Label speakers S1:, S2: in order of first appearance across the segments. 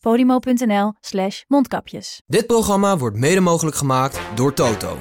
S1: podimo.nl slash mondkapjes.
S2: Dit programma wordt mede mogelijk gemaakt door Toto.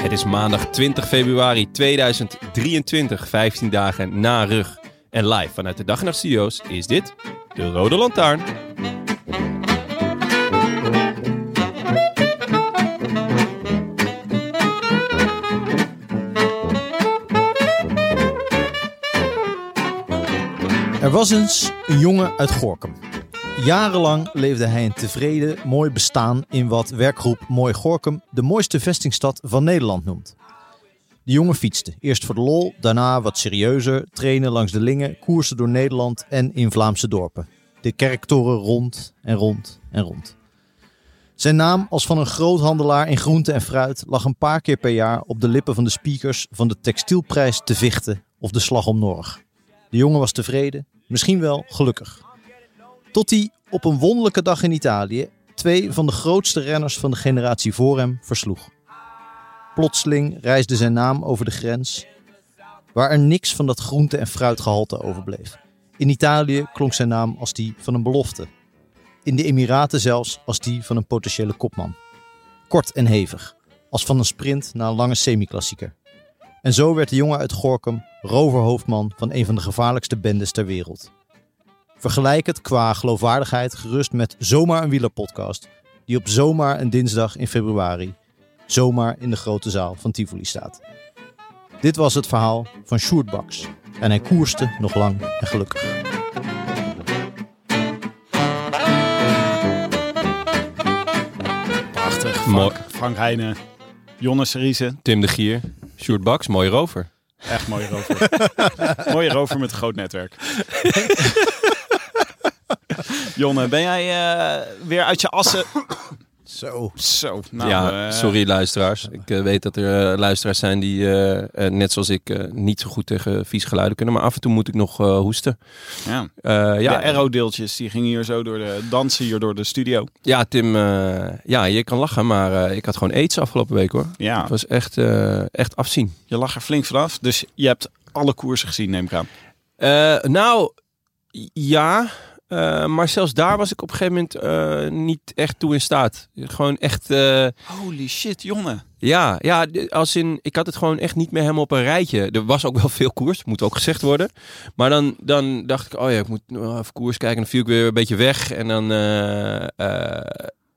S3: Het is maandag 20 februari 2023, 15 dagen na rug. En live vanuit de Dag en Nacht Studio's is dit de Rode Lantaarn.
S4: Er was eens een jongen uit Gorkum. Jarenlang leefde hij een tevreden, mooi bestaan in wat werkgroep Mooi Gorkum de mooiste vestingstad van Nederland noemt. De jongen fietste, eerst voor de lol, daarna wat serieuzer, trainen langs de Lingen, koersen door Nederland en in Vlaamse dorpen. De kerktoren rond en rond en rond. Zijn naam als van een groothandelaar in groente en fruit lag een paar keer per jaar op de lippen van de speakers van de textielprijs te Vichten of de Slag om Norg. De jongen was tevreden, misschien wel gelukkig. Tot hij op een wonderlijke dag in Italië twee van de grootste renners van de generatie voor hem versloeg. Plotseling reisde zijn naam over de grens, waar er niks van dat groente- en fruitgehalte overbleef. In Italië klonk zijn naam als die van een belofte. In de Emiraten zelfs als die van een potentiële kopman. Kort en hevig, als van een sprint na een lange semi-klassieker. En zo werd de jongen uit Gorkum roverhoofdman van een van de gevaarlijkste bendes ter wereld. Vergelijk het qua geloofwaardigheid gerust met zomaar een wielerpodcast, die op zomaar een dinsdag in februari zomaar in de grote zaal van Tivoli staat. Dit was het verhaal van Sjoerd Baks en hij koerste nog lang en gelukkig.
S5: Prachtig.
S3: Mooi.
S5: Frank, Frank Heijnen. Jonne Seriese.
S3: Tim de Gier, Sjoerd Baks, mooie rover.
S5: Echt mooie rover. mooie rover met een groot netwerk. Jonne, ben jij eh, weer uit je assen?
S4: Zo.
S5: Zo. Nou,
S3: ja,
S5: eh,
S3: sorry luisteraars. Ik eh, weet dat er eh, luisteraars zijn die, eh, eh, net zoals ik, eh, niet zo goed tegen vies geluiden kunnen. Maar af en toe moet ik nog eh, hoesten.
S5: Ja.
S3: Eh, ja,
S5: Ja, aerodeeltjes die gingen hier zo door de dansen hier door de studio.
S3: ja, Tim, eh, ja, je kan lachen, maar eh, ik had gewoon aids afgelopen week hoor.
S5: Ja,
S3: Het was echt, eh, echt afzien.
S5: je lag er flink vanaf. Dus je hebt alle koersen gezien, neem ik aan.
S3: Eh, nou, ja. eh, maar zelfs daar was ik op een gegeven moment eh, niet echt toe in staat. Gewoon echt, eh,
S5: Holy shit, Jonne.
S3: ja, ja, d- als in, ik had het gewoon echt niet meer helemaal op een rijtje. Er was ook wel veel koers, moet ook gezegd worden. Maar dan, dan dacht ik, oh ja, ik moet nog even koers kijken. Dan viel ik weer een beetje weg en dan, eh, eh,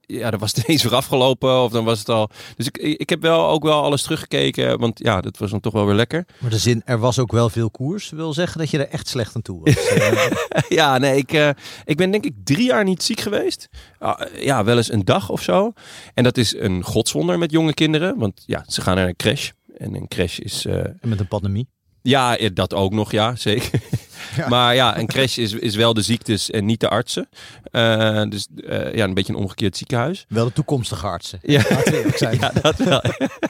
S3: ja, dan was het ineens weer afgelopen of dan was het al. Dus ik, ik heb wel ook wel alles teruggekeken, want ja, dat was dan toch wel weer lekker.
S4: Maar de zin er was ook wel veel koers wil zeggen dat je er echt slecht aan toe was.
S3: Ja, nee, ik, eh, ik ben denk ik drie jaar niet ziek geweest. Ah, ja, wel eens een dag of zo. En dat is een godswonder met jonge kinderen. Want ja, ze gaan naar een crash. En een crash is... eh,
S4: En met een pandemie.
S3: ja, eh, dat ook nog, ja, zeker.
S4: Ja.
S3: Maar ja, een crash is, is wel de ziektes en niet de artsen. Eh, dus eh, ja, een beetje een omgekeerd ziekenhuis.
S4: Wel de toekomstige artsen.
S3: Ja.
S4: Laten we eerlijk zijn.
S3: Ja, dat wel.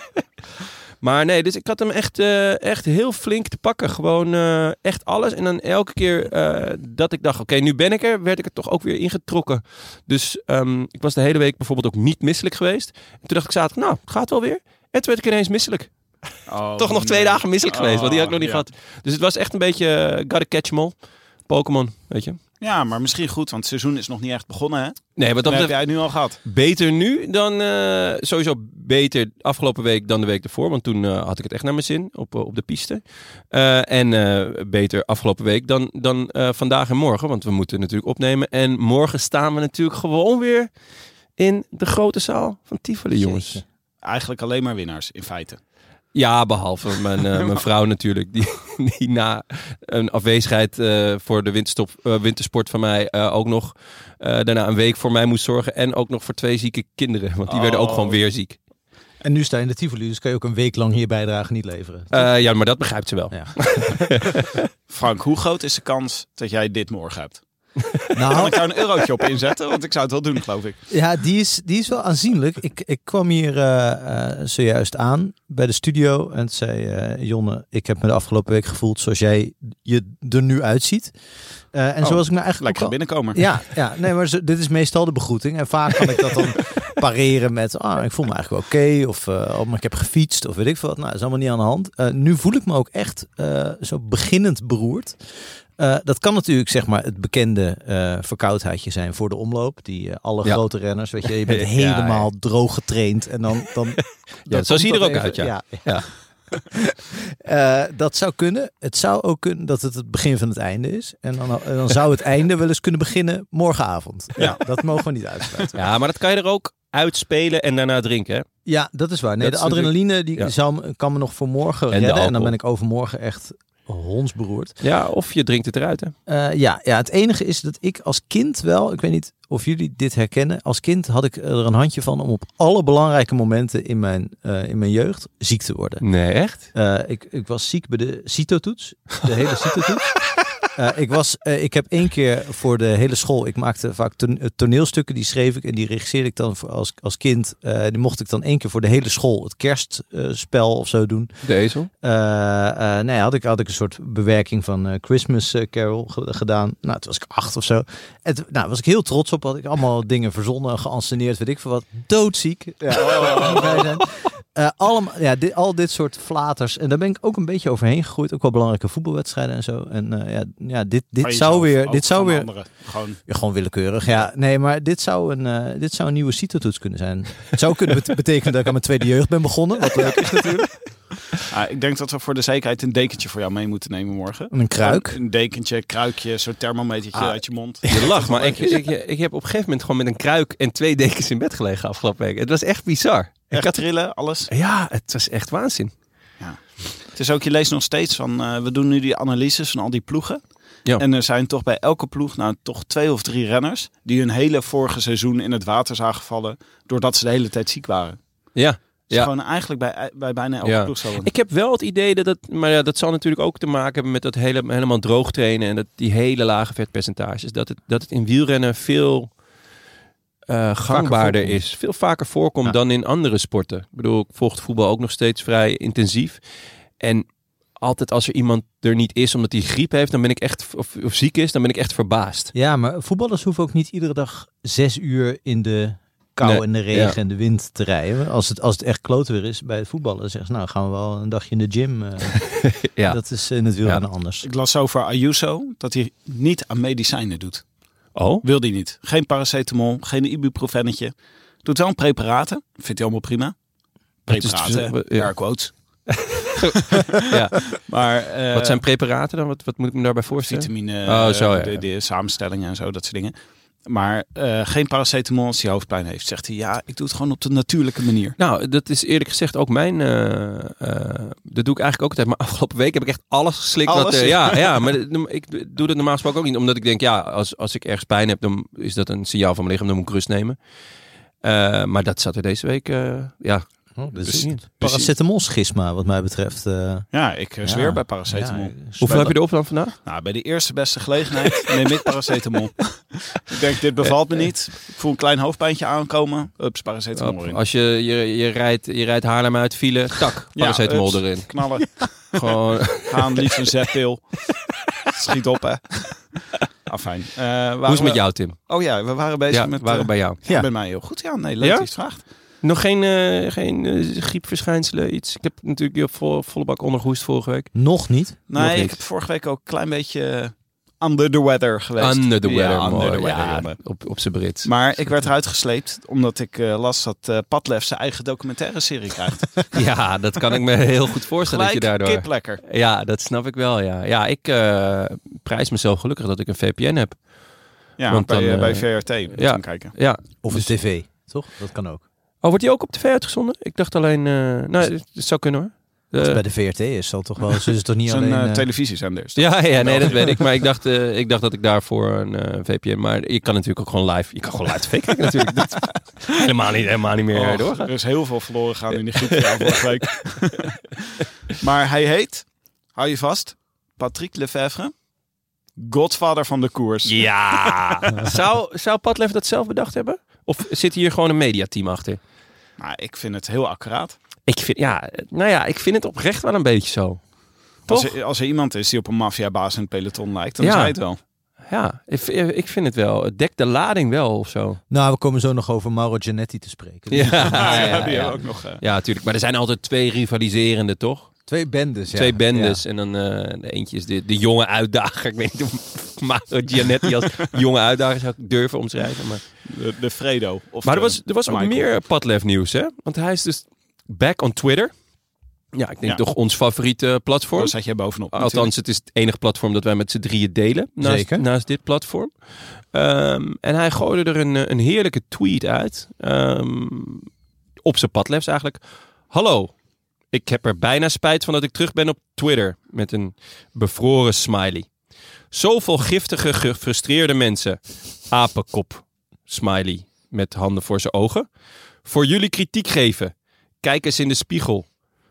S3: maar nee, dus ik had hem echt, eh, echt heel flink te pakken. Gewoon eh, echt alles. En dan elke keer eh, dat ik dacht, oké, nu ben ik er, werd ik er toch ook weer ingetrokken. Dus ehm, ik was de hele week bijvoorbeeld ook niet misselijk geweest. En toen dacht ik zaterdag, nou, het gaat wel weer. En toen werd ik ineens misselijk.
S5: Oh,
S3: toch nog twee dagen misselijk geweest, want die had ik nog niet
S5: gehad.
S3: gehad. Dus het was echt een beetje eh, gotta catch 'em all. Pokémon, weet je.
S5: Ja, maar misschien goed, want het seizoen is nog niet echt begonnen, hè?
S3: Nee, wat dat
S5: Dat heb
S3: betreft,
S5: jij het nu al gehad.
S3: Beter nu dan eh, sowieso beter afgelopen week dan de week ervoor. Want toen eh, had ik het echt naar mijn zin op, eh, op de piste. Eh, en eh, beter afgelopen week dan, dan eh, vandaag en morgen. Want we moeten natuurlijk opnemen. En morgen staan we natuurlijk gewoon weer in de grote zaal van Tivoli, jongens.
S4: Jeetje.
S5: Eigenlijk alleen maar winnaars, in feite.
S3: Ja, behalve mijn, eh, mijn vrouw natuurlijk, die, die na een afwezigheid eh, voor de winterstop, eh, wintersport van mij eh, ook nog eh, daarna een week voor mij moest zorgen. En ook nog voor twee zieke kinderen, want die werden ook
S5: Oh.
S3: gewoon weer ziek.
S4: En nu sta je in de Tivoli, dus kan je ook een week lang hier bijdrage niet leveren.
S3: Eh, ja, maar dat begrijpt ze wel.
S4: Ja.
S5: Frank, hoe groot is de kans dat jij dit morgen hebt? Kan
S4: Nou,
S5: ik daar een eurotje op inzetten? Want ik zou het wel doen, geloof ik.
S4: ja, die is, die is wel aanzienlijk. Ik, ik kwam hier eh, eh, zojuist aan bij de studio en toen zei eh, Jonne, ik heb me de afgelopen week gevoeld zoals jij je er nu uitziet. Eh, en
S5: Oh,
S4: zoals ik me eigenlijk ook
S5: Lekker
S4: al-
S5: binnenkomen.
S4: Ja, ja, nee, maar zo- dit is meestal de begroeting. En vaak kan ik dat dan pareren met, ah, ik voel me eigenlijk wel oké. of, eh, oh, maar ik heb gefietst of weet ik veel wat. Nou, dat is allemaal niet aan de hand. Eh, nu voel ik me ook echt eh, zo beginnend beroerd. Eh, dat kan natuurlijk zeg maar het bekende eh, verkoudheidje zijn voor de omloop. Die eh, alle
S3: Ja.
S4: grote renners, weet je, je bent
S3: Ja,
S4: helemaal droog getraind. En dan, dan, dan
S3: zo zie je
S4: komt
S3: er
S4: dat
S3: ook uit, ja.
S4: ja. Eh, dat zou kunnen. Het zou ook kunnen dat het het begin van het einde is. En dan, en dan zou het einde wel eens kunnen beginnen morgenavond. Ja. dat mogen we niet uitsluiten.
S3: Ja, maar dat kan je er ook uitspelen en daarna drinken. Hè?
S4: Ja, dat is waar. Nee,
S3: Dat
S4: de
S3: is natuurlijk-
S4: adrenaline die
S3: ja.
S4: zou, me- kan me nog voor
S3: En
S4: morgen
S3: de
S4: redden. En dan
S3: alcohol.
S4: ben ik overmorgen echt hondsberoerd.
S3: Ja, of je drinkt het eruit. Hè?
S4: Eh, ja, ja, het enige is dat ik als kind wel, ik weet niet of jullie dit herkennen, als kind had ik er een handje van om op alle belangrijke momenten in mijn, eh, in mijn jeugd ziek te worden.
S3: Nee, echt?
S4: Eh, ik, ik was ziek bij de CITO-toets. De hele CITO-toets. Eh, ik, was, eh, ik heb één keer voor de hele school, ik maakte vaak ton- eh, toneelstukken, die schreef ik en die regisseerde ik dan voor als, als kind. Eh, die mocht ik dan één keer voor de hele school het kerstspel of zo doen.
S3: Deze.
S4: Eh, eh, nee, had ik, had ik een soort bewerking van eh, Christmas eh, Carol ge- gedaan. Nou, toen was ik acht of zo. En toen- nou, was ik heel trots op. Had ik allemaal dingen verzonnen, geanceneerd, weet ik veel wat. Doodziek. Ja, moet ik bij zijn. Eh, allemaal, ja, dit, al dit soort flaters. En daar ben ik ook een beetje overheen gegroeid. Ook wel belangrijke voetbalwedstrijden en zo. En eh, ja, ja, dit,
S5: Van
S4: dit
S5: jezelf,
S4: zou weer...
S5: ook
S4: Dit zou
S5: van
S4: weer
S5: anderen. Gewoon,
S4: ja, gewoon willekeurig, ja. Nee, maar dit zou een, eh, dit zou een nieuwe CITO-toets kunnen zijn. Het zou kunnen bet- betekenen dat ik aan mijn tweede jeugd ben begonnen. Wat leuk is natuurlijk.
S5: Ah, ik denk dat we voor de zekerheid een dekentje voor jou mee moeten nemen morgen.
S4: Een kruik.
S5: Een dekentje, kruikje, zo'n thermometertje
S4: Ah.
S5: uit je mond.
S3: Je lacht, maar ik, ik, ik heb op een gegeven moment gewoon met een kruik en twee dekens in bed gelegen afgelopen week. Het was echt bizar. Ik
S5: Echt
S3: had-
S5: trillen, alles.
S3: ja, het was echt waanzin.
S5: Het is ook, je leest nog steeds van, eh, we doen nu die analyses van al die ploegen.
S3: Ja.
S5: En er zijn toch bij elke ploeg nou toch twee of drie renners die hun hele vorige seizoen in het water zagen vallen doordat ze de hele tijd ziek waren.
S3: Ja.
S5: Dus
S3: Ja.
S5: gewoon eigenlijk bij, bij bijna elke
S3: Ja.
S5: ploeg zo.
S3: Ik heb wel het idee dat dat, maar ja, dat zal natuurlijk ook te maken hebben met dat hele, helemaal droog trainen en dat die hele lage vetpercentages. Dat het, dat het in wielrennen veel eh, gangbaarder
S4: voorkomt.
S3: is. Veel vaker voorkomt
S4: Ja.
S3: dan in andere sporten. Ik bedoel, ik volg het voetbal ook nog steeds vrij intensief. En altijd als er iemand er niet is omdat hij griep heeft, dan ben ik echt, of, of ziek is, dan ben ik echt verbaasd.
S4: Ja, maar voetballers hoeven ook niet iedere dag zes uur in de kou
S3: Nee,
S4: en de regen
S3: ja.
S4: en de wind te rijden. Als het, als het echt kloot weer is bij het voetballen, dan zeggen ze, nou gaan we wel een dagje in de gym. eh.
S3: Ja.
S4: Dat is eh, natuurlijk anders.
S5: Ik las over Ayuso dat hij niet aan medicijnen doet.
S3: Oh?
S5: Wil hij niet. Geen paracetamol, geen ibuprofennetje. Doet wel een preparaten. Vindt hij allemaal prima.
S3: Het is
S5: Preparaten,
S3: dus-
S5: ja.
S3: ja.
S5: quotes.
S3: Ja.
S5: Maar, eh,
S3: Wat zijn preparaten dan? Wat, wat moet ik me daarbij voorstellen?
S5: vitamine,
S3: Oh, zo, ja,
S5: de,
S3: ja.
S5: de samenstellingen en zo, dat soort dingen. Maar eh, geen paracetamol als hij hoofdpijn heeft. Zegt hij, ja, ik doe het gewoon op de natuurlijke manier.
S3: Nou, dat is eerlijk gezegd ook mijn. eh, eh, dat doe ik eigenlijk ook altijd. Maar afgelopen week heb ik echt alles geslikt. Wat,
S5: Alles?
S3: eh, ja, ja, maar dat- ik doe dat normaal gesproken ook niet. Omdat ik denk, ja, als, als ik ergens pijn heb, dan is dat een signaal van mijn lichaam. Dan moet ik rust nemen. Eh, maar dat zat er deze week. eh, ja,
S4: dat
S3: dus
S4: is
S3: niet.
S4: paracetamol schisma, wat mij betreft. eh
S5: Ja, ik eh,
S4: Ja.
S5: zweer bij paracetamol.
S4: ja,
S3: Hoeveel heb je erop dan vandaag?
S5: Nou, bij de eerste beste gelegenheid neem ik paracetamol. ik denk, dit bevalt me niet. Ik voel een klein hoofdpijntje aankomen. Ups, paracetamol
S3: Hop,
S5: in.
S3: als je, je, je, rijdt, je rijdt Haarlem uit, file, tak,
S5: Ja,
S3: paracetamol
S5: ups.
S3: erin.
S5: Knallen,
S3: Gewoon,
S5: gaan, liefst een zetpil. Schiet op, hè. Afijn. Eh, waren
S3: hoe is het met
S5: we-
S3: jou, Tim?
S5: Oh ja, we waren bezig
S3: Ja,
S5: met...
S3: waren
S5: eh,
S3: bij jou.
S4: Ja.
S5: Bij mij heel goed. Ja, nee, leuk
S3: Ja?
S5: dat je het vraagt.
S3: Nog geen, eh, geen eh, griepverschijnselen, iets. Ik heb natuurlijk heel vol, volle bak ondergehoest vorige week.
S4: Nog niet.
S3: Nog
S5: Nee, ik
S3: niet.
S5: heb vorige week ook een klein beetje eh, under the weather geweest.
S3: Under the
S5: Ja,
S3: weather,
S5: under
S3: mooi.
S5: the weather,
S3: Ja,
S5: jongen.
S3: op, op zijn Brits.
S5: Maar ik werd eruit gesleept omdat ik eh, las dat eh Padlef zijn eigen documentaire serie krijgt.
S3: ja, dat kan ik me heel goed voorstellen dat je
S5: Gelijk
S3: daardoor...
S5: kip lekker.
S3: Ja, dat snap ik wel, ja. Ja, ik eh, prijs mezelf gelukkig dat ik een VPN heb.
S5: Ja,
S3: Want
S5: bij,
S3: dan,
S5: eh,
S3: eh,
S5: bij VRT. moet je
S3: ja.
S5: hem kijken.
S3: Ja.
S4: Of
S3: Dus-
S4: een tv, toch? Dat kan ook.
S3: Oh, wordt die ook op tv uitgezonden? Ik dacht alleen... eh, nou, dat eh, zou kunnen hoor. Eh,
S4: Bij de VRT is dat toch wel. Ze is toch niet
S5: Zo'n
S4: alleen...
S5: eh,
S4: eh,
S5: televisiezender. is dat.
S3: ja, ja, nee, dat weet ik. Maar ik dacht, eh, ik dacht dat ik daarvoor een eh, VPN... Maar je kan natuurlijk ook gewoon live... Je kan gewoon live tv kijken natuurlijk. Dat, helemaal, niet, helemaal niet meer
S5: Och,
S3: doorgaan.
S5: er is heel veel verloren gaan in die groep van vorige week. maar hij heet, hou je vast, Patrick Lefevre. Godvader van de koers.
S3: Ja. zou, zou Padlef dat zelf bedacht hebben? Of zit hier gewoon een mediateam achter?
S5: Nou, ik vind het heel accuraat.
S3: Ik vind, ja, nou ja, ik vind het oprecht wel een beetje zo. Toch?
S5: Als er, als er iemand is die op een maffiabaas in het peloton lijkt, dan
S3: Ja.
S5: is hij het wel.
S3: Ja, ik, eh, ik vind het wel. Het dekt de lading wel of zo.
S4: Nou, we komen zo nog over Mauro Giannetti te spreken.
S5: Ah,
S3: ja,
S5: ja, die hebben
S3: ja.
S5: we ook nog. eh.
S3: Ja, natuurlijk. Maar er zijn altijd twee rivaliserende, toch?
S4: Twee bendes, ja.
S3: twee bendes. En dan eh, de eentje is de, de jonge uitdager. Ik weet niet of Mario Giannetti als jonge uitdager zou ik durven omschrijven. Maar,
S5: De, de Fredo. Of
S3: maar er
S5: de
S3: was, er was ook
S5: Michael.
S3: meer Padlef nieuws, hè? Want hij is dus back on Twitter. Ja, ik denk
S5: Ja.
S3: toch ons favoriete platform.
S5: Daar zat jij bovenop. natuurlijk.
S3: Althans, het is het enige platform dat wij met z'n drieën delen. Naast,
S4: Zeker.
S3: naast dit platform. Ehm, en hij gooide er een, eh, een heerlijke tweet uit. ehm, op zijn padlefs eigenlijk. Hallo, ik heb er bijna spijt van dat ik terug ben op Twitter. Met een bevroren smiley. Zoveel giftige, gefrustreerde mensen. Apenkop. Smiley. Met handen voor zijn ogen. Voor jullie kritiek geven. Kijk eens in de spiegel.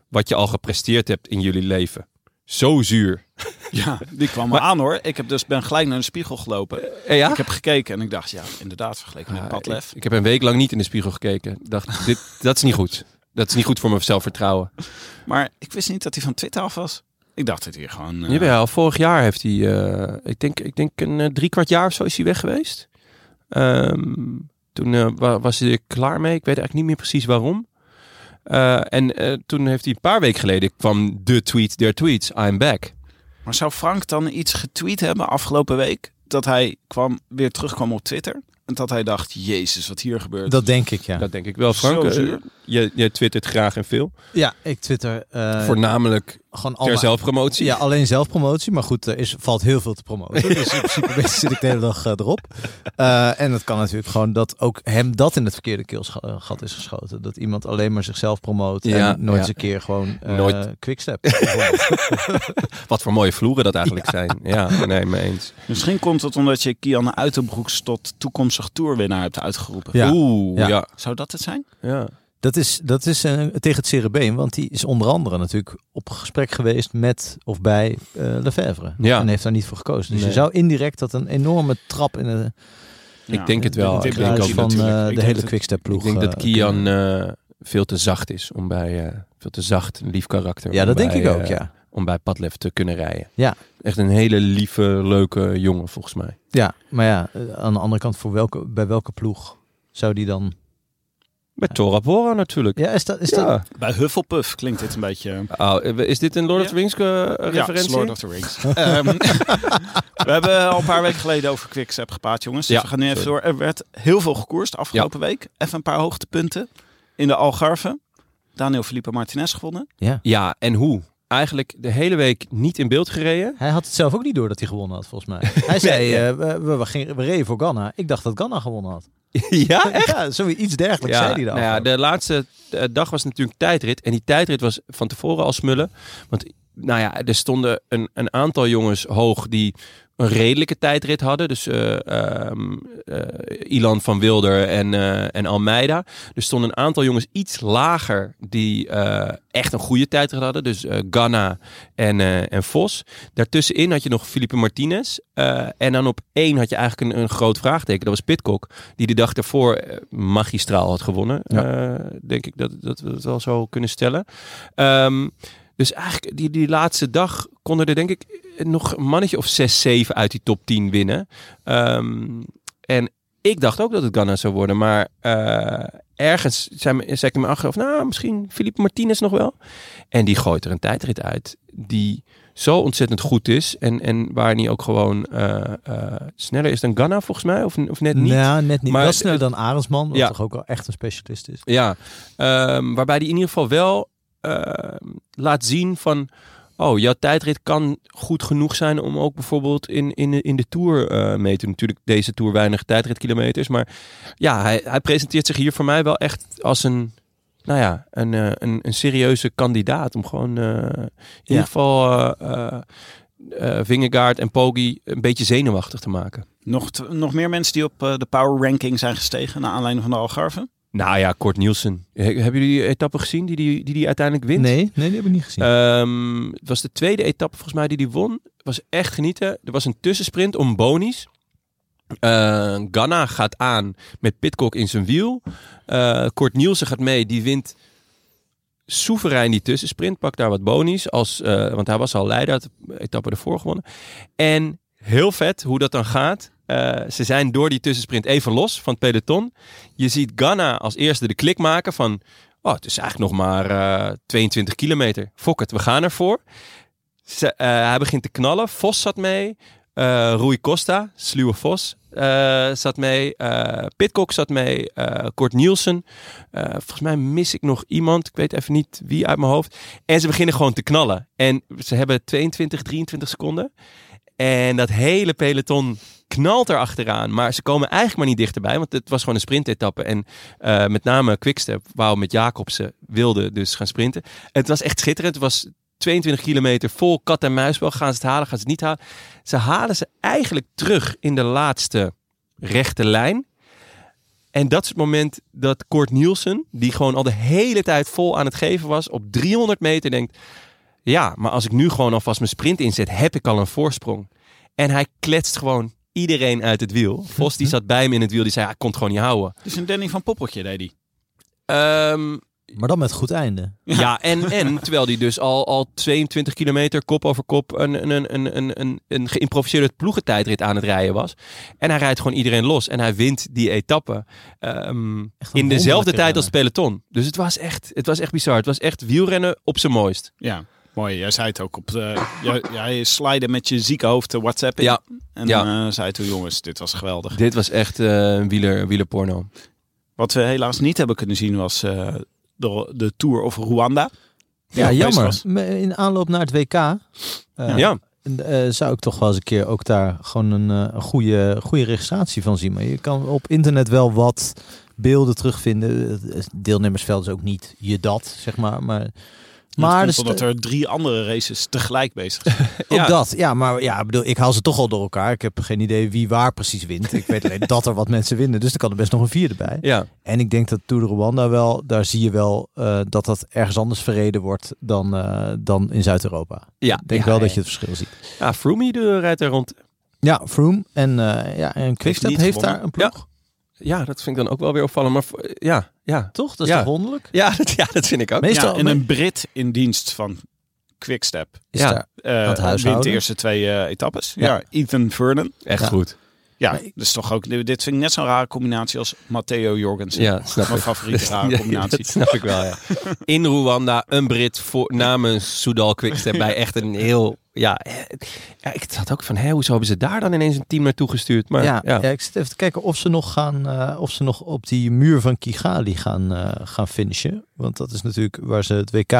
S3: Wat je al gepresteerd hebt in jullie leven. Zo zuur.
S5: Ja, die kwam maar aan hoor. Ik heb dus, ben gelijk naar een spiegel gelopen.
S3: ja?
S5: Ik heb gekeken en ik dacht, ja, inderdaad, vergeleken met
S3: Ah,
S5: Padlef.
S3: Ik, ik heb een week lang niet in de spiegel gekeken. Ik dacht, dit, dat is niet goed. Dat is niet goed voor mijn zelfvertrouwen.
S5: Maar ik wist niet dat hij van Twitter af was. Ik dacht dat hij gewoon... eh,
S3: Jawel, vorig jaar heeft hij, eh, ik, denk, ik denk een eh, drie kwart jaar of zo is hij weg geweest. Ehm, toen eh, wa- was hij er klaar mee. Ik weet eigenlijk niet meer precies waarom. Eh, en eh, toen heeft hij een paar weken geleden kwam de tweet der tweets. I'm back.
S5: Maar zou Frank dan iets getweet hebben afgelopen week? Dat hij kwam, weer terugkwam op Twitter. En dat hij dacht, jezus, wat hier gebeurt.
S4: Dat denk ik, ja.
S3: Dat denk ik wel, Frank.
S5: Zo
S3: Eh,
S5: zuur.
S3: je, je twittert graag en veel.
S4: Ja, ik twitter eh,
S3: Voornamelijk
S4: gewoon al
S3: ter
S4: mijn-
S3: zelfpromotie.
S4: Ja, alleen zelfpromotie. Maar goed, er is, valt heel veel te promoten. Dus in principe zit ik de hele dag eh, erop. Eh, en het kan natuurlijk gewoon dat ook hem dat in het verkeerde keelgat is geschoten. Dat iemand alleen maar zichzelf promoot
S3: Ja,
S4: en nooit
S3: ja.
S4: eens een keer gewoon eh
S3: Nooit.
S4: quickstep. bijvoorbeeld.
S3: Wat voor mooie vloeren dat eigenlijk zijn. Ja, nee, mee eens.
S5: Misschien komt het omdat je Kian Uitenbroeks tot toekomstig toerwinnaar hebt uitgeroepen.
S4: Ja.
S3: Oeh,
S4: Ja.
S3: ja.
S5: Zou dat het zijn?
S3: ja.
S4: dat is, dat is eh, tegen het cerebeen, want die is onder andere natuurlijk op gesprek geweest met of bij eh Lefebvre.
S3: Ja.
S4: En heeft daar niet voor gekozen. Dus
S3: Nee.
S4: je zou indirect dat een enorme trap in de,
S5: Ja.
S3: Ik denk het wel.
S5: Dit
S3: Ik denk,
S5: blijft
S3: ook
S4: ruis
S5: hij
S4: van
S3: dat,
S5: natuurlijk.
S4: eh,
S5: Ik
S4: de
S5: denk
S4: hele
S5: dat-
S4: quickstep
S3: ik
S4: ploeg.
S3: denk dat
S4: eh,
S3: Kian
S4: kunnen-
S3: eh, veel te zacht is om bij... eh, veel te zacht, een lief karakter.
S4: Ja,
S3: om
S4: dat denk
S3: bij,
S4: ik ook,
S3: eh,
S4: ja.
S3: Om bij Padlef te kunnen rijden.
S4: Ja.
S3: Echt een hele lieve, leuke jongen volgens mij.
S4: Ja, maar ja, eh, aan de andere kant, voor welke, bij welke ploeg zou die dan...
S3: Met Tora Bora natuurlijk.
S4: Ja, is dat... Is dat...
S3: Ja.
S5: Bij Hufflepuff klinkt dit een beetje...
S3: Oh, is dit een Lord of
S5: Ja.
S3: the Rings eh, referentie?
S5: Ja, Lord of the Rings. Ehm, we hebben al een paar weken geleden over Quickstep gepraat, jongens. Dus
S3: Ja,
S5: we gaan nu even
S3: sorry.
S5: door. Er werd heel veel gekoerst afgelopen week. Even een paar hoogtepunten. In de Algarve. Daniel Felipe Martinez gewonnen.
S3: Ja, en hoe? Eigenlijk de hele week niet in beeld gereden.
S4: Hij had het zelf ook niet door dat hij gewonnen had, volgens mij. Hij zei, eh, we, we, we gingen- we reden voor Ghana. Ik dacht dat Ghana gewonnen had.
S3: ja,
S4: Ja, zoiets dergelijks zei hij dan.
S3: nou Ah, ja, de laatste eh, dag was natuurlijk tijdrit. En die tijdrit was van tevoren al smullen. Want nou ja, er stonden een, een aantal jongens hoog die een redelijke tijdrit hadden. Dus eh, ehm, eh, Ilan van Wilder en, eh, en Almeida. Er stonden een aantal jongens iets lager die eh, echt een goede tijdrit hadden. Dus eh Ganna en, eh, en Vos. Daartussenin had je nog Felipe Martinez. Eh, en dan op één had je eigenlijk een, een groot vraagteken. Dat was Pitcock. Die de dag daarvoor eh, magistraal had gewonnen. Eh, denk ik dat, dat we het wel zo kunnen stellen. Ehm, dus eigenlijk die, die laatste dag konden er denk ik eh, nog een mannetje of 6, 7 uit die top 10 winnen. Ehm, en ik dacht ook dat het Ghana zou worden. Maar eh, ergens zei, me- zei ik in mijn achterhoofd, nou misschien Felipe Martinez nog wel. En die gooit er een tijdrit uit die zo ontzettend goed is. En, en waar hij ook gewoon eh, eh, sneller is dan Ghana volgens mij. Of, of net niet.
S4: Nou, net niet.
S3: Maar
S4: Maar, sneller dan Arendsman, wat
S3: Ja.
S4: toch ook wel echt een specialist is.
S3: Ja, ehm, waarbij die in ieder geval wel ehm, laat zien van... Oh, jouw tijdrit kan goed genoeg zijn om ook bijvoorbeeld in, in, de- in de Tour eh, mee te doen. Natuurlijk deze Tour weinig tijdritkilometers. Maar ja, hij, hij presenteert zich hier voor mij wel echt als een nou ja, een, eh, een, een serieuze kandidaat om gewoon eh, in ieder geval eh eh, eh, Vingegaard en Poggi een beetje zenuwachtig te maken.
S5: Nog, t- nog meer mensen die op eh, de power ranking zijn gestegen naar aanleiding van de Algarve.
S3: Nou ja, Kort Nielsen. He- hebben jullie die etappe gezien die die, die, die uiteindelijk wint?
S4: Nee, nee, die heb ik niet gezien.
S3: Ehm, het was de tweede etappe volgens mij die die won. Het was echt genieten. Er was een tussensprint om bonies. Eh Ganna gaat aan met Pitcock in zijn wiel. Eh Kort Nielsen gaat mee. Die wint soeverein die tussensprint. Pakt daar wat bonies. Als, eh, want hij was al leider. Had de etappe ervoor gewonnen. En heel vet hoe dat dan gaat. Eh, ze zijn door die tussensprint even los van het peloton. Je ziet Ganna als eerste de klik maken van... Oh, het is eigenlijk nog maar eh, 22 kilometer. Fok het, we gaan ervoor. Ze, eh, hij begint te knallen. Vos zat mee. Eh Rui Costa, sluwe Vos, eh, zat mee. Eh Pitcock zat mee. Eh Kort Nielsen. Eh, volgens mij mis ik nog iemand. Ik weet even niet wie uit mijn hoofd. En ze beginnen gewoon te knallen. En ze hebben 22, 23 seconden. En dat hele peloton knalt er achteraan. Maar ze komen eigenlijk maar niet dichterbij. Want het was gewoon een sprintetappe. En eh, met name Quickstep, wou met Jacobsen, wilde dus gaan sprinten. Het was echt schitterend. Het was 22 kilometer vol kat en muisbel. Gaan ze het halen, gaan ze het niet halen. Ze halen ze eigenlijk terug in de laatste rechte lijn. En dat is het moment dat Kort Nielsen, die gewoon al de hele tijd vol aan het geven was, op 300 meter denkt: Ja, maar als ik nu gewoon alvast mijn sprint inzet, heb ik al een voorsprong. En hij kletst gewoon iedereen uit het wiel. Vos die zat bij hem in het wiel, die zei: Hij kon het gewoon niet houden.
S5: Dus een Danny van Poppeltje deed die.
S3: Ehm,
S4: Maar dan met goed einde.
S3: ja, en, en terwijl hij dus al, al 22 kilometer kop over kop een, een, een, een, een, een, een geïmproviseerde ploegentijdrit aan het rijden was. En hij rijdt gewoon iedereen los en hij wint die etappe. Ehm,
S4: Echt een
S3: in dezelfde
S4: wonderlijke
S3: tijd als het peloton. Dus het was, echt, het was echt bizar. Het was echt wielrennen op zijn mooist.
S5: Ja, mooi. Jij zei het ook op de. jij, jij slide met je zieke hoofd de WhatsApp in.
S3: Ja,
S5: En
S3: ja.
S5: eh, zei toen, jongens, dit was geweldig.
S3: Dit was echt eh, een wieler, wielerporno.
S5: Wat we helaas niet hebben kunnen zien was eh, de, de tour of Rwanda. Die
S4: Ja,
S5: ook bezig
S4: jammer.
S5: was.
S4: Me- In aanloop naar het WK eh,
S3: Ja,
S4: eh, zou ik toch wel eens een keer ook daar gewoon een, eh, een goede, goede registratie van zien. Maar je kan op internet wel wat beelden terugvinden. Het Deelnemersveld is ook niet je dat, zeg maar. Maar,
S5: Maar
S4: maar
S5: dat
S4: de
S5: komt
S4: sta-
S5: omdat er drie andere races tegelijk bezig zijn.
S4: ook
S3: Ja.
S4: dat. Ja, maar ja, ik bedoel, ik haal ze toch al door elkaar. Ik heb geen idee wie waar precies wint. Ik weet alleen dat er wat mensen winnen. Dus er kan er best nog een vierde bij.
S3: ja.
S4: En ik denk dat Tour de Rwanda wel, daar zie je wel eh, dat dat ergens anders verreden wordt dan, eh, dan in Zuid-Europa.
S3: ja.
S4: Ik denk
S3: ja,
S4: wel
S3: ja.
S4: dat je het verschil ziet.
S3: Ja, Froome die rijdt er rond.
S4: Ja, Froome en, eh, ja, en Quickstep
S5: niet
S4: heeft,
S5: gewonnen.
S4: daar een ploeg.
S3: Ja, dat vind ik dan ook wel weer opvallend. Maar voor- ja, ja.
S4: Toch? Dat is
S3: Ja.
S4: toch wonderlijk?
S3: Ja, dat, ja, dat vind ik ook.
S4: Meestal
S5: Ja, en een Brit in dienst van Quickstep.
S4: is
S3: Ja.
S4: daar-
S5: eh
S4: Dat huishouden.
S5: wint de eerste twee eh, etappes. Ja.
S4: Ja.
S5: Ethan Vernon.
S3: Echt
S4: Ja.
S3: goed.
S5: Ja,
S4: Maar ik-
S5: dat is toch ook. Dit vind ik net zo'n rare combinatie als Matteo Jorgensen.
S3: Ja, snap
S5: Mijn
S3: ik.
S5: favoriete rare
S3: Dus Ja,
S5: combinatie.
S3: dat snap ik wel, ja. In Rwanda, een Brit voor, namens Soudal Quickstep bij echt een heel... Ja, eh, ja, ik zat ook van, hé, hoezo hebben ze daar dan ineens een team naartoe gestuurd? Maar
S4: ja,
S3: ja,
S4: ja, ik zit even te kijken of ze nog, gaan, eh, of ze nog op die muur van Kigali gaan, eh, gaan finishen. Want dat is natuurlijk waar ze het WK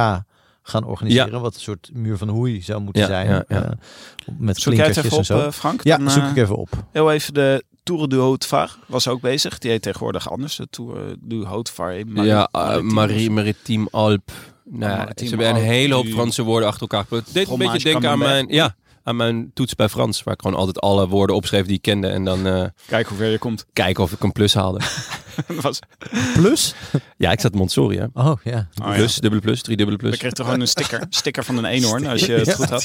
S4: gaan organiseren. Wat een soort muur van hoei zou moeten
S3: Ja,
S4: zijn.
S3: ja, ja.
S4: eh, met
S5: Zoek jij het
S4: klinkertjes
S5: even
S4: en
S5: op,
S4: zo.
S5: eh, Frank?
S4: ja,
S5: Dan,
S4: zoek
S5: eh,
S4: ik even op.
S5: Heel even de Tour du Haut-Var was ook bezig. Die heet tegenwoordig anders. De Tour du Haut-Var. eh, Mar-
S3: ja eh,
S5: Maritiem.
S3: Marie Maritiem Alp. Nou,
S5: Maritiem
S3: ze hebben een
S5: Alp,
S3: hele hoop
S5: die-
S3: Franse woorden achter elkaar. Het deed een
S5: Fromage
S3: beetje denken aan
S5: camembert.
S3: mijn, ja, aan mijn toets bij Frans. Waar ik gewoon altijd alle woorden opschreef die ik kende. En dan eh,
S5: Kijk hoe ver je komt. Dus-
S3: kijken of ik een plus haalde.
S5: Dat was,
S4: Plus?
S3: ja, ik zat Montsori, hè.
S4: Oh ja.
S5: Oh ja.
S3: Plus, dubbele plus, drie dubbele
S5: Dan
S3: plus.
S5: kreeg je toch gewoon een sticker. Sticker van een eenhoorn, als je het goed had.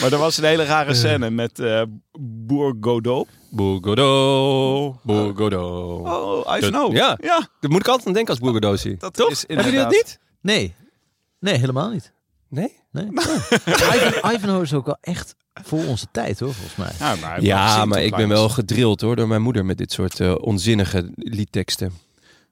S5: maar er was een hele rare scène met eh Boer Godot.
S3: Bourgodo, Bourgodo.
S5: Oh, I
S3: Dat-
S5: know.
S3: ja.
S5: ja
S3: Daar moet ik altijd aan denken als Bourgodo zie.
S5: dat
S3: Toch?
S5: is
S3: Hebben jullie dat
S5: inderdaad-
S3: niet?
S4: Nee. Nee, helemaal niet.
S3: Nee?
S4: Nee. Ivan, Ivanhoe is ook wel echt voor onze tijd hoor, volgens mij.
S5: Ja, maar,
S3: Ja, maar ik ben wel gedrild hoor door mijn moeder met dit soort eh, onzinnige liedteksten.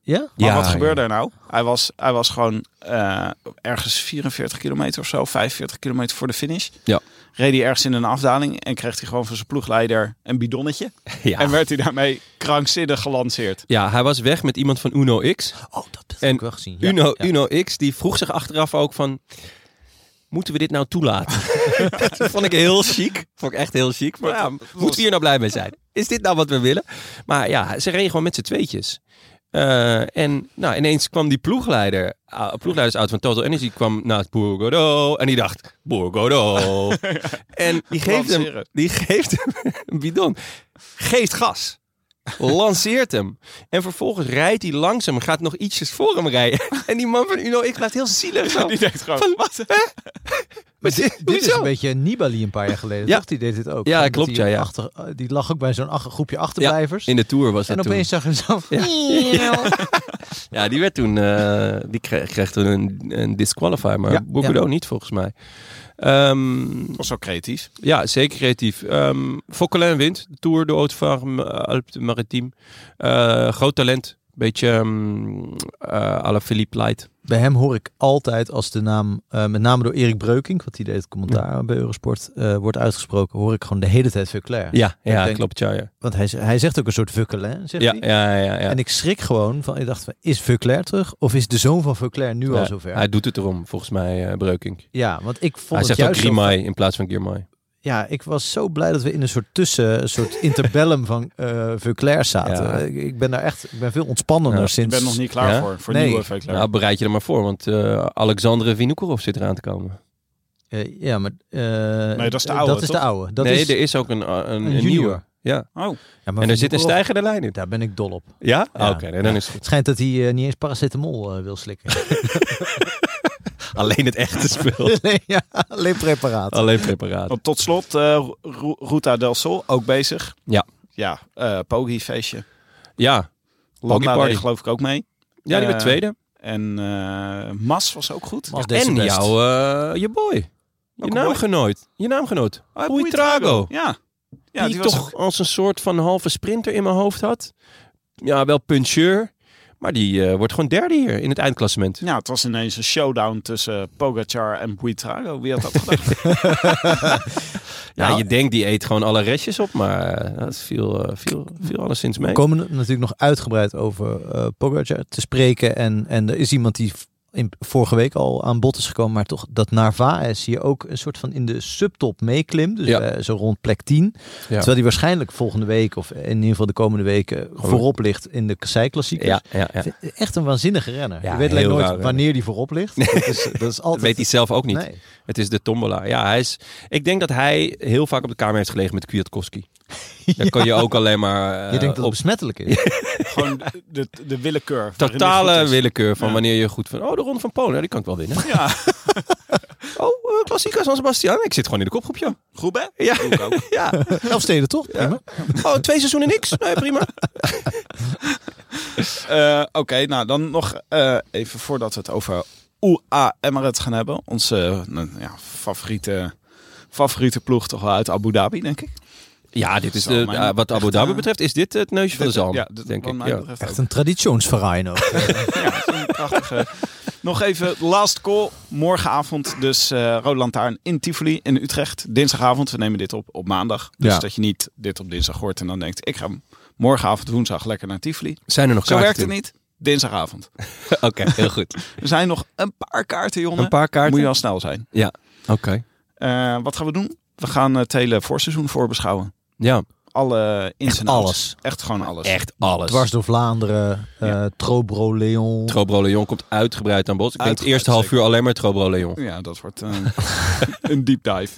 S4: Ja?
S5: Maar
S3: Ja,
S5: wat
S3: ja.
S5: gebeurde er nou? Hij was, hij was gewoon eh, ergens 44 kilometer of zo, 45 kilometer voor de finish.
S3: Ja.
S5: Reed hij ergens in een afdaling en kreeg hij gewoon van zijn ploegleider een bidonnetje.
S3: Ja.
S5: En werd hij daarmee krankzinnig gelanceerd.
S3: ja, hij was weg met iemand van Uno X.
S4: Oh, dat heb
S3: En
S4: ik wel gezien. Ja,
S3: Uno,
S4: ja.
S3: Uno X die vroeg zich achteraf ook van... Moeten we dit nou toelaten? dat vond ik heel chic. Vond ik echt heel chic. Maar ja, moeten we hier nou blij mee zijn? Is dit nou wat we willen? Maar ja, ze reden gewoon met z'n tweetjes. Eh, en nou, ineens kwam die ploegleider, ah, ploegleidersauto van Total Energy kwam naast Bourgodo. En die dacht, Bourgodo. en die geeft, hem,
S5: Lanceren.
S3: die geeft hem een bidon. Geeft gas. Lanceert hem. En vervolgens rijdt hij langzaam en gaat nog ietsjes voor hem rijden. en die man van Uno, ik laat heel zielig zo.
S5: Die denkt gewoon,
S3: Van,
S5: wat?
S3: Wat-
S4: Dit is
S3: hoezo?
S4: een beetje Nibali een paar jaar geleden.
S3: Ja.
S4: Toch? Die deed dit ook.
S3: Ja,
S4: Dat
S3: klopt,
S4: die
S3: ja, ja.
S4: Achter, eh, die lag ook bij zo'n ach- groepje achterblijvers.
S3: In de Tour was dat
S4: en
S3: toen.
S4: opeens zag je zo.
S3: Ja. Ja, die werd toen, eh, die kreeg, kreeg toen een, een disqualifier, maar
S4: Ja,
S3: Bourgodo niet volgens mij. Ehm,
S5: Dat was zo creatief.
S3: ja, zeker creatief. Ehm Fokkelin wint de Tour de Haute Farm Alpes de Maritime. Eh, groot talent. Beetje ehm eh, à la Philippe Light.
S4: Bij hem hoor ik altijd als de naam, eh, met name door Erik Breukink, wat die deed het commentaar bij Eurosport, eh, wordt uitgesproken, hoor ik gewoon de hele tijd Vuclair.
S3: Ja, ja
S4: denk-
S3: klopt. Ja, ja.
S4: Want hij, z- hij zegt ook een soort Vuclair, zegt
S3: Ja,
S4: hij.
S3: ja, ja, ja.
S4: En ik schrik gewoon van, ik dacht, van, is Vuclair terug? Of is de zoon van Vuclair nu
S3: Ja,
S4: al zover?
S3: Hij doet het erom, volgens mij, eh, Breukink.
S4: ja, want ik vond
S3: Hij
S4: het
S3: zegt ook
S4: juist zo
S3: Grimay in plaats van Girmay.
S4: Ja, ik was zo blij dat we in een soort tussen, een soort interbellum van eh Vuclair zaten.
S3: Ja.
S4: Ik, ik ben daar echt, ik ben veel ontspannender
S3: Ja, ik
S5: Ik
S4: sinds.
S5: ben nog niet klaar
S3: Ja?
S5: voor, voor
S4: Nee.
S5: nieuwe Veuclair.
S3: Nou, bereid je er maar voor, want eh Alexandre Vinokourov zit eraan te komen.
S4: Eh, ja, maar. eh,
S5: dat is de
S4: eh,
S5: oude,
S4: Dat is de
S5: toch?
S4: oude. Dat
S3: nee,
S4: is,
S3: er is ook een, een, een
S4: junior.
S3: nieuwe. Ja.
S5: Oh,
S4: Ja, maar
S3: En er zit een
S4: Vuclair-
S3: stijgende lijn in.
S4: Daar ben ik dol op.
S3: Ja?
S4: Ja.
S3: Oké, nee, dan is het goed.
S4: Het schijnt dat hij eh, niet eens paracetamol eh, wil slikken.
S3: Alleen het echte spul. Oh.
S4: nee, ja, alleen preparaat.
S3: Alleen preparaat.
S5: want tot slot, eh, Ru- Ruta del Sol, ook bezig.
S3: Ja.
S5: Ja, eh Pogi feestje.
S3: Ja.
S5: Landa
S3: Party.
S5: deed geloof ik ook mee.
S3: Ja, die werd
S5: Eh,
S3: tweede.
S5: En eh, Mas was ook goed.
S4: Mas deed
S3: En
S4: zijn best.
S3: jouw, eh, je boy. Je
S5: Welke
S3: naamgenoot. Je naamgenoot.
S5: Ah,
S3: Poitrago.
S5: Ja. ja
S3: die,
S5: was
S3: toch als een soort van halve sprinter in mijn hoofd had. Ja, wel puncheur. Maar die eh, wordt gewoon derde hier in het eindklassement.
S5: Ja, het was ineens een showdown tussen Pogacar en Buitrago. Wie had dat gedacht?
S3: Ja,
S4: Nou,
S3: je denkt die eet gewoon alle restjes op. Maar eh, dat viel, eh, viel, viel alleszins mee.
S4: We komen natuurlijk nog uitgebreid over eh Pogacar te spreken. En, en er is iemand die v- in, vorige week al aan bod is gekomen. Maar toch dat Narvaez hier ook een soort van in de subtop meeklimt. Dus
S3: Ja.
S4: eh, zo rond plek 10. Terwijl die waarschijnlijk volgende week of in ieder geval de komende weken voorop ligt in de Kassei-klassieker.
S3: ja, ja, ja.
S4: Echt een waanzinnige renner.
S3: Ja,
S4: je weet alleen
S3: heel
S4: nooit
S3: raar, hè?
S4: wanneer die voorop ligt. Dat is, dat is
S3: Dat
S4: altijd...
S3: weet hij zelf ook niet.
S4: Nee.
S3: Het is de tombola. Ja, hij is, ik denk dat hij heel vaak op de kamer heeft gelegen met Kwiatkowski. Daar kan je ook alleen maar eh,
S4: je denkt dat
S3: op
S4: het besmettelijk is.
S5: Gewoon de, de, de willekeur. waarin hij
S3: totale
S5: goed is.
S3: willekeur van
S5: Ja.
S3: wanneer je goed van... Oh, de Ronde van Polen, nou, die kan ik wel winnen.
S5: Ja,
S3: Oh, eh, Klassica San Sebastian, ik zit gewoon in de kopgroep, joh.
S5: goed hè?
S3: Ja.
S5: Doe ik ook.
S3: Ja.
S4: Elf steden toch? Prima.
S3: Oh, twee seizoenen niks. Nee, prima.
S5: Eh, Oké, nou dan nog eh, even voordat we het over UA Emirates gaan hebben. Onze eh, nou, ja, favoriete, favoriete ploeg toch wel uit Abu Dhabi, denk ik.
S3: Ja, dit is
S5: Zo,
S3: de,
S5: mijn-
S3: ja, wat Abu
S5: echt,
S3: Dhabi
S5: eh,
S3: betreft is dit het neusje van de
S5: Dit-
S3: zalm,
S5: ja, dit-
S3: denk
S5: wat
S3: ik.
S5: mij
S3: Ja.
S5: betreft ook.
S4: Echt een traditionsverein ook.
S5: Ja, zo'n prachtige. Nog even last call. Morgenavond dus eh Rode Lantaarn in Tivoli in Utrecht. Dinsdagavond, we nemen dit op op maandag. Dus
S4: Ja.
S5: dat je niet dit op dinsdag hoort en dan denkt... ik ga morgenavond woensdag lekker naar Tivoli.
S3: Zijn er nog
S5: Zo
S3: kaarten?
S5: werkt het niet. Dinsdagavond.
S3: Oké, heel goed.
S5: Er zijn nog een paar kaarten, jongen.
S3: Een paar kaarten?
S5: Moet je wel snel zijn.
S3: Oké.
S5: Eh, wat gaan we doen? We gaan eh, het hele voorseizoen voorbeschouwen.
S3: Ja,
S5: Alle ins en outs.
S4: Alles.
S5: Echt gewoon alles.
S3: echt alles.
S4: Dwars door Vlaanderen, eh
S5: Ja.
S4: Trobro Leon.
S3: Trobro Leon komt uitgebreid aan bod. Ik denk het
S5: Uitgebreid,
S3: eerste half
S5: zeker.
S3: uur alleen maar Trobro Leon.
S5: Ja, dat wordt eh, een deep dive.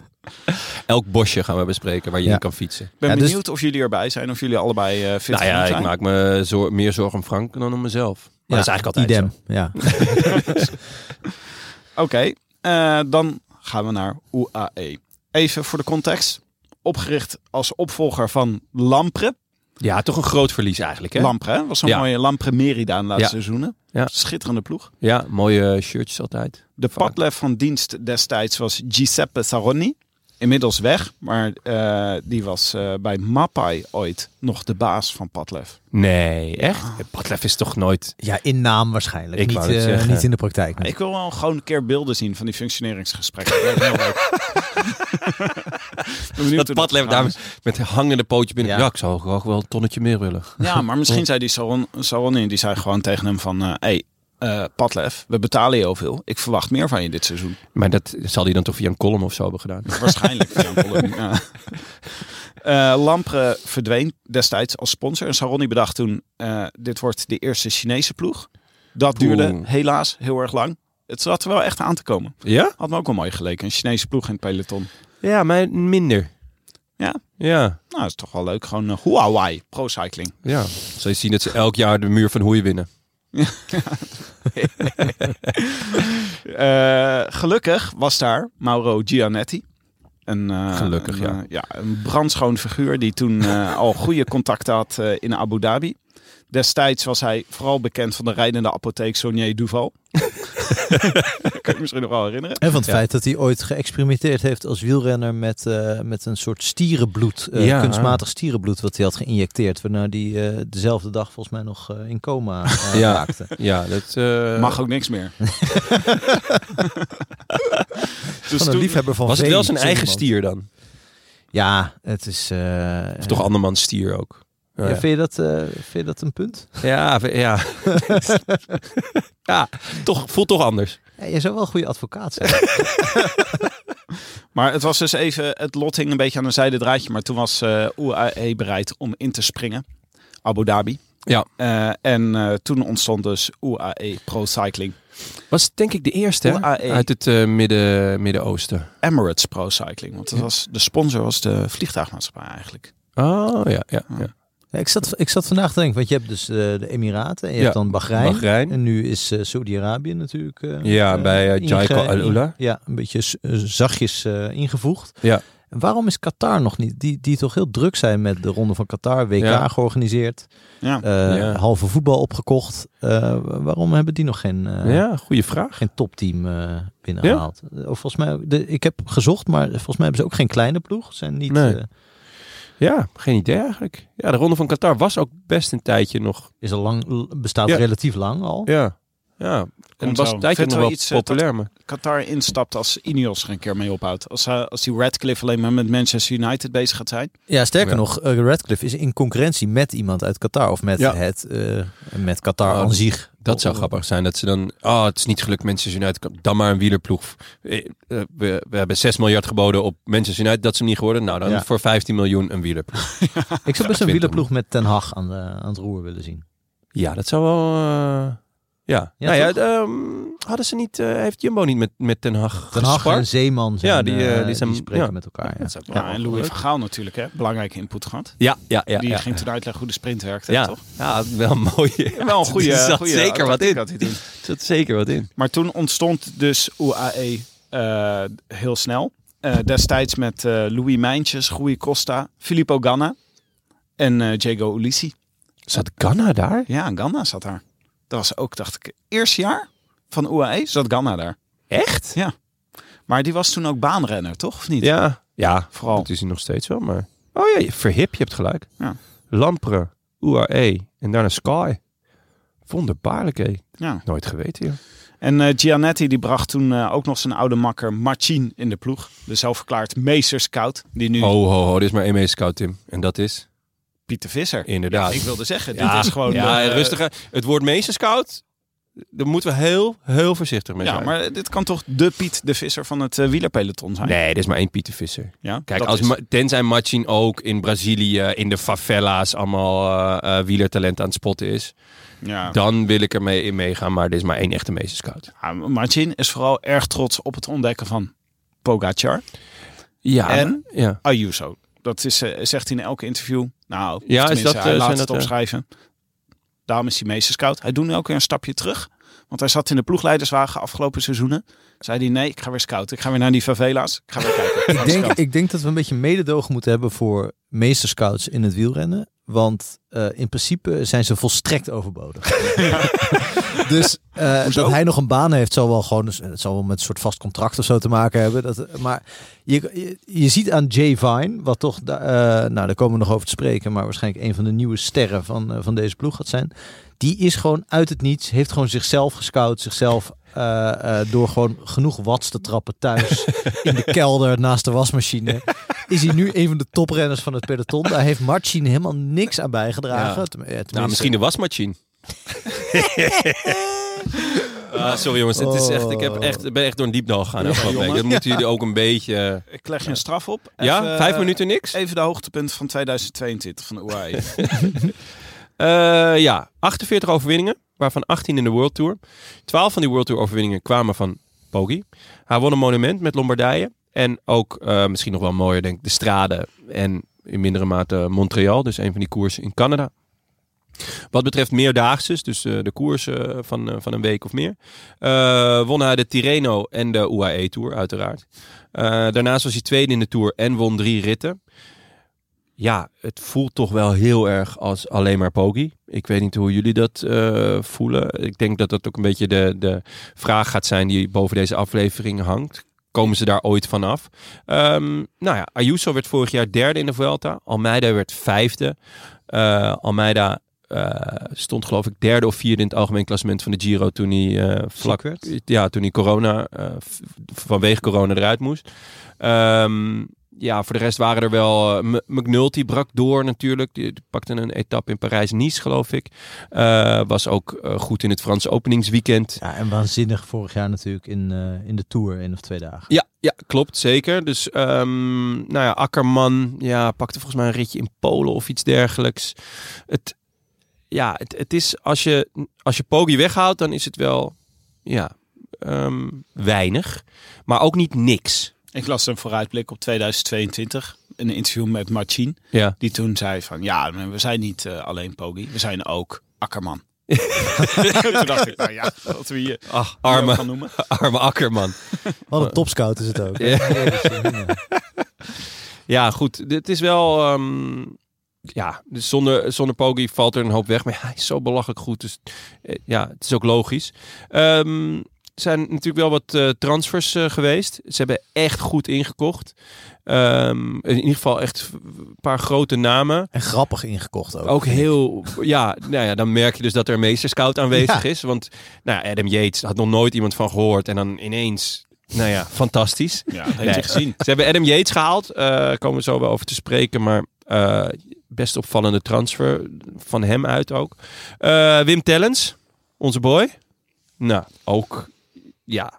S3: Elk bosje gaan we bespreken waar je
S4: Ja.
S3: in kan fietsen.
S5: Ik ben
S4: Ja, dus-
S5: benieuwd of jullie erbij zijn. Of jullie allebei eh fit
S3: Nou ja,
S5: genoeg
S3: ik
S5: zijn.
S3: maak me zor- meer zorgen om Frank dan om mezelf. Maar
S4: Ja,
S3: dat is eigenlijk altijd zo.
S4: idem. Ja.
S5: Oké, eh, dan gaan we naar UAE. Even voor de context. Opgericht als opvolger van Lampre.
S3: Ja, toch een groot verlies eigenlijk, hè?
S5: Lampre, hè? was zo'n
S3: Ja.
S5: mooie Lampre Merida in de laatste
S3: Ja.
S5: seizoenen.
S3: Ja.
S5: Schitterende ploeg.
S3: Ja, mooie shirtjes altijd.
S5: De
S3: Vaak.
S5: padlef van dienst destijds was Giuseppe Saronni. Inmiddels weg, maar eh, die was eh, bij Mapai ooit nog de baas van padlef.
S3: Nee, echt?
S5: Ah.
S3: Padlef is toch nooit...
S4: ja, in naam waarschijnlijk.
S3: Ik
S4: niet,
S3: wou het
S4: eh,
S3: zeggen.
S4: niet in de praktijk.
S5: Ik wil wel gewoon een keer beelden zien van die functioneringsgesprekken. Dat lijkt me heel leuk. Ik ben benieuwd hoe
S3: Dat Padlef
S5: gegaan
S3: daar
S5: is.
S3: met een hangende pootje binnen.
S4: Ja.
S3: Ja, ik zou graag wel een tonnetje meer willen.
S5: Ja, maar misschien zei die Saron, Saronni, die zei gewoon tegen hem van... eh hey, eh, Padlef, we betalen je heel veel. Ik verwacht meer van je dit seizoen.
S3: Maar dat zal hij dan toch via een column of zo hebben gedaan.
S5: Waarschijnlijk. via een column, ja. Eh, Lampre verdween destijds als sponsor. En Saronni bedacht toen, eh, dit wordt de eerste Chinese ploeg. Dat duurde
S3: Oeh.
S5: helaas heel erg lang. Het zat er wel echt aan te komen.
S3: Ja?
S5: Had me ook wel mooi geleken. Een Chinese ploeg in het peloton.
S3: Ja, maar minder.
S5: Ja?
S3: Ja,
S5: Nou, is toch wel leuk. Gewoon eh, Huawei Pro Cycling.
S3: ja. Zal je zien dat ze elk jaar de muur van Hoei winnen.
S5: Eh, gelukkig was daar Mauro Gianetti. Een, eh,
S3: Gelukkig,
S5: een,
S3: ja.
S5: eh, ja. Een brandschoon figuur die toen eh, al goede contacten had eh, in Abu Dhabi. Destijds was hij vooral bekend van de rijdende apotheek Sonier Duval. Dat kan je misschien nog wel herinneren.
S4: En van het feit dat hij ooit geëxperimenteerd heeft als wielrenner met, eh, met een soort stierenbloed, eh,
S3: Ja.
S4: kunstmatig stierenbloed wat hij had geïnjecteerd. Waarna hij eh, dezelfde dag volgens mij nog eh, in coma eh,
S3: Ja. Dus
S4: raakte.
S3: Ja, dat... eh,
S5: Mag ook niks meer. dus
S4: Van een
S5: toen-
S4: liefhebber van
S3: was het wel
S4: vee,
S3: zijn
S4: zo
S3: eigen
S4: iemand.
S3: stier dan?
S4: Ja, het is... eh,
S3: Of toch andermans stier ook?
S4: ja, vind, je dat, eh, vind je dat een punt?
S3: Ja, v- ja. ja toch, voelt toch anders.
S4: Ja, je zou wel een goede advocaat zijn.
S5: Maar het was dus even, het lot hing een beetje aan een zijde draadje. Maar toen was eh UAE bereid om in te springen. Abu Dhabi.
S3: Ja.
S5: Eh, en eh, toen ontstond dus UAE Pro Cycling.
S3: Was denk ik de eerste hè?
S5: UAE.
S3: uit het eh, midden, Midden-Oosten.
S5: Emirates Pro Cycling. Want dat was, de sponsor was de vliegtuigmaatschappij eigenlijk.
S3: Oh ja, ja. ja.
S4: Ja, ik, zat, ik zat vandaag te denken, want je hebt dus eh, de Emiraten en je
S3: Ja,
S4: hebt dan Bahrein.
S3: Bahrein.
S4: En nu is eh, Saudi-Arabië natuurlijk. eh,
S3: Ja, bij, eh,
S4: inge-
S3: Jaiko Al-Ula.
S4: Ja, een beetje s- eh, zachtjes eh, ingevoegd.
S3: Ja.
S4: En waarom is Qatar nog niet? Die, die toch heel druk zijn met de Ronde van Qatar, WK
S3: Ja.
S4: georganiseerd,
S5: Ja.
S4: eh,
S3: Ja.
S4: halve voetbal opgekocht. Eh, waarom hebben die nog geen, eh,
S3: Ja, goede vraag.
S4: geen topteam eh, binnengehaald? Of volgens mij, de, ik heb gezocht, maar volgens mij hebben ze ook geen kleine ploeg. Zijn niet,
S3: Nee.
S4: eh,
S3: Ja, geen idee eigenlijk. Ja, de Ronde van Qatar was ook best een tijdje nog.
S4: is al lang, l- bestaat
S3: Ja.
S4: relatief lang al.
S3: Ja. Ja, en
S5: Komt
S3: was
S5: zo.
S3: een tijdje
S5: Vindt
S3: nog
S5: wel
S3: wel
S5: iets, eh,
S3: populair. maar-
S5: Qatar instapt als Ineos er een keer mee ophoudt. Als, eh, als die Radcliffe alleen maar met Manchester United bezig gaat zijn.
S4: Ja, sterker
S3: Ja.
S4: nog, eh, Radcliffe is in concurrentie met iemand uit Qatar. Of met,
S3: Ja.
S4: het, eh, met Qatar
S3: Oh,
S4: aan zich.
S3: Dat zou grappig zijn. Dat ze dan... Oh, het is niet gelukt Manchester United. Dan maar een wielerploeg. Eh, eh, We, we hebben 6 miljard geboden op Manchester United. Dat ze hem niet geworden. Nou, dan
S4: Ja.
S3: voor 15 miljoen een wielerploeg.
S4: oh. Ik zou best een
S3: Twintig.
S4: wielerploeg met Ten Hag aan, de, aan het roer willen zien.
S3: Ja, dat zou wel... eh, ja.
S4: Ja,
S3: nou ja, het,
S4: toch?
S3: ehm, hadden ze niet... eh, heeft Jumbo niet met, met Ten Hag
S4: Ten Hag en
S3: gespart?
S4: Zeeman zijn,
S3: Ja, die, eh,
S4: eh,
S3: die
S4: die,
S3: zijn-
S4: spreken
S3: ja.
S4: met elkaar. Ja.
S3: Dat zou ik
S5: Ja,
S3: wel
S5: en Louis
S3: leuk.
S5: van Gaal natuurlijk, hè? belangrijke input gehad.
S3: Ja, ja, ja.
S5: die
S3: ja.
S5: ging toen uitleggen hoe de sprint werkte,
S3: ja.
S5: toch?
S3: ja, wel mooi.
S5: Wel een goede...
S3: Er zat
S5: goede
S3: zeker wat
S5: tactiek
S3: in.
S5: had hij toen.
S3: Er zat zeker wat in.
S5: Maar toen ontstond dus UAE eh, heel snel. Eh, destijds met eh, Louis Mijntjes, Rui Costa, Filippo Ganna en eh Diego Ulissi.
S3: Zat Ghana daar?
S5: Ja, Ganna zat daar. Dat was ook, dacht ik, eerst jaar van UAE zat Ganna daar.
S3: Echt?
S5: Maar die was toen ook baanrenner, toch? Of niet?
S3: Ja, ja.
S5: Vooral.
S3: Dat is hij nog steeds wel, maar... Oh ja, je- Verhip, je hebt gelijk.
S5: Oh. Ja.
S3: Lampre, UAE en daarna Sky. Wonderbaarlijk, hé.
S5: Ja.
S3: Nooit geweten, joh.
S5: En eh, Gianetti die bracht toen eh, ook nog zijn oude makker Marcin in de ploeg. De zelfverklaard meesterscout, die nu
S3: Oh, ho, ho, dit is maar één meescout, Tim. En dat is?
S5: Pieter Visser.
S3: Inderdaad.
S5: Ik wilde zeggen,
S3: Ja,
S5: dit is gewoon...
S3: Ja,
S5: eh,
S3: rustiger. Het woord meesterscout, daar moeten we heel, heel voorzichtig mee
S5: Ja,
S3: zijn.
S5: maar dit kan toch de Piet de Visser van het eh, wielerpeloton zijn?
S3: Nee, dit is maar één Pieter Visser.
S5: Ja,
S3: Kijk,
S5: dat
S3: als
S5: is-
S3: Ma- tenzij Martin ook in Brazilië, in de favela's, allemaal eh, eh, wielertalent aan het spotten is.
S5: ja.
S3: Dan wil ik ermee in meegaan, maar dit is maar één echte meesterscout.
S5: Ja, Martin is vooral erg trots op het ontdekken van Pogacar.
S3: Ja.
S5: En?
S3: Ja.
S5: Ayuso. Dat is, eh, zegt hij in elke interview. Nou,
S3: Ja, is
S5: tenminste,
S3: dat, eh,
S5: hij laat
S3: zijn
S5: het
S3: dat, eh,
S5: opschrijven. Daarom is hij meesterscout. Hij doet nu ook weer een stapje terug. Want hij zat in de ploegleiderswagen afgelopen seizoenen. Zei hij, nee, ik ga weer scouten. Ik ga weer naar die favela's. Ik ga weer kijken. ga
S4: Ik, denk,
S5: scouten.
S4: ik denk dat we een beetje mededogen moeten hebben voor meesterscouts in het wielrennen. Want eh, in principe zijn ze volstrekt overbodig. dus eh, dat hij nog een baan heeft, zal wel gewoon, dus, eh, het zal wel met een soort vast contract of zo te maken hebben. Dat, eh, maar je, je, je ziet aan Jay Vine, wat toch, da- eh, nou daar komen we nog over te spreken, maar waarschijnlijk een van de nieuwe sterren van, eh, van deze ploeg gaat zijn. Die is gewoon uit het niets, heeft gewoon zichzelf gescout, zichzelf eh, eh, door gewoon genoeg watts te trappen thuis in de kelder naast de wasmachine. Is hij nu een van de toprenners van het peloton? Daar heeft Martin helemaal niks aan bijgedragen.
S3: Ja.
S4: Tem- eh, tenminste-
S3: Nou, misschien de wasmachine. Ah, sorry jongens, het is echt, ik heb echt, ik ben echt door een diepdal gegaan. afgelopen week.
S5: jongens.
S3: Dat moeten jullie ook een beetje...
S5: Ik leg je een straf op.
S3: ja,
S5: Even,
S3: vijf
S5: eh,
S3: minuten niks?
S5: Even de hoogtepunten van 2022 van de UAE.
S3: Eh, ja, 48 overwinningen, waarvan 18 in de World Tour. 12 van die World Tour overwinningen kwamen van Poggi. Hij won een monument met Lombardije. En ook, eh, misschien nog wel mooier denk ik, de Strade. En in mindere mate Montreal, dus een van die koersen in Canada. Wat betreft meerdaagses, dus eh, de koersen van, eh, van een week of meer, eh, won hij de Tirreno en de UAE Tour, uiteraard. Eh, daarnaast was hij tweede in de Tour en won drie ritten ja, het voelt toch wel heel erg als alleen maar Pogi. Ik weet niet hoe jullie dat eh, voelen. Ik denk dat dat ook een beetje de, de vraag gaat zijn die boven deze aflevering hangt. Komen ze daar ooit vanaf? Ehm nou ja, Ayuso werd vorig jaar derde in de Vuelta. Almeida werd vijfde. Eh, Almeida eh, stond geloof ik derde of vierde in het algemeen klassement van de Giro toen hij eh, vlak
S4: Ziek werd.
S3: Ja, toen hij corona, eh, v- vanwege corona eruit moest. Ehm, ja, voor de rest waren er wel... eh, M- McNulty brak door natuurlijk. Die, die pakte een etappe in Parijs-Nice, geloof ik. Eh, was ook eh, goed in het Franse openingsweekend.
S4: Ja, en waanzinnig vorig jaar natuurlijk in, eh, in de Tour, één of twee dagen.
S3: Ja, ja, klopt, zeker. Dus ehm, nou ja, Akkerman ja, pakte volgens mij een ritje in Polen of iets dergelijks. Het, ja, het, het is als je, als je Poggi weghoudt, dan is het wel ja, ehm, weinig, maar ook niet niks.
S5: Ik las een vooruitblik op 2022. Een interview met Martin.
S3: Ja.
S5: Die toen zei van, ja, maar we zijn niet eh, alleen Poggi. We zijn ook Akkerman. toen dacht ik, nou ja, wat we hier
S3: Ach,
S5: armen
S3: arme,
S5: gaan noemen.
S3: arme Akkerman.
S4: Wat een topscout is het ook.
S3: Ja.
S4: Ja.
S3: Ja, goed. Het is wel. ehm, ja, dus zonder, zonder Poggi valt er een hoop weg. Maar hij is zo belachelijk goed. Dus eh, ja, het is ook logisch. Ehm, er zijn natuurlijk wel wat eh, transfers eh, geweest. Ze hebben echt goed ingekocht. Ehm, in ieder geval echt een paar grote namen.
S4: En grappig ingekocht ook.
S3: Ook heel, ja, nou ja, dan merk je dus dat er een meesterscout aanwezig
S4: Ja.
S3: is. Want nou, ja, Adam Yates had nog nooit iemand van gehoord. En dan ineens, nou ja, fantastisch.
S5: Ja, dat
S3: Nee.
S5: heeft je gezien.
S3: Ze hebben Adam Yates gehaald. eh, Daar komen we zo wel over te spreken. Maar eh, best opvallende transfer van hem uit ook. Eh, Wim Tellens, onze boy. Nou, ook ja,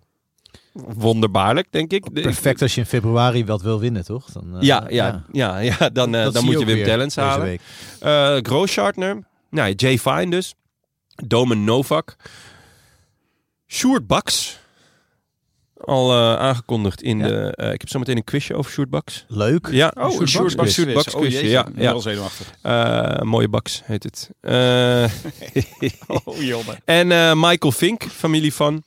S3: wonderbaarlijk, denk ik. De-
S4: Perfect als je in februari wat wil winnen, toch? Dan, eh,
S3: Ja, ja, ja, ja, dan, eh, dan
S4: Dat zie
S3: moet je
S4: ook
S3: Wim
S4: weer
S3: Tellens
S4: deze
S3: halen.
S4: week.
S3: Eh Grooschartner. Nou, ja, Jay Fine dus. Domen Novak. Sjoerd Baks. Al eh, aangekondigd in
S4: Ja.
S3: de... eh, ik heb zometeen een quizje over Sjoerd Baks.
S4: Leuk.
S3: Ja,
S5: Oh, een
S3: Sjoerd Baks. Sjoerd Baks
S5: Oh,
S3: quizje,
S5: jeetje.
S3: ja,
S5: Ik ben
S3: ja.
S5: wel zenuwachtig.
S3: Eh, mooie Baks heet het. Eh,
S5: Oh, jongen.
S3: en eh, Michael Fink, familie van...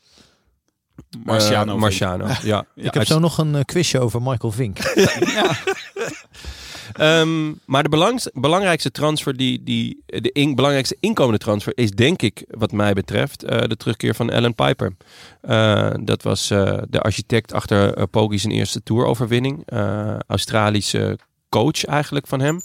S5: Marciano.
S3: Eh, Marciano, ja.
S5: Ja,
S3: Ja,
S4: Ik heb zo nog een eh, quizje over Michael Vink.
S3: Ehm, maar de belangs- belangrijkste transfer, die, die, de in- belangrijkste inkomende transfer is denk ik, wat mij betreft, eh, de terugkeer van Alan Piper. Eh, dat was eh, de architect achter eh, Poggi zijn eerste toeroverwinning. Eh, Australische coach eigenlijk van hem.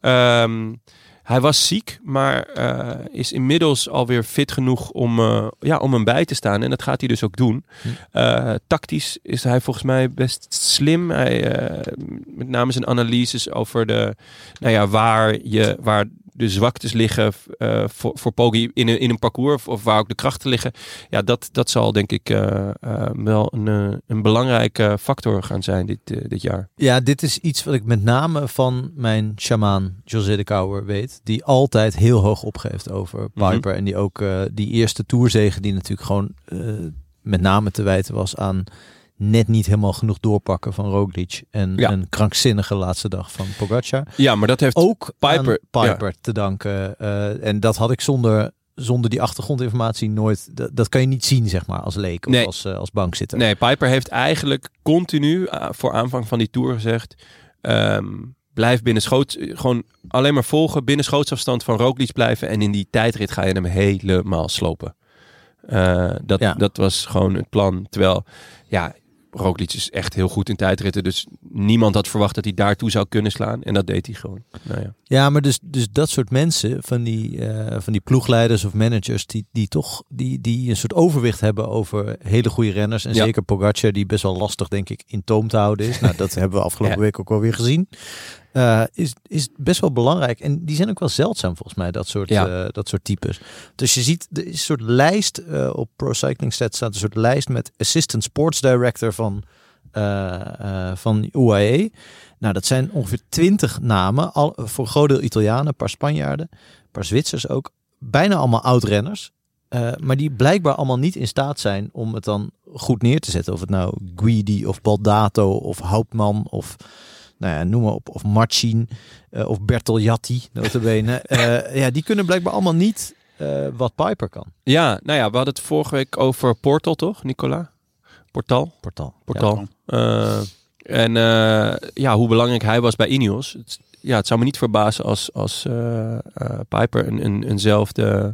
S3: Ehm, hij was ziek, maar eh, is inmiddels alweer fit genoeg om, eh, ja, om hem bij te staan. En dat gaat hij dus ook doen. Eh, tactisch is hij volgens mij best slim. Hij, eh, met name zijn analyses over de, nou ja, waar, je, waar de zwaktes liggen eh, voor, voor Poggi in een, in een parcours. Of, of waar ook de krachten liggen. Ja, dat, dat zal denk ik eh, eh, wel een, eh, een belangrijke factor gaan zijn dit, eh, dit jaar.
S4: Ja, dit is iets wat ik met name van mijn shamaan José de Kouwer weet. Die altijd heel hoog opgeeft over
S3: Mhm.
S4: Piper. En die ook eh, die eerste toerzegen die natuurlijk gewoon eh, met name te wijten was aan net niet helemaal genoeg doorpakken van Roglic. En
S3: Ja.
S4: een krankzinnige laatste dag van Pogacar.
S3: Ja, maar dat heeft
S4: Ook
S3: Piper,
S4: aan Piper te danken. Eh, en dat had ik zonder, zonder die achtergrondinformatie nooit... Dat, dat kan je niet zien, zeg maar, als leek of
S3: Nee.
S4: als, eh, als bankzitter.
S3: Nee, Piper heeft eigenlijk continu ah, voor aanvang van die tour gezegd: ehm, blijf binnen schoots, gewoon alleen maar volgen, binnen schootsafstand van Roglic blijven en in die tijdrit ga je hem helemaal slopen. Eh, dat,
S4: Ja.
S3: dat was gewoon het plan. Terwijl, ja, Roglic is echt heel goed in tijdritten, dus niemand had verwacht dat hij daartoe zou kunnen slaan en dat deed hij gewoon. Nou ja.
S4: Ja, maar dus, dus dat soort mensen, van die, eh, van die ploegleiders of managers, die, die toch die, die een soort overwicht hebben over hele goede renners. En
S3: Ja.
S4: zeker Pogacar, die best wel lastig, denk ik, in toom te houden is. Nou, dat hebben we afgelopen
S3: Ja.
S4: week ook wel weer gezien. Eh, eh, is, is best wel belangrijk. En die zijn ook wel zeldzaam volgens mij, dat soort,
S3: Ja.
S4: eh, dat soort types. Dus je ziet, er is een soort lijst eh, op Pro Cycling Stats staat een soort lijst met Assistant Sports Director van, eh, eh, van UAE. Nou, dat zijn ongeveer twintig namen, al, voor een groot deel Italianen, een paar Spanjaarden, een paar Zwitsers ook. Bijna allemaal oud-renners. eh, maar die blijkbaar allemaal niet in staat zijn om het dan goed neer te zetten. Of het nou Guidi of Baldato of Houtman of nou ja, noem maar op, of Marcin eh, of Bertoljatti, notabene. Eh ja, die kunnen blijkbaar allemaal niet eh, wat Piper kan.
S3: Ja, nou ja, we hadden het vorige week over Portal, toch, Nicola? Portal?
S4: Portal.
S3: Portal. Eh, en eh, ja, hoe belangrijk hij was bij Ineos. Het, ja, het zou me niet verbazen als, als eh, eh, Piper een, een, eenzelfde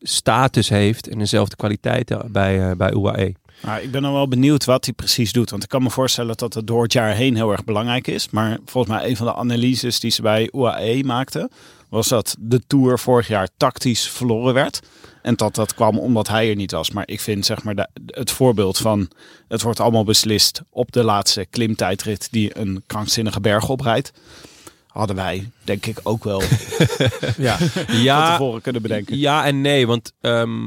S3: status heeft en dezelfde kwaliteiten bij, eh, bij UAE.
S5: Maar ik ben dan wel benieuwd wat hij precies doet. Want ik kan me voorstellen dat het door het jaar heen heel erg belangrijk is. Maar volgens mij een van de analyses die ze bij UAE maakten... was dat de Tour vorig jaar tactisch verloren werd. En dat dat kwam omdat hij er niet was. Maar ik vind zeg maar de- het voorbeeld van... het wordt allemaal beslist op de laatste klimtijdrit... die een krankzinnige berg oprijdt. Hadden wij denk ik ook wel
S4: Ja. ja.
S5: van
S3: Ja,
S5: tevoren kunnen bedenken.
S3: ja en nee, want ehm,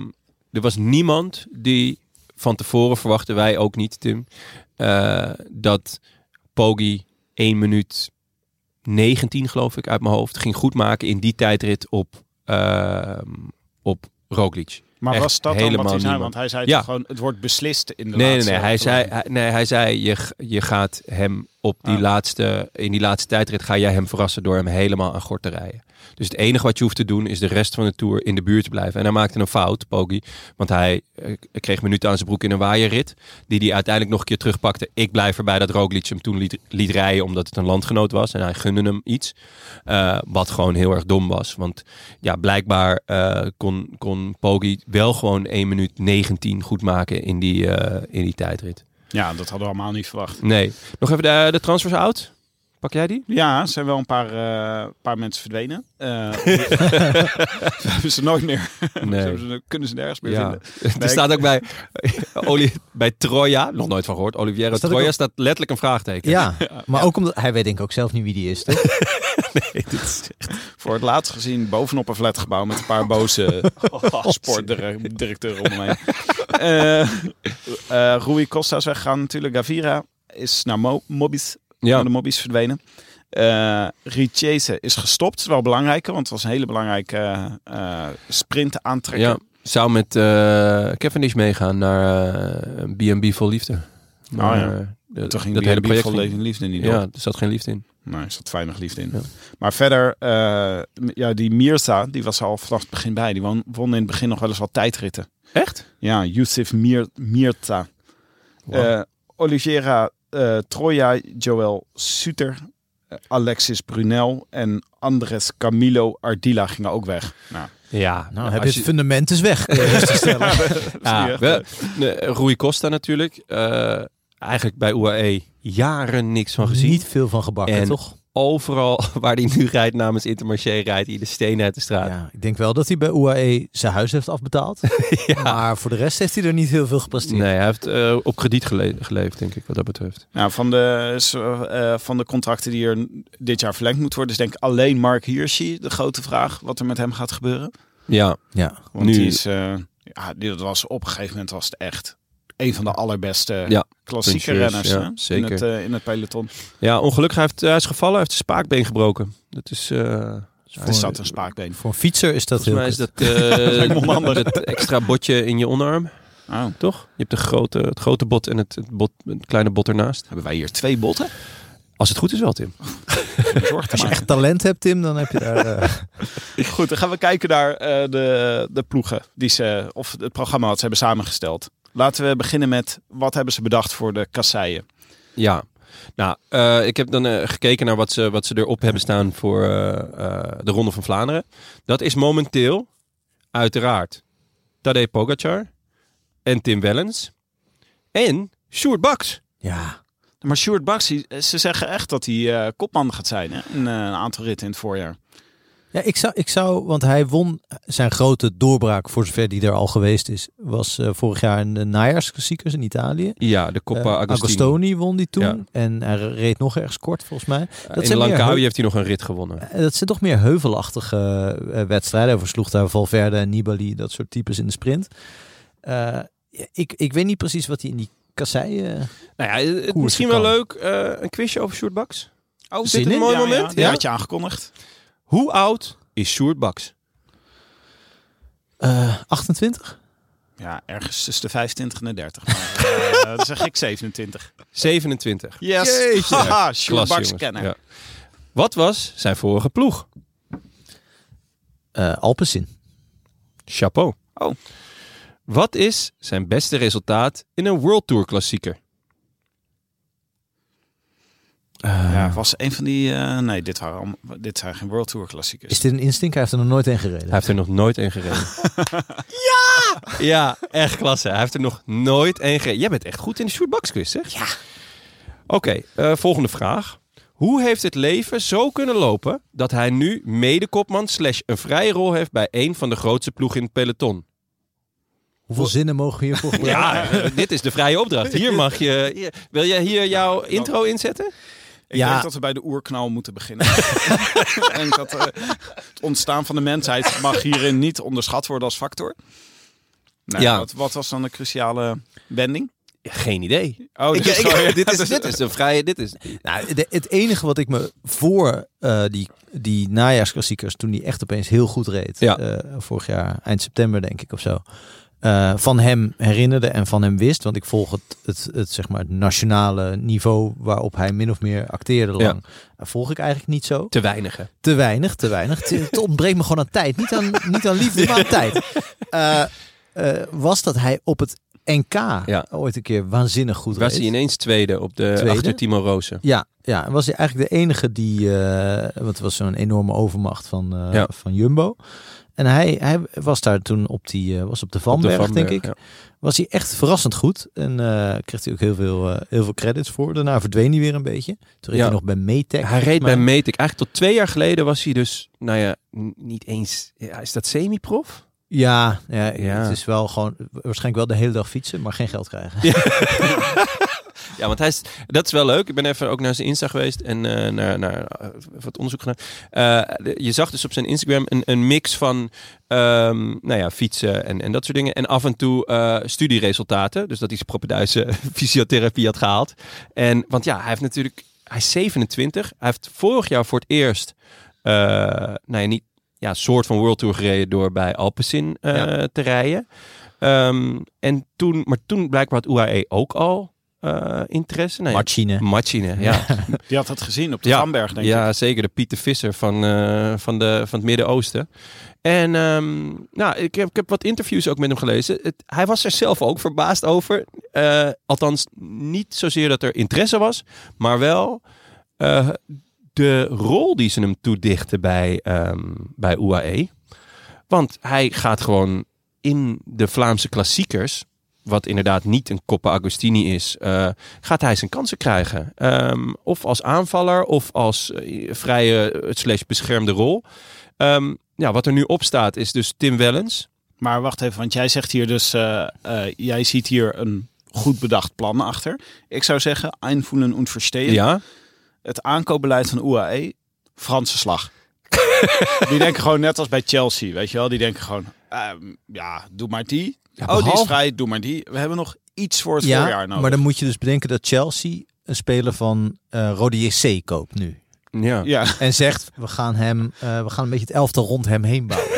S3: er was niemand die van tevoren verwachten wij ook niet, Tim, eh, dat Poggi 1 minuut 19, geloof ik, uit mijn hoofd ging goedmaken in die tijdrit op, ehm, op Roglic.
S5: Maar
S3: Echt
S5: was dat dan
S3: helemaal
S5: wat hij zei?
S3: niemand.
S5: Want hij zei
S3: Ja.
S5: toch gewoon... het wordt beslist in de
S3: Nee, nee,
S5: laatste...
S3: nee. Hij zei,
S5: verlenging.
S3: hij- nee, hij zei je, g- je gaat hem op die
S5: Ah.
S3: laatste, in die laatste tijdrit ga jij hem verrassen door hem helemaal aan gort te rijden. Dus het enige wat je hoeft te doen is de rest van de Tour in de buurt te blijven. En hij maakte een fout, Poggi, want hij eh, kreeg minuten aan zijn broek in een waaierrit, die hij uiteindelijk nog een keer terugpakte. Ik blijf erbij dat Roglic hem toen liet, liet rijden omdat het een landgenoot was en hij gunde hem iets. Eh, wat gewoon heel erg dom was, want ja, blijkbaar eh, kon, kon Poggi wel gewoon 1 minuut 19 goed maken in die, eh, in die tijdrit.
S5: Ja, dat hadden we allemaal niet verwacht.
S3: Nee. Nog even de, de transfers out. Pak jij die?
S5: Ja, er zijn wel een paar, eh, paar mensen verdwenen. Eh, we hebben ze nooit meer. Ze
S3: Nee.
S5: hebben ze- kunnen ze nergens meer
S3: Ja.
S5: vinden.
S3: Er staat ook bij, Oli, bij Troja, nog nooit van gehoord, Oliviero
S4: Staat ook
S3: Troja
S4: op-
S3: staat letterlijk een vraagteken.
S4: maar ook omdat hij weet denk ik ook zelf niet wie die is. toch?
S5: Voor het laatst gezien bovenop een flatgebouw met een paar boze
S3: Oh,
S5: sportdirecteuren om me heen. Eh, eh, Rui Costa is weggegaan natuurlijk. Gavira is naar Mo Mobis
S3: Ja.
S5: naar de mobbies verdwenen. Eh Richese is gestopt. Dat is wel belangrijk, want het was een hele belangrijke eh, eh, sprint aantrekken.
S3: ja. Zou met eh Cavendish meegaan naar eh, B&B Vol Liefde.
S5: Oh ja.
S3: eh, de-
S5: Toen ging
S3: dat
S5: dat
S3: hele project
S5: vol
S3: ging-
S5: leven en liefde niet door.
S3: Ja, er zat geen liefde in.
S5: Nee, er zat weinig liefde in.
S3: Ja.
S5: Maar verder, eh, m- ja, die Mirza, die was er al vanaf het begin bij. Die won, won in het begin nog wel eens wat tijdritten.
S3: Echt?
S5: Ja, Yusuf Mir, Mirza. Eh, Oliveira eh, Troja, Joël Suter, eh, Alexis Brunel en Andres Camilo Ardila gingen ook weg. Nou,
S3: Ja.
S4: Nou,
S3: als
S4: heb je het fundament is weg. kun je rustig stellen.
S3: Ja,
S5: echt
S3: Ah, wel, nee, Rui Costa natuurlijk. Eh, eigenlijk bij UAE jaren niks van gezien.
S4: Niet veel van gebakken,
S3: En-
S4: toch?
S3: Overal waar hij nu rijdt namens Intermarché rijdt hij de steen uit de straat.
S4: Ja, ik denk wel dat hij bij UAE zijn huis heeft afbetaald. Maar voor de rest heeft hij er niet heel veel gepresteerd.
S3: Nee, hij heeft eh, op krediet gele- geleefd, denk ik, wat dat betreft.
S5: Nou, van, de, zo- eh, van de contracten die er n- dit jaar verlengd moeten worden, is denk ik alleen Mark Hirschi de grote vraag wat er met hem gaat gebeuren.
S3: Ja,
S4: Ja.
S5: Want
S3: Nu-
S5: die is, eh, ja, die dat was op een gegeven moment was het echt een van de allerbeste
S3: Ja,
S5: klassieke
S3: puncheurs,
S5: renners
S3: ja,
S5: hè,
S3: zeker.
S5: In, het, eh, in het peloton.
S3: ja ongelukkig. Hij, heeft, hij is gevallen, hij heeft zijn spaakbeen gebroken. Dat is... eh,
S5: Het is dat een spaakbeen.
S4: Voor een fietser is dat
S3: Volgens mij is
S4: heel
S3: dat, eh,
S5: lijkt me onhandig.
S3: dat extra botje in je onderarm,
S5: Oh,
S3: toch? Je hebt de grote, het grote bot en het, het, bot, het kleine bot ernaast.
S5: hebben wij hier twee botten?
S3: Als het goed is wel, Tim.
S5: Zorg te
S4: Als je
S5: maken.
S4: echt talent hebt, Tim, dan heb je daar... eh,
S5: Goed, dan gaan we kijken naar eh, de, de ploegen die ze, of het programma wat ze hebben samengesteld. Laten we beginnen met wat hebben ze bedacht voor de kasseien.
S3: Ja. Nou, eh, ik heb dan eh, gekeken naar wat ze, wat ze erop hebben staan voor eh, eh, de Ronde van Vlaanderen. Dat is momenteel, uiteraard, Tadej Pogacar en Tim Wellens en Sjoerd Baks.
S4: ja.
S5: Maar eh, Sjoerd Baks, die- ze zeggen echt dat hij eh, kopman gaat zijn hè? in eh, een aantal ritten in het voorjaar.
S4: Ja, ik zou, ik zou, want hij won zijn grote doorbraak, voor zover die er al geweest is, was eh, vorig jaar in de najaarsklassiekers in Italië.
S3: Ja, de Coppa
S4: Eh,
S3: Agostini.
S4: Agostoni won die toen.
S3: Ja,
S4: En hij reed nog ergens kort, volgens mij.
S3: Eh, in
S4: zijn meer
S3: Langkawi
S4: heup-
S3: heeft hij nog een rit gewonnen.
S4: Eh, Dat zijn toch meer heuvelachtige eh, wedstrijden. Hij versloeg daar Valverde en Nibali, dat soort types in de sprint. Eh, ja, ik, ik weet niet precies wat hij in die kassei... eh,
S3: Nou ja, het- het,
S4: Koersen
S3: misschien wel
S4: kan.
S3: leuk, eh, een quizje over Sjoerd Baks.
S5: Oh,
S3: Is dit een mooi moment?
S5: Ja,
S3: Ja?
S5: had je aangekondigd.
S3: Hoe oud is Sjoerd Baks?
S4: eh, 28?
S5: Ja, ergens tussen de 25 en de 30. Maar, eh, dan zeg ik 27.
S3: 27.
S5: Yes. Haha, Sjoerd
S3: Klas,
S5: Baks
S3: jongens.
S5: kennen.
S3: Ja. Wat was zijn vorige ploeg?
S4: Eh Alpecin.
S3: Chapeau.
S5: Oh.
S3: Wat is zijn beste resultaat in een World Tour klassieker? Ah.
S5: Ja, was een van die... eh, nee, dit, waren allemaal- dit zijn geen World Tour klassiekers.
S4: Is dit een instinct? Hij heeft er nog nooit een gereden.
S3: Hij heeft er nog nooit één gereden. ja! Ja, echt klasse. Hij heeft er nog nooit één gereden. Jij bent echt goed in de shootboxquiz, zeg. Ja. Oké, eh, volgende vraag. Hoe heeft het leven zo kunnen lopen dat hij nu medekopman slash een vrije rol heeft bij een van de grootste ploegen in het peloton?
S4: Hoeveel zinnen mogen we hiervoor gebruiken?
S3: Ja, eh, dit is de vrije opdracht. Hier mag je... hier- wil jij hier jouw intro inzetten?
S5: Ik
S4: Ja.
S5: denk dat we bij de oerknal moeten beginnen. ik denk dat eh, het ontstaan van de mensheid mag hierin niet onderschat worden als factor. Nou,
S3: Ja.
S5: wat, wat was dan de cruciale wending?
S3: Ja, geen idee.
S5: Oh,
S3: Ik- ik- dit, is, dit is een vrije. Dit is,
S4: Nou, de- het enige wat ik me voor eh, die, die najaarsklassiekers, toen die echt opeens heel goed reed,
S3: Ja.
S4: eh, vorig jaar, eind september denk ik of zo, eh, van hem herinnerde en van hem wist. Want ik volg het, het, het, zeg maar, het nationale niveau waarop hij min of meer
S3: Ja.
S4: acteerde lang. Eh, Volg ik eigenlijk niet zo.
S3: te weinig. hè?
S4: Te weinig, te weinig. Te- Het ontbreekt me gewoon aan tijd. Niet aan, niet aan liefde, maar aan tijd. Eh, eh, was dat hij op het NK
S3: Ja.
S4: ooit een keer waanzinnig goed
S3: Was
S4: reed.
S3: hij ineens tweede op de
S4: Tweede?
S3: achter Timo Rozen?
S4: Ja, ja, en was hij eigenlijk de enige die, eh, want het was zo'n enorme overmacht van, eh,
S3: Ja.
S4: van Jumbo. En hij, hij was daar toen op, die, eh, was op de
S3: Op de
S4: Vanberg, denk ik.
S3: Vanberg,
S4: Was hij echt verrassend goed. En eh, kreeg hij ook heel veel, eh, heel veel credits voor. Daarna verdween hij weer een beetje. Toen reed
S3: Ja.
S4: hij nog bij Metec.
S3: ja. Hij reed
S4: Maar-
S3: bij Metek. Eigenlijk tot twee jaar geleden was hij dus, nou ja, n- niet eens. Ja, is dat semi-prof?
S4: Ja, ja,
S3: Ja.
S4: het is wel gewoon, waarschijnlijk wel de hele dag fietsen, maar geen geld krijgen.
S3: Ja, want hij is, dat is wel leuk. Ik ben even ook naar zijn Insta geweest en eh, naar, naar eh, wat onderzoek gedaan. Eh, de- je zag dus op zijn Instagram een, een mix van ehm, nou ja, fietsen en, en dat soort dingen. En af en toe eh, studieresultaten. Dus dat hij zijn propeduise fysiotherapie had gehaald. En, want ja, hij heeft natuurlijk... Hij is 27. Hij heeft vorig jaar voor het eerst... eh nou ja, niet... Ja, soort van World Tour gereden door bij Alpecin eh,
S4: Ja.
S3: te rijden. Ehm, en toen, maar toen blijkbaar had UAE ook al eh, interesse. Nou ja,
S4: Machine.
S3: Machine, ja.
S5: Die had dat gezien op de
S3: Ja.
S5: Vanberg, denk ik.
S3: ja, zeker. De Pieter Visser van, eh, van, de, van het Midden-Oosten. En ehm, nou, ik, heb, ik heb wat interviews ook met hem gelezen. Het, hij was er zelf ook verbaasd over. Eh, althans, niet zozeer dat er interesse was, maar wel eh, de rol die ze hem toedichten bij, ehm, bij UAE. Want hij gaat gewoon in de Vlaamse klassiekers, wat inderdaad niet een Coppa Agostini is, eh, gaat hij zijn kansen krijgen. Ehm, of als aanvaller, of als eh, vrije eh, slash beschermde rol. Ehm, ja, wat er nu op staat is dus Tim Wellens.
S5: Maar wacht even, want jij zegt hier dus... eh, eh, jij ziet hier een goed bedacht plan achter. Ik zou zeggen, einvoelen und verstehen.
S3: Ja,
S5: Het aankoopbeleid van UAE, Franse slag. die denken gewoon net als bij Chelsea, weet je wel. Die denken gewoon, ehm, ja, doe maar die. oh, die is
S4: behalve-
S5: vrij, doe maar die. We hebben nog iets voor het
S4: Ja,
S5: voorjaar nodig.
S4: maar dan moet je dus bedenken dat Chelsea een speler van eh Rode JC koopt nu.
S3: ja.
S5: ja.
S4: En zegt, we gaan, hem, eh, we gaan een beetje het elftal rond hem heen bouwen.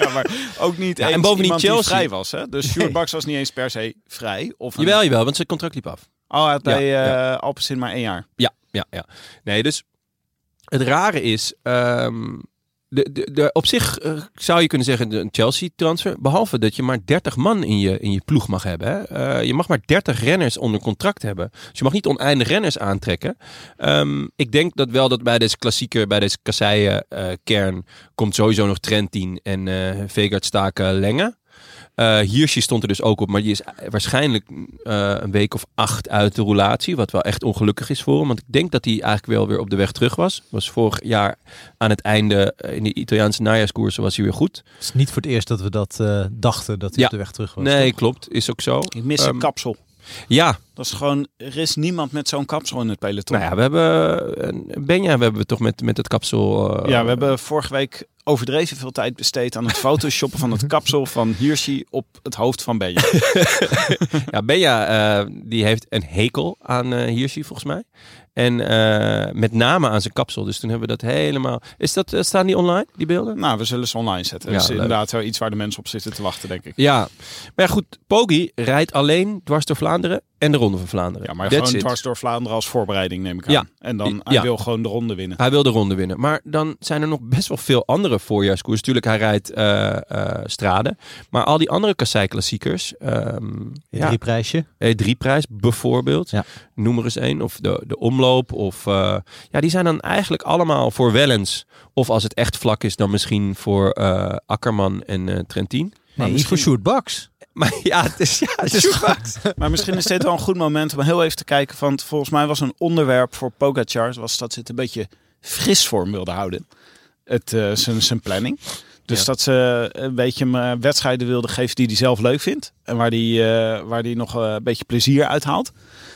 S5: ja, maar ook niet
S3: Ja,
S5: eens
S3: en bovendien
S5: iemand die
S3: Chelsea.
S5: vrij was. Hè? Dus Sjoerd Baks was niet eens per se vrij. Of een-
S3: Jawel, jawel, want zijn contract liep af.
S5: Oh, hij had bij eh
S3: Ja,
S5: Alpecin maar één jaar.
S3: Ja, ja, ja. Nee, dus het rare is, ehm, de, de, de, op zich eh, zou je kunnen zeggen de- een Chelsea-transfer, behalve dat je maar 30 man in je, in je ploeg mag hebben. Hè. Eh, je mag maar 30 renners onder contract hebben. Dus je mag niet oneindig renners aantrekken. Ehm, ik denk dat wel dat bij deze klassieker, bij deze kasseien eh, kern, komt sowieso nog Trentin en eh Vegard Staken Lenge. Eh Hirschi stond er dus ook op, maar die is waarschijnlijk eh, een week of acht uit de roulatie. Wat wel echt ongelukkig is voor hem. Want ik denk dat hij eigenlijk wel weer op de weg terug was. Was vorig jaar aan het einde eh, in de Italiaanse najaarscoursen was hij weer goed.
S4: Het is niet voor het eerst dat we dat eh, dachten, dat hij
S3: Ja.
S4: op de weg terug was.
S3: nee, klopt. Is ook zo.
S5: Ik mis
S3: Ehm,
S5: een kapsel.
S3: Ja,
S5: Dat is gewoon, er is niemand met zo'n kapsel in het peloton.
S3: nou ja, we hebben eh, Benja, we hebben we toch met, met het kapsel. eh,
S5: Ja, we hebben vorige week overdreven veel tijd besteed aan het photoshoppen van het kapsel van Hirschi op het hoofd van Benja.
S3: Ja, Benja eh, die heeft een hekel aan eh Hirschi volgens mij. En eh, met name aan zijn kapsel. Dus toen hebben we dat helemaal... Is dat, eh, staan die online, die beelden?
S5: Nou, we zullen ze online zetten.
S3: Ja,
S5: dat is
S3: leuk.
S5: inderdaad wel iets waar de mensen op zitten te wachten, denk ik.
S3: Ja, maar ja, goed, Poggi rijdt alleen dwars door Vlaanderen en de Ronde van Vlaanderen.
S5: Ja, maar
S3: That's
S5: gewoon
S3: it.
S5: dwars door Vlaanderen als voorbereiding, neem ik aan.
S3: Ja.
S5: En dan, hij
S3: Ja.
S5: wil gewoon de ronde winnen.
S3: Hij wil de ronde winnen. Maar dan zijn er nog best wel veel andere voorjaarskoers. Tuurlijk, hij rijdt eh, eh, straden. Maar al die andere kasseiklassiekers. ehm ja,
S4: E Drie prijsje.
S3: E3-prijs bijvoorbeeld.
S4: Ja.
S3: Noem er eens één. Of de, de omloop. Of, eh, ja, die zijn dan eigenlijk allemaal voor Wellens. Of als het echt vlak is, dan misschien voor eh, Akkerman en eh, Trentin.
S4: Nee, niet
S5: misschien-
S4: voor Sjoerd Baks.
S3: Maar ja, het is... Ja, het is
S5: Maar misschien is dit wel een goed moment om heel even te kijken. Want volgens mij was een onderwerp voor Pogacar... was dat ze het een beetje fris vorm wilde houden. Het, eh, zijn, zijn planning. Dus
S3: Ja.
S5: dat ze een beetje hem eh, wedstrijden wilde geven die hij zelf leuk vindt. En waar hij eh, waar die nog eh, een beetje plezier uit haalt.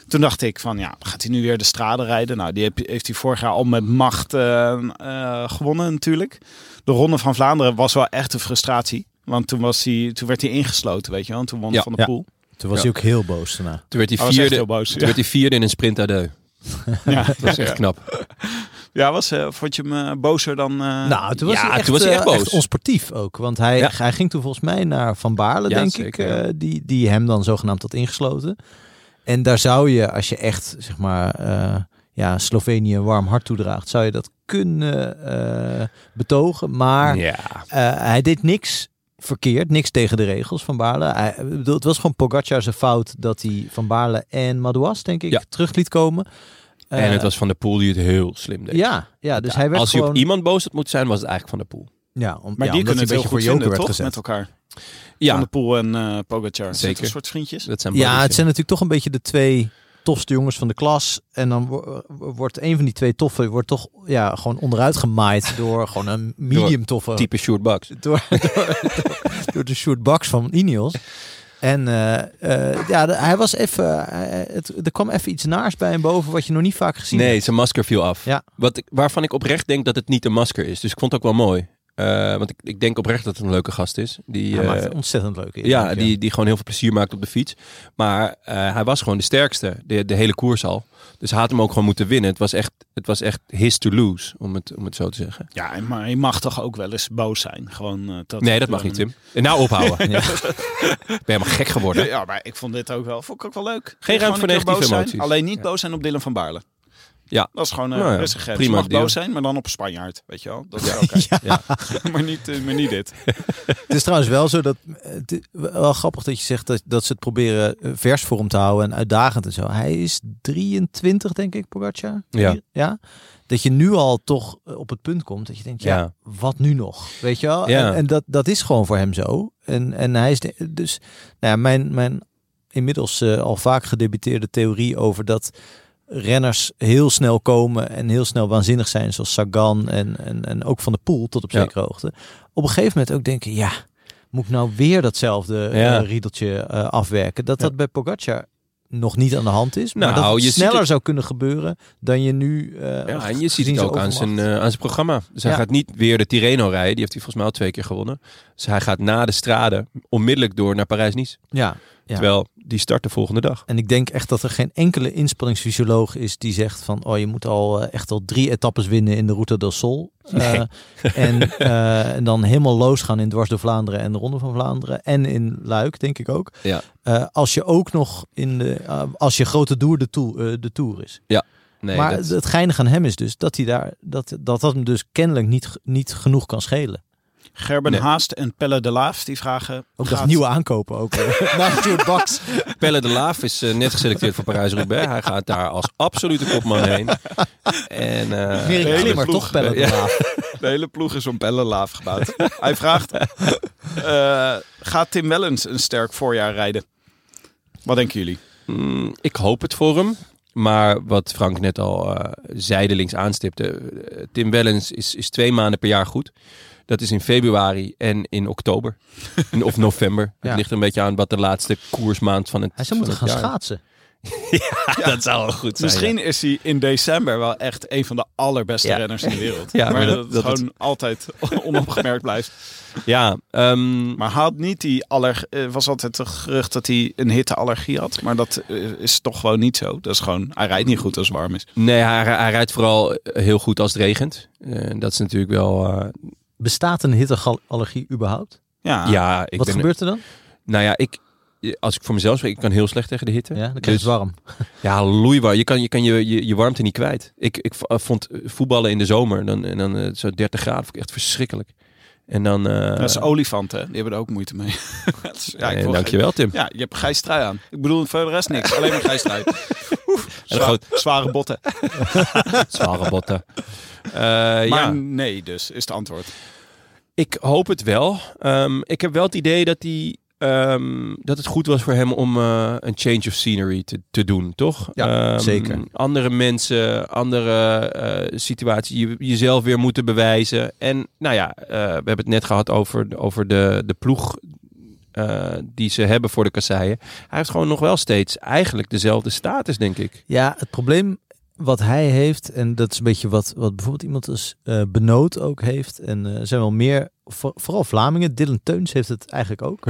S5: Toen dacht ik van ja, gaat hij nu weer de straden rijden? Nou, die heb- heeft hij vorig jaar al met macht eh, eh, gewonnen natuurlijk. De Ronde van Vlaanderen was wel echt een frustratie. Want toen, was hij, toen werd hij ingesloten, weet je wel. En toen won
S3: Ja.
S5: Van de
S4: Ja.
S5: Poel.
S4: Toen was
S3: Ja.
S4: hij ook heel boos daarna.
S3: Toen werd hij
S5: Hij was Oh, echt
S3: vierde,
S5: heel boos.
S3: toen werd hij vierde in een sprint à deux.
S5: Ja,
S3: Dat is echt knap.
S5: ja was, eh, vond je hem eh, bozer dan... eh,
S4: Nou, toen was,
S3: ja,
S4: hij, echt,
S3: toen was hij
S4: eh,
S3: echt boos.
S4: onsportief ook. Want hij,
S3: Ja.
S4: hij ging toen volgens mij naar Van Baarle,
S3: Ja,
S4: denk
S3: zeker,
S4: ik.
S3: ja.
S4: eh, die, die hem dan zogenaamd had ingesloten. En daar zou je, als je echt, zeg maar, eh, ja, Slovenië een warm hart toedraagt, zou je dat kunnen eh, betogen. Maar
S3: Ja.
S4: eh, hij deed niks verkeerd, niks tegen de regels van Baarle. Hij, ik bedoel, het was gewoon Pogacar zijn fout dat hij Van Baarle en Madouas, denk ik,
S3: Ja.
S4: terug liet komen. Eh,
S3: En het was Van der Poel die het heel slim deed.
S4: Ja, ja, dus hij werd
S3: Als hij
S4: gewoon...
S3: op iemand boos had moeten zijn, was het eigenlijk Van der Poel.
S4: ja, om, ja,
S5: maar die
S4: omdat
S5: kunnen het
S4: hij
S5: heel
S4: een beetje voor
S5: goed
S4: joker
S5: vinden,
S4: werd
S5: toch?
S4: gezet.
S5: Met elkaar.
S3: Ja,
S5: Van de Poel en eh Pogacar. Zijn het
S3: Zeker.
S5: een soort vriendjes?
S3: dat zijn
S4: Ja, het
S3: buddies,
S4: zijn natuurlijk toch een beetje de twee tofste jongens van de klas. En dan wo- wo- wordt een van die twee toffe wordt toch ja, gewoon onderuit gemaaid door gewoon een medium toffe.
S3: Type Sjoerd Baks.
S4: Door, door, door de short box van Ineos. En eh, eh, ja, de- hij was even. eh, het, er kwam even iets naars bij hem boven wat je nog niet vaak gezien hebt.
S3: Nee, zijn masker viel af.
S4: Ja.
S3: Wat ik, waarvan ik oprecht denk dat het niet een masker is. Dus ik vond het ook wel mooi. Eh, want ik, ik denk oprecht dat het een leuke gast is. Die,
S4: Hij
S3: eh,
S4: maakt een ontzettend leuk. indruk,
S3: ja, die, die gewoon heel veel plezier maakt op de fiets. Maar eh, hij was gewoon de sterkste. De, de hele koers al. Dus hij had hem ook gewoon moeten winnen. Het was echt, het was echt his to lose, om het, om het zo te zeggen.
S5: Ja, en maar je mag toch ook wel eens boos zijn? Gewoon, eh, dat
S3: nee, dat mag niet, Tim. Eh, Nou ophouden. Ja. Ik ben helemaal gek geworden.
S5: Ja, maar ik vond dit ook wel, vond ik ook wel leuk.
S3: Geen ruimte
S5: Gewoon een
S3: voor
S5: keer
S3: negatieve
S5: boos zijn.
S3: emoties.
S5: Alleen niet
S3: Ja.
S5: boos zijn op Dylan van Baarle.
S3: Ja.
S5: Dat is gewoon eh
S3: Nou ja,
S5: rustig. grens.
S3: prima
S5: je mag
S3: deal.
S5: boos zijn, maar dan op een Spanjaard. Weet je wel? Dat is oké.
S3: Ja.
S5: maar, niet, eh, maar niet dit.
S4: Het is trouwens wel zo dat. eh, Het is wel grappig dat je zegt dat, dat ze het proberen eh, vers voor hem te houden en uitdagend en zo. Hij is 23, denk ik, Pogacar.
S3: Ja.
S4: Vier- ja? Dat je nu al toch eh, op het punt komt dat je denkt, ja,
S3: Ja.
S4: wat nu nog? Weet je wel?
S3: Ja.
S4: En, en dat, dat is gewoon voor hem zo. En, en hij is de- dus. Nou ja, mijn, mijn inmiddels eh, al vaak gedebuteerde theorie over dat renners heel snel komen en heel snel waanzinnig zijn, zoals Sagan en, en, en ook Van de Poel tot op
S3: Ja.
S4: zekere hoogte. Op een gegeven moment ook denken, ja, moet ik nou weer datzelfde
S3: Ja.
S4: eh, riedeltje eh, afwerken? Dat dat bij Pogacar nog niet aan de hand is, maar
S3: Nou,
S4: dat het
S3: je ziet
S4: sneller
S3: het-
S4: zou kunnen gebeuren dan je nu... eh,
S3: Ja, en je
S4: gezien
S3: ziet het ook aan
S4: overmacht.
S3: zijn, eh, aan zijn programma. Dus hij
S4: Ja.
S3: gaat niet weer de Tirreno rijden. Die heeft hij volgens mij al twee keer gewonnen. Dus hij gaat na de strade onmiddellijk door naar Parijs-Nice.
S4: Ja, ja.
S3: Terwijl die start de volgende dag.
S4: En ik denk echt dat er geen enkele inspanningsfysioloog is die zegt van, oh, je moet al eh, echt al drie etappes winnen in de Route del Sol. Eh, en, eh, en dan helemaal losgaan in dwars door Vlaanderen en de Ronde van Vlaanderen en in Luik, denk ik ook.
S3: Ja.
S4: Eh, als je ook nog in de, eh, als je grote Tour de, tour, eh, de Tour is.
S3: Nee,
S4: maar
S3: dat-
S4: het geinige aan hem is dus dat hij daar, dat dat, dat hem dus kennelijk niet, ge- niet genoeg kan schelen.
S5: Gerben
S3: Nee.
S5: Haast en Pelle de Laaf, die vragen...
S4: Ook
S5: gaat-
S4: dat nieuwe aankopen ook. eh, Naast Stuart Baks.
S3: Pelle de Laaf is eh, net geselecteerd voor Parijs-Roubaix. Hij gaat daar als absolute kopman heen. En, eh,
S4: Erik
S5: hele
S4: Klimmer,
S5: ploeg,
S4: toch Pelle de
S3: ja.
S4: Laaf.
S5: De hele ploeg is om Pelle de Laaf gebouwd. Hij vraagt Eh, gaat Tim Wellens een sterk voorjaar rijden? Wat denken jullie?
S3: Mm, ik hoop het voor hem. Maar wat Frank net al eh, zijdelings aanstipte. eh, Tim Wellens is, is twee maanden per jaar goed. Dat is in februari en in oktober. In- of november.
S4: Ja.
S3: Het ligt er een beetje aan wat de laatste koersmaand van het
S4: Hij zou
S3: van
S4: moeten gaan
S3: het jaar-
S4: schaatsen.
S3: Dat zou wel goed zijn.
S5: Misschien
S3: ja.
S5: is hij in december wel echt een van de allerbeste
S3: Ja.
S5: renners in de wereld.
S3: Ja,
S5: maar,
S3: maar
S5: dat,
S3: dat-
S5: het
S3: dat het-
S5: gewoon altijd onopgemerkt blijft.
S3: Ja, ehm,
S5: Maar haalt niet die aller... eh, was altijd het gerucht dat hij een hitteallergie had. Maar dat eh, is toch gewoon niet zo. Dat is gewoon... Hij rijdt niet goed als het warm is.
S3: nee, hij, hij rijdt vooral eh, heel goed als het regent. Eh, dat is natuurlijk wel... eh,
S4: Bestaat een hitteallergie überhaupt?
S5: Ja,
S3: ja, ik
S4: Ah, Wat
S3: ben,
S4: gebeurt er dan?
S3: Nou ja, ik... Als ik voor mezelf spreek, ik kan heel slecht tegen de hitte.
S4: Ja, dan krijg je
S3: Dus-
S4: het warm.
S3: Ja, loeibaar. Je kan je, kan je, je, je warmte niet kwijt. Ik, ik v- eh, vond eh, voetballen in de zomer, dan, en dan eh, zo 30 graden, vond ik echt verschrikkelijk. En dan... eh,
S5: dat is olifanten. hè? Die hebben er ook moeite mee. Dat is- ja, ik
S3: eh,
S5: wil geen-
S3: dankjewel, Tim.
S5: Ja, je hebt grijs trui aan. Ik bedoel voor de rest niks. Alleen maar grijs trui. Oef,
S3: En
S5: zwa-
S3: groot-
S5: zware botten.
S3: Zware botten. Eh,
S5: Maar
S3: ja,
S5: nee dus, is het antwoord.
S3: ik hoop het wel. Ehm, ik heb wel het idee dat, die, ehm, dat het goed was voor hem om eh, een change of scenery te, te doen, toch?
S4: Ja,
S3: Ehm,
S4: zeker.
S3: Andere mensen, andere eh situaties, je, jezelf weer moeten bewijzen. En nou ja, eh, we hebben het net gehad over, over de, de ploeg eh, die ze hebben voor de kasseien. Hij heeft gewoon nog wel steeds eigenlijk dezelfde status, denk ik.
S4: Ja, het probleem wat hij heeft, en dat is een beetje wat, wat bijvoorbeeld iemand als eh Benoot ook heeft. En eh, er zijn wel meer, voor- vooral Vlamingen, Dylan Teuns heeft het eigenlijk ook.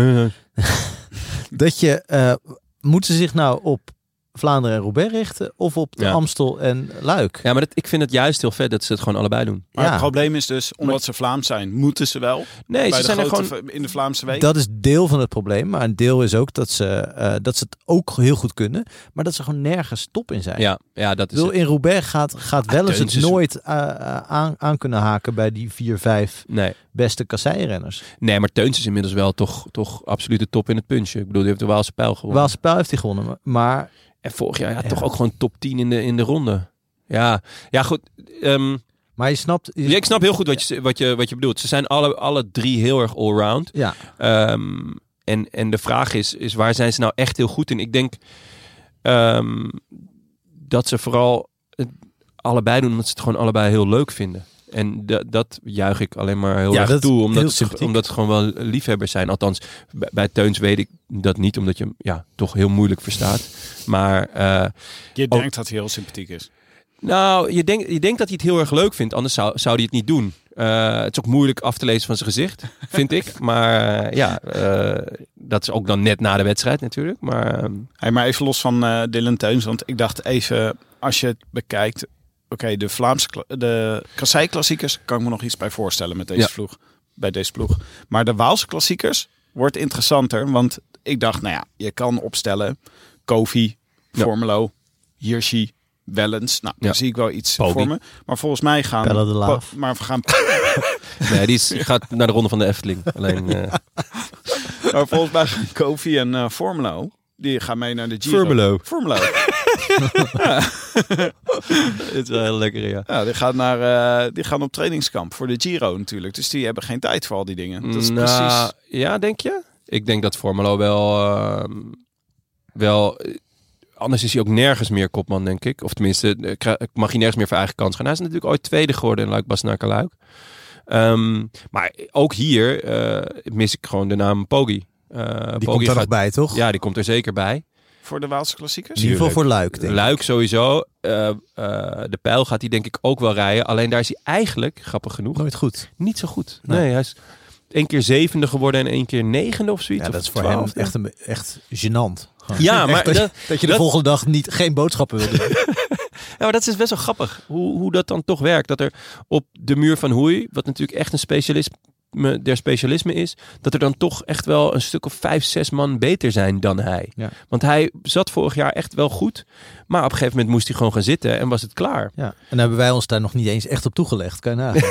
S4: Dat je, eh, moeten ze zich nou op Vlaanderen en Roubaix richten of op de
S3: Ja.
S4: Amstel en Luik?
S3: Ja, maar dat, ik vind het juist heel vet dat ze het gewoon allebei doen.
S5: Maar
S4: Ja.
S5: het probleem is dus, omdat ze Vlaams zijn, moeten ze wel.
S3: Nee,
S5: bij
S3: ze
S5: de
S3: zijn er
S5: grote
S3: gewoon...
S5: v- in de Vlaamse week.
S4: Dat is deel van het probleem, maar een deel is ook dat ze, eh, dat ze het ook heel goed kunnen, maar dat ze gewoon nergens top in zijn.
S3: Ja, ja, dat
S4: Ik
S3: is
S4: bedoel,
S3: het.
S4: in Roubaix gaat, gaat wel eens
S3: Teuns
S4: het
S3: is-
S4: nooit eh, eh, aan, aan kunnen haken bij die vier, vijf
S3: Nee.
S4: beste kasseirenners.
S3: nee, maar Teuns is inmiddels wel toch, toch absoluut de top in het puntje. Ik bedoel, die heeft de Waalse pijl gewonnen.
S4: Waalse Pijl heeft hij gewonnen, maar- maar
S3: En vorig jaar ja,
S4: Ja.
S3: toch ook gewoon top 10 in de, in de ronde. Ja, ja goed. ehm,
S4: Maar je snapt... je-
S3: ja, ik snap heel goed wat je, wat je, wat je bedoelt. Ze zijn alle, alle drie heel erg allround.
S4: Ja.
S3: Ehm, en, en de vraag is, is, waar zijn ze nou echt heel goed in? Ik denk ehm, dat ze vooral het allebei doen omdat ze het gewoon allebei heel leuk vinden. En da- dat juich ik alleen maar heel
S4: Ja, dat
S3: erg
S4: is
S3: toe,
S4: heel
S3: omdat, het,
S4: sympathiek.
S3: omdat het gewoon wel liefhebbers zijn. Althans, bij, bij Teuns weet ik dat niet, omdat je hem ja, toch heel moeilijk verstaat. Maar eh,
S5: Je
S3: Oh.
S5: denkt dat hij heel sympathiek is.
S3: nou, je denkt, je denkt dat hij het heel erg leuk vindt, anders zou, zou hij het niet doen. Eh, het is ook moeilijk af te lezen van zijn gezicht, vind ik. Maar eh, ja, eh, dat is ook dan net na de wedstrijd natuurlijk. Maar ehm,
S5: Hey, maar even los van eh, Dylan Teuns, want ik dacht even, als je het bekijkt... Oké, de Vlaamse kla- de kasseiklassiekers kan ik me nog iets bij voorstellen met deze,
S3: Ja.
S5: vloeg, bij deze ploeg. Maar de Waalse klassiekers wordt interessanter, want ik dacht, nou ja, je kan opstellen Kofi,
S3: Ja.
S5: Formelo, Hirschi, Wellens. Nou, daar
S3: Ja.
S5: zie ik wel iets
S3: Poggi.
S5: voor me. Maar volgens mij gaan...
S4: Pelle de Laaf.
S5: po- Maar we gaan
S3: nee, die is, gaat naar de ronde van de Efteling. Alleen, eh,
S5: Maar volgens mij gaan Kofi en eh, Formelo, die gaan mee naar de Giro.
S3: Formelo.
S5: Formelo.
S3: het is wel heel lekker, ja.
S5: Ja, die gaan, naar, eh, die gaan op trainingskamp voor de Giro natuurlijk. Dus die hebben geen tijd voor al die dingen. Dat is
S3: Nou,
S5: precies...
S3: Ja, denk je? Ik denk dat Formelo wel... ehm, wel eh, anders is hij ook nergens meer kopman, denk ik. Of tenminste, eh, kra- mag hij nergens meer voor eigen kans gaan. Hij is natuurlijk ooit tweede geworden in Luik Basnaker Luik. Ehm, maar ook hier eh, mis ik gewoon de naam Poggi. Eh,
S4: die komt er nog bij, toch?
S3: Ja, die komt er zeker bij.
S5: Voor de Waalse klassiekers?
S4: in ieder geval voor Luik, denk ik.
S3: Luik sowieso. Eh, eh, de pijl gaat hij denk ik ook wel rijden. Alleen daar is hij eigenlijk, grappig genoeg,
S4: Nooit goed.
S3: niet zo goed. Nee,
S4: Nee.
S3: hij is één keer zevende geworden en één keer negende of zoiets.
S4: Ja,
S3: of
S4: dat is voor hem
S3: twaalfde.
S4: echt, een, echt gênant. Gewoon.
S3: Ja, maar
S4: Echt dat,
S3: dat-
S4: je, dat je de
S3: dat-
S4: volgende dag niet, geen boodschappen wil doen.
S3: Ja, maar dat is best wel grappig. Hoe, hoe dat dan toch werkt. Dat er op de muur van Hoei, wat natuurlijk echt een specialisme der specialisme is, dat er dan toch echt wel een stuk of vijf, zes man beter zijn dan hij.
S4: Ja.
S3: Want hij zat vorig jaar echt wel goed, maar op een gegeven moment moest hij gewoon gaan zitten en was het klaar.
S4: Ja. En dan hebben wij ons daar nog niet eens echt op toegelegd. Kan je nagaan.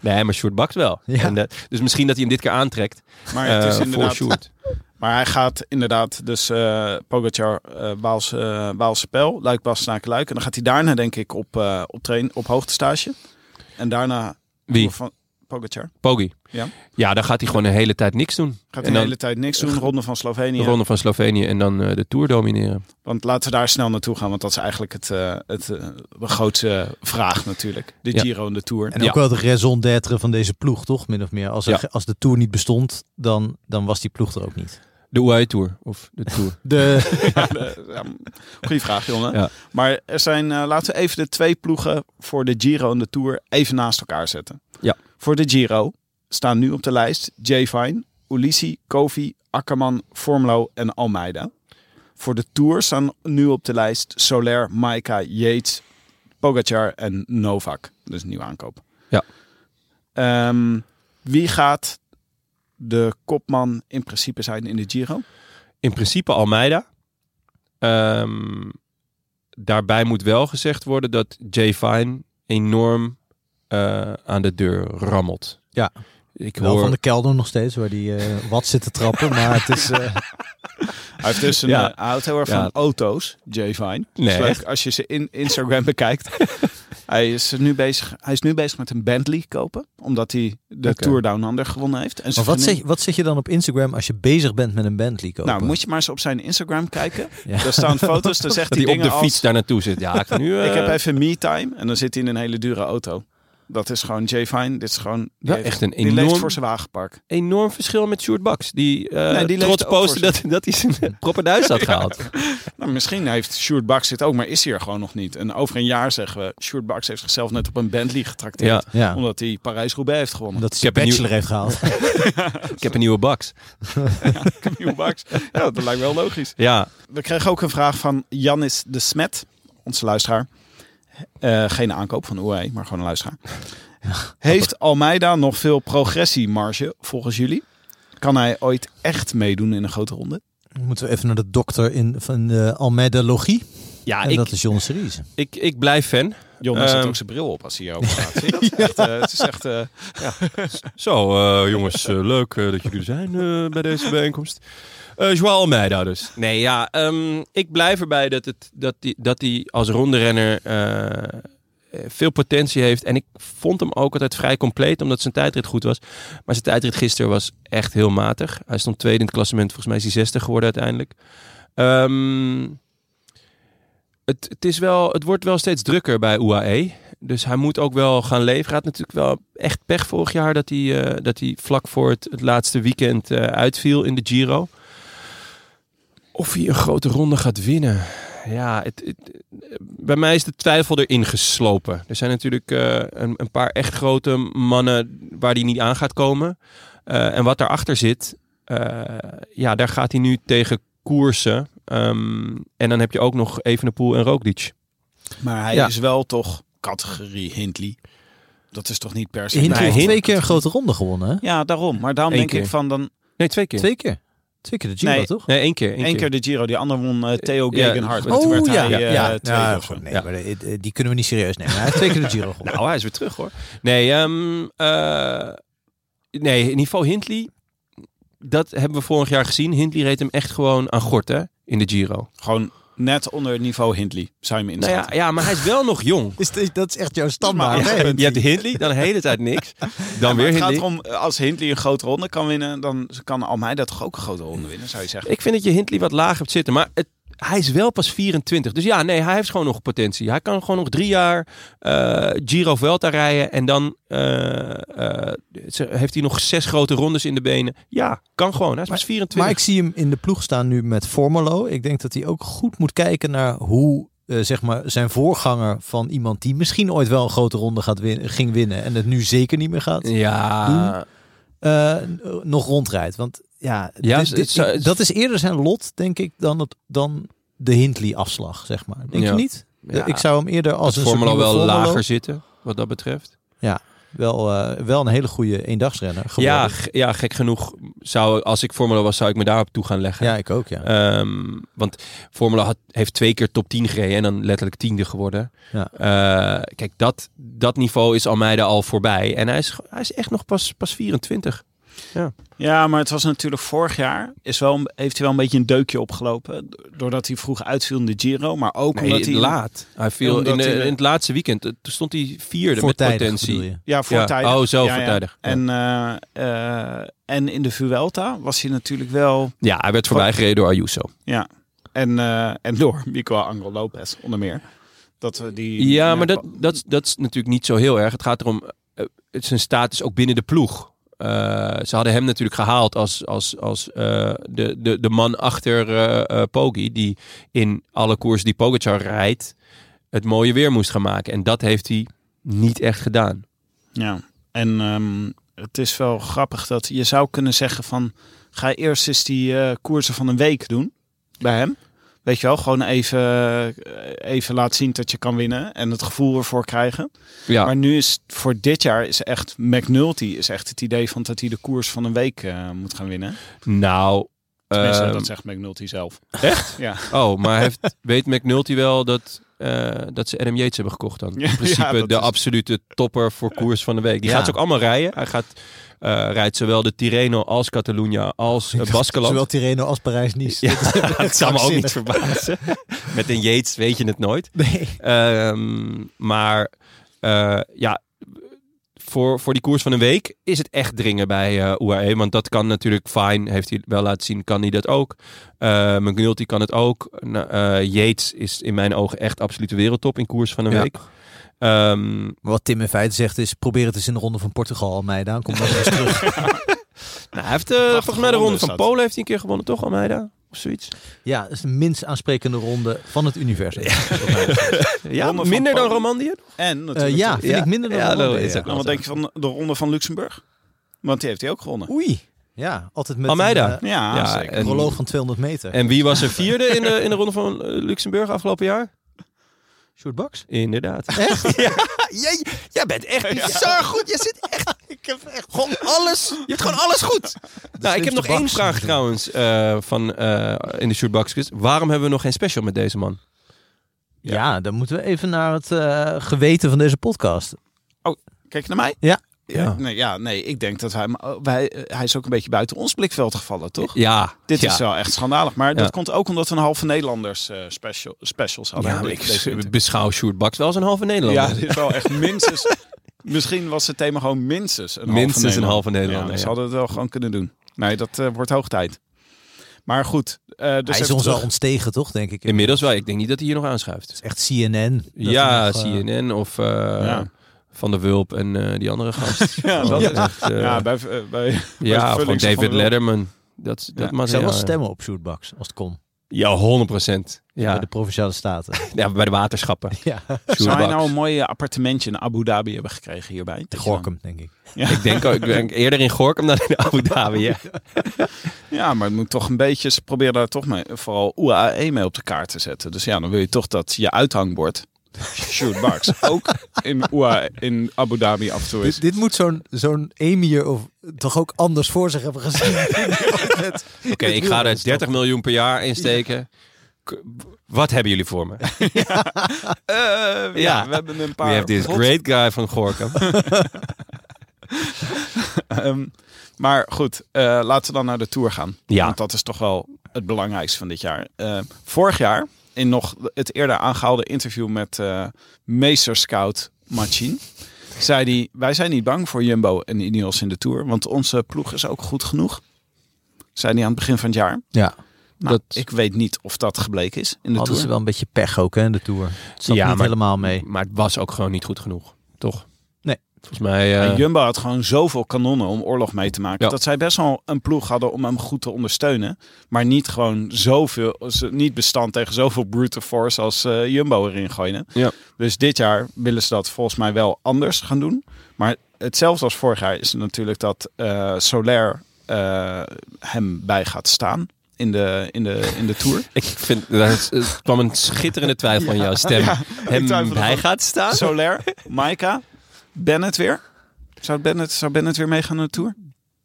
S3: Nee, maar Sjoerd bakt wel.
S4: Ja.
S3: En, eh, dus misschien dat hij hem dit keer aantrekt
S5: Maar, het
S3: eh,
S5: is
S3: voor
S5: inderdaad,
S3: Sjoerd.
S5: maar hij gaat inderdaad dus eh Pogacar, eh Waalse, eh, Waalse Pijl, Luik, Bastenaken, Luik. En dan gaat hij daarna denk ik op, eh op, train, op hoogtestage. En daarna...
S3: Wie?
S5: Van Pogacar.
S3: Poggi.
S5: Ja.
S3: ja, dan gaat hij gewoon een hele tijd niks doen.
S5: Gaat
S3: En
S5: de
S3: dan-
S5: hele tijd niks doen. Ronde van
S3: De
S5: Slovenië.
S3: ronde van Slovenië en dan eh, de Tour domineren.
S5: Want laten we daar snel naartoe gaan. Want dat is eigenlijk het, eh, het, eh, de grootste vraag natuurlijk. De
S3: Ja.
S5: Giro en de Tour.
S4: En
S3: Ja.
S4: ook wel de raison d'être van deze ploeg, toch? Min of meer. Als, er
S3: Ja.
S4: ge- als de Tour niet bestond, dan, dan was die ploeg er ook niet.
S3: De UAE Tour of de Tour.
S4: De,
S5: Ja, de- ja, goeie vraag, Jonne.
S3: Ja.
S5: Maar er zijn, eh, laten we even de twee ploegen voor de Giro en de Tour even naast elkaar zetten.
S3: Ja.
S5: Voor de Giro staan nu op de lijst Jay Fine, Ulissi, Kofi, Akkerman, Formlo en Almeida. Voor de Tour staan nu op de lijst Soler, Maika, Yates, Pogacar en Novak. Dus een nieuwe aankoop.
S3: Ja.
S5: Ehm, wie gaat de kopman in principe zijn in de Giro?
S3: In principe Almeida. Ehm, daarbij moet wel gezegd worden dat Jay Fine enorm eh, aan de deur rammelt.
S4: Ja.
S3: Ik
S4: wel
S3: hoor...
S4: van de kelder nog steeds, waar die eh, wat zit te trappen. Maar het is... eh,
S5: Hij heeft dus een,
S3: Ja.
S5: eh, hij houdt heel erg
S3: Ja.
S5: van auto's, Jay Vine.
S3: Nee,
S5: Dat is leuk
S3: echt?
S5: als je ze in Instagram bekijkt. hij, is nu bezig, hij is nu bezig met een Bentley kopen, omdat hij de
S3: Oké.
S5: Tour Down Under gewonnen heeft. En
S4: maar
S5: zijn
S4: wat
S5: vriendin-
S4: zet, wat zet je dan op Instagram als je bezig bent met een Bentley kopen?
S5: Nou, moet je maar eens op zijn Instagram kijken.
S4: Ja.
S5: Daar staan foto's, daar zegt
S3: dat
S5: hij
S3: hij op
S5: dingen
S3: de fiets
S5: als...
S3: daar naartoe zit. Ja, ik, ga nu, eh,
S5: Ik heb even me-time en dan zit hij in een hele dure auto. Dat is gewoon Jay Vine. Dit is gewoon... die
S3: Wel
S5: heeft-
S3: echt een
S5: Die leeft
S3: enorm-
S5: voor zijn wagenpark.
S3: enorm verschil met Sjoerd Baks. Die, eh,
S5: Nee, die leeft
S3: trots
S5: ook voor
S3: postte dat, dat hij zijn proper Duits had gehaald.
S5: Nou, misschien heeft Sjoerd Baks dit ook, maar is hij er gewoon nog niet. En over een jaar zeggen we, Sjoerd Baks heeft zichzelf net op een Bentley getrakteerd.
S3: Ja.
S4: Ja,
S5: Omdat hij Parijs-Roubaix heeft gewonnen.
S4: omdat ze
S3: Ik heb een
S4: de
S3: nieuw-
S4: bachelor heeft gehaald.
S3: Ik heb een nieuwe Baks.
S5: Nieuwe Baks. Ja, dat lijkt wel logisch.
S3: Ja,
S5: We kregen ook een vraag van Janis de Smet, onze luisteraar. Eh, geen aankoop van UAE, maar gewoon een luisteraar. Heeft Almeida nog veel progressiemarge volgens jullie? Kan hij ooit echt meedoen in een grote ronde?
S4: Moeten we even naar de dokter in, van de Almeida Logie.
S3: ja
S4: en
S3: Ah, ik,
S4: dat is John Series.
S3: ik, ik blijf fan.
S5: Jon zet
S3: Ehm.
S5: ook zijn bril op als hij hierover praat. Zie je dat? Echt, eh, het is echt... eh,
S3: Zo, eh, jongens, eh, leuk eh, dat jullie er zijn eh, bij deze bijeenkomst. Eh Joao Almeida dus. Nee, ja, ehm, ik blijf erbij dat hij dat die, dat die als ronderenner eh, eh, veel potentie heeft. En ik vond hem ook altijd vrij compleet, omdat zijn tijdrit goed was. Maar zijn tijdrit gisteren was echt heel matig. Hij stond tweede in het klassement. Volgens mij is hij zestig geworden uiteindelijk. Ehm, het, het, is wel, het wordt wel steeds drukker bij UAE. Dus hij moet ook wel gaan leveren. Hij had natuurlijk wel echt pech vorig jaar dat hij, eh, dat hij vlak voor het, het laatste weekend eh, uitviel in de Giro. Of hij een grote ronde gaat winnen. Ja, het, het- bij mij is de twijfel erin geslopen. Er zijn natuurlijk eh, een, een paar echt grote mannen waar hij niet aan gaat komen. Eh, en wat daarachter zit, eh, ja, daar gaat hij nu tegen koersen. Ehm, en dan heb je ook nog Evenepoel en Roglic.
S5: maar hij
S4: Ja.
S5: is wel toch categorie Hindley. Dat is toch niet per se...
S4: Hint
S3: Nee,
S4: heeft
S3: Hint-
S4: twee keer een grote ronde gewonnen. Hè?
S5: Ja, daarom. Maar daarom
S3: Eén
S5: denk ik
S3: keer.
S5: van dan
S3: Nee, twee keer.
S4: Twee keer. Twee keer de Giro,
S5: Nee.
S4: toch?
S3: Nee, één keer. één
S5: één keer de Giro. Die ander won eh, Theo
S3: Ja,
S5: Gegenhardt.
S3: oh,
S5: Toen werd hij,
S4: ja,
S5: eh,
S4: ja,
S5: tweede
S4: ja,
S5: of zo.
S4: goed, nee,
S3: Ja.
S4: maar de- eh, die kunnen we niet serieus nemen. Hij heeft twee keer de Giro gewonnen.
S3: Nou, hij is weer terug hoor. Nee, ehm, eh, nee in ieder geval Hindley. Dat hebben we vorig jaar gezien. Hindley reed hem echt gewoon aan gort hè, in de Giro.
S5: Gewoon net onder het niveau Hindley, zou je me
S3: Nou ja,
S5: inschatten.
S3: ja, maar hij is wel nog jong.
S4: Is dit- dat is echt jouw
S5: Maar-
S4: standaard.
S5: Ja,
S4: hè?
S3: Je hebt Hindley, dan de hele tijd niks. Dan
S5: Maar
S3: weer
S5: het gaat
S3: Hindley.
S5: erom, eh, als Hindley een grote ronde kan winnen, dan kan Almeida toch ook een grote ronde winnen, zou je zeggen.
S3: Ik vind dat je Hindley wat laag hebt zitten. Maar het, hij is wel pas 24. Dus ja, nee, hij heeft gewoon nog potentie. Hij kan gewoon nog drie jaar eh, Giro Velta rijden. En dan eh, eh, ze- heeft hij nog zes grote rondes in de benen. Ja, kan gewoon. Hij is pas 24.
S4: Maar ik zie hem in de ploeg staan nu met Formolo. Ik denk dat hij ook goed moet kijken naar hoe eh, zeg maar zijn voorganger van iemand die misschien ooit wel een grote ronde gaat win ging winnen en het nu zeker niet meer gaat,
S3: Ja,
S4: eh, n- nog rondrijdt. Want ja,
S3: Ja,
S4: dit-
S3: het
S4: dit-
S3: zou-
S4: ik- dat is eerder zijn lot, denk ik, dan, het, dan de Hindley-afslag, zeg maar. Denk
S3: Ja.
S4: je niet?
S3: Ja.
S4: Ik zou hem eerder als
S3: als
S4: een soort
S3: Formula wel
S4: nieuwe Formolo-
S3: lager zitten, wat dat betreft.
S4: Wel, eh, wel een hele goede eendagsrenner geworden.
S3: Ja, g- ja, gek genoeg zou, als ik Formula was, zou ik me daarop toe gaan leggen.
S4: Ja, ik ook, ja.
S3: Ehm, want Formula had, heeft twee keer top 10 gereden en dan letterlijk tiende geworden.
S4: Ja.
S3: Eh, kijk, dat, dat niveau is Almeida al voorbij. En hij is, ge- hij is echt nog pas, pas 24.
S5: Ja, maar het was natuurlijk vorig jaar. Is wel, een- heeft hij wel een beetje een deukje opgelopen. do- Doordat hij vroeg uitviel in de Giro. Maar ook
S3: Nee,
S5: omdat hij...
S3: laat. Hij viel
S5: Omdat
S3: in, de-
S5: hij-
S3: in het laatste weekend. eh, Toen stond hij vierde
S4: Voortijdig,
S3: met
S4: bedoel
S3: potentie.
S4: je?
S5: Ja, voortijdig.
S3: oh, zo,
S5: Ja, ja.
S3: voortijdig. Ja.
S5: En, eh, eh, en in de Vuelta was hij natuurlijk wel...
S3: Ja, hij werd voorbij gereden door Ayuso.
S5: Ja. En, eh, en door Miguel Angel Lopez, onder meer. Dat we die...
S3: Ja, maar dat, dat, dat is natuurlijk niet zo heel erg. Het gaat erom eh, het zijn status ook binnen de ploeg. Eh, ze hadden hem natuurlijk gehaald als, als, als eh, de, de, de man achter eh eh, Poggi. Die in alle koersen die Pogacar rijdt, het mooie weer moest gaan maken. En dat heeft hij niet echt gedaan.
S5: Ja, en ehm, het is wel grappig dat je zou kunnen zeggen van... ga eerst eens die eh, koersen van een week doen bij hem. Weet je wel, gewoon even, eh, even laten zien dat je kan winnen en het gevoel ervoor krijgen.
S3: Ja,
S5: Maar nu is het- voor dit jaar is echt McNulty is echt het idee van dat hij de koers van een week eh, moet gaan winnen.
S3: nou...
S5: Tenminste,
S3: ehm,
S5: dat zegt McNulty zelf.
S3: Echt?
S5: Ja.
S3: Oh, maar heeft, weet McNulty wel dat, eh, dat ze Adam Yates hebben gekocht dan?
S5: Ja,
S3: In
S5: ja,
S3: principe
S5: dat
S3: de
S5: is-
S3: absolute topper voor koers van de week. Die
S4: Ja.
S3: gaat ze ook allemaal rijden. Hij gaat, eh, rijdt zowel de Tirreno als Catalunya als eh, Baskeland.
S4: Zowel Tirreno als Parijs-Nice.
S3: Ja, dat kan me ook niet
S4: krankzinnig.
S3: verbazen. Met een Yates weet je het nooit.
S4: Nee.
S3: Ehm, maar eh, ja, voor, voor die koers van een week is het echt dringen bij eh UAE. Want dat kan natuurlijk fijn. Heeft hij wel laten zien, kan hij dat ook. Eh McNulty kan het ook. Nou, eh, Yates is in mijn ogen echt absolute wereldtop in koers van een
S4: Ja.
S3: week. Ehm,
S4: Wat Tim in feite zegt is, probeer het eens in de ronde van Portugal, Almeida. Dan komt dat weer eens terug.
S3: nou, hij heeft eh, volgens mij de
S5: ronde
S3: ronde
S5: is
S3: van
S5: dat.
S3: Polen heeft hij een keer gewonnen, toch Almeida? Of zoiets. Eh,
S4: Ja, dat is de minst aansprekende ronde van het universum.
S3: Ja,
S5: Ronde van
S3: minder dan
S5: Polen.
S3: Romandie.
S5: En natuurlijk...
S4: Eh, ja, vind
S3: Ja.
S4: ik minder dan
S3: Ja,
S4: de ronde,
S3: dat is ook
S5: En
S3: wel
S5: wat denk je van de ronde van Luxemburg? Want die heeft hij ook gewonnen.
S4: Oei. Ja, altijd met
S3: Almeida.
S4: een
S5: Ja,
S3: Ja,
S5: zeker.
S4: eh,
S3: en-
S4: proloog van 200 meter.
S3: En wie was er vierde in de, in de ronde van eh, Luxemburg afgelopen jaar?
S4: Short Bucks?
S3: Inderdaad.
S4: Echt? Ah,
S3: Jij, jij bent echt bizar goed. Je zit echt... Ik heb echt gewoon alles... Je hebt gewoon alles goed. Nou, ik heb
S4: slimste
S3: nog één
S4: baks
S3: vraag
S4: moeten.
S3: trouwens eh, van, eh, in de shootbox. quiz. Waarom hebben we nog geen special met deze man?
S4: Ja. dan moeten we even naar het eh, geweten van deze podcast.
S3: Dus
S5: Kijk je naar mij?
S4: Ja.
S5: Ja. Nee, ja, nee, ik denk dat hij... maar, oh, wij, eh, hij is ook een beetje buiten ons blikveld gevallen, toch?
S3: Ja.
S5: Dit
S3: ja.
S5: is wel echt schandalig. Maar dat
S3: Ja.
S5: komt ook omdat we een halve Nederlanders eh, special, specials hadden.
S3: Ja, maar
S5: dit- deze
S3: ik
S5: winter.
S3: beschouw Sjoerdbaks wel als een halve
S5: ja,
S3: Nederlander.
S5: dit is wel echt minstens... misschien was het thema gewoon minstens een halve
S3: Minstens een
S5: Nederlander.
S3: halve Nederlander,
S5: Ja, ze
S3: ja.
S5: hadden het wel gewoon kunnen doen. Nee, dat eh, wordt hoog tijd. Maar goed. eh, dus
S4: Hij is
S5: even
S4: ons
S5: terug.
S4: al ontstegen, toch, denk ik? Het
S3: Inmiddels wel. Ik denk niet dat hij hier nog aanschuift.
S4: is echt CNN. dat
S3: ja,
S4: er nog, eh,
S3: CNN of eh,
S5: Ja.
S3: Van der Wulp en eh, die andere gast.
S5: Ja, dat
S3: ja.
S5: is-
S3: echt, eh,
S5: Ja, bij, eh, bij,
S3: ja,
S5: de
S3: of gewoon
S5: vullings van
S3: David
S5: de Wulp.
S3: Letterman. Dat, is- dat
S5: Ja,
S4: Ik
S3: materiaal,
S4: zou wel
S3: ja.
S4: stemmen op Short Bucks, als het kon.
S3: Ja, 100 procent.
S4: Bij
S3: Ja.
S4: de Provinciale Staten.
S3: ja, bij de waterschappen.
S4: ja,
S5: Zou hij
S3: Sjoerdbaks.
S5: nou een mooi eh, appartementje in Abu Dhabi hebben gekregen hierbij?
S4: Gorkum, denk ik.
S3: Ik denk, ook- ik denk eerder in Gorkum dan in Abu Dhabi. Ja.
S5: Ja, maar het moet toch een beetje... Ze proberen daar toch mee, vooral UAE mee op de kaart te zetten. Dus ja, dan wil je toch dat je uithangbord... Shoot Barks. ook in, UAE, in Abu Dhabi af en toe is.
S4: Dit, dit moet zo'n zo'n emir of toch ook anders voor zich hebben gezien. Oké,
S3: Oké, ik dus ga er 30 miljoen per jaar in steken. K- Wat hebben jullie voor me?
S5: Eh, ja,
S3: ja.
S5: we hebben een
S3: We
S5: paar...
S3: have this
S5: hot-
S3: great guy van Gorkum.
S5: Ehm, maar goed, eh, laten we dan naar de Tour gaan.
S3: Ja.
S5: Want dat is toch wel het belangrijkste van dit jaar. Eh, vorig jaar, in nog het eerder aangehaalde interview met eh meester scout Machin... zei hij, wij zijn niet bang voor Jumbo en Ineos in de Tour... want onze ploeg is ook goed genoeg. Zei hij aan het begin van het jaar.
S4: Ja,
S5: Nou,
S3: Dat-
S5: Ik weet niet of dat gebleken is in de
S4: hadden
S5: Tour.
S4: ze wel een beetje pech ook, hè, in de Tour. Het zat
S3: Ja,
S4: niet
S3: maar-
S4: helemaal mee.
S3: Maar het was ook gewoon niet goed genoeg, toch?
S4: Nee.
S3: Volgens mij... eh,
S5: En Jumbo had gewoon zoveel kanonnen om oorlog mee te maken.
S3: Ja.
S5: Dat zij best wel een ploeg hadden om hem goed te ondersteunen. Maar niet gewoon zoveel, ze- niet bestand tegen zoveel brute force als eh, Jumbo erin gooien.
S3: Ja.
S5: Dus dit jaar willen ze dat volgens mij wel anders gaan doen. Maar hetzelfde als vorig jaar is natuurlijk dat eh, Soler eh, hem bij gaat staan. In de, in, de, in de Tour.
S3: ik vind, daar is- er kwam een schitterende twijfel aan jouw stem. Hem,
S5: twijfelde
S3: hij
S5: van-
S3: gaat staan?
S5: Soler, Maika, Bennett weer. Zou Bennett, zou Bennett weer meegaan naar de Tour?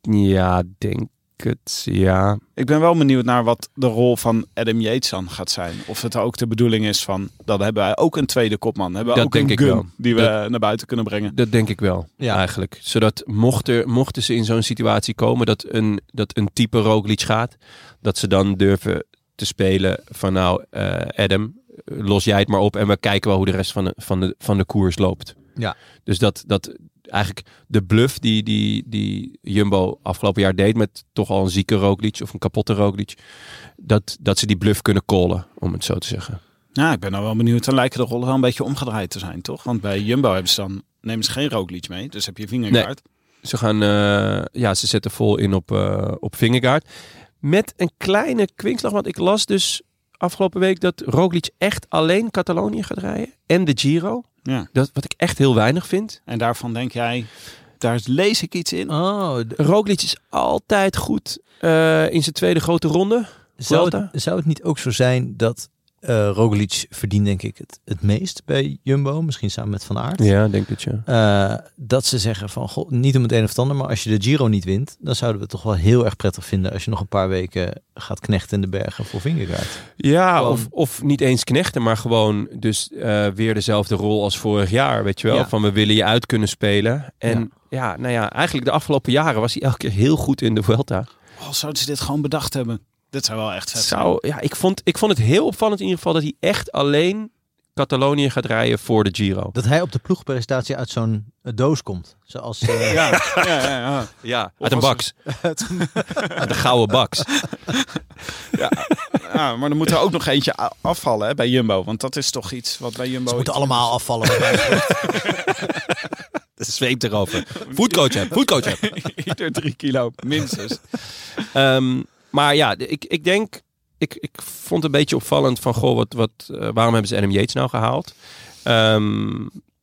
S3: Ja, denk denk het, ja.
S5: Ik ben wel benieuwd naar wat de rol van Adam Yates dan gaat zijn. Of het ook de bedoeling is van, dan hebben wij ook een tweede kopman. Hebben we
S3: Dat
S5: ook een
S3: denk ik
S5: gun
S3: wel.
S5: die we
S3: Dat-
S5: naar buiten kunnen brengen.
S3: Dat denk ik wel,
S4: Ja.
S3: eigenlijk. Zodat mocht er, mochten ze in zo'n situatie komen dat een, dat een type Roglic gaat, dat ze dan durven te spelen van nou, eh, Adam, los jij het maar op en we kijken wel hoe de rest van de, van de, van de koers loopt.
S4: Ja.
S3: Dus dat, dat eigenlijk de bluff die, die, die Jumbo afgelopen jaar deed met toch al een zieke Roglic of een kapotte Roglic, dat, dat ze die bluff kunnen callen, om het zo te zeggen.
S5: Ja, ik ben nou wel benieuwd. Dan lijken de rollen wel een beetje omgedraaid te zijn, toch? Want bij Jumbo hebben ze dan, nemen ze geen rookliedje mee. Dus heb je vingerkaart.
S3: Ze gaan, eh, ja, ze zetten vol in op, eh op Vingegaard. Met een kleine kwinkslag, want ik las dus afgelopen week dat Roglic echt alleen Catalonië gaat rijden. En de Giro.
S5: Ja.
S3: Dat, wat ik echt heel weinig vind.
S5: En daarvan denk jij, daar lees ik iets in.
S4: Oh, d-
S3: Roglic is altijd goed eh, in zijn tweede grote ronde.
S4: zou
S3: Vuelta?
S4: het, zou het niet ook zo zijn dat eh Roglic verdient denk ik het, het meest bij Jumbo? Misschien samen met Van Aert.
S3: Ja, denk dat ja.
S4: Eh, dat ze zeggen van, goh, niet om het een of het ander, maar als je de Giro niet wint, dan zouden we het toch wel heel erg prettig vinden als je nog een paar weken gaat knechten in de bergen voor Vingegaard.
S3: Ja,
S4: Gewoon-
S3: of, of niet eens knechten, maar gewoon dus eh, weer dezelfde rol als vorig jaar, weet je wel.
S4: Ja.
S3: Van we willen je uit kunnen spelen. En ja. nou ja, eigenlijk de afgelopen jaren was hij elke keer heel goed in de Vuelta.
S5: Oh, zouden ze dit gewoon bedacht hebben? Dit zou wel echt vet zijn.
S3: Zou, ja, ik, vond, ik vond het heel opvallend in ieder geval dat hij echt alleen Catalonië gaat rijden voor de Giro.
S4: Dat hij op de ploegpresentatie uit zo'n eh, doos komt. Zoals eh,
S5: Ja, ja, ja, ja.
S3: Ja,
S5: Of
S3: uit een
S5: als-
S3: baks. Uit de gouden baks.
S5: Ja, maar dan moet er ook nog eentje a- afvallen hè, bij Jumbo. Want dat is toch iets wat bij Jumbo...
S4: Ze moeten
S5: iets-
S4: allemaal afvallen.
S3: De zweep erover. Foodcoach heb, foodcoach heb.
S5: Ieder drie kilo, minstens.
S3: Ehm, maar ja, de- ik, ik denk, ik, ik vond het een beetje opvallend van, goh, wat, wat, eh, waarom hebben ze Adam Yates nou gehaald? Ehm,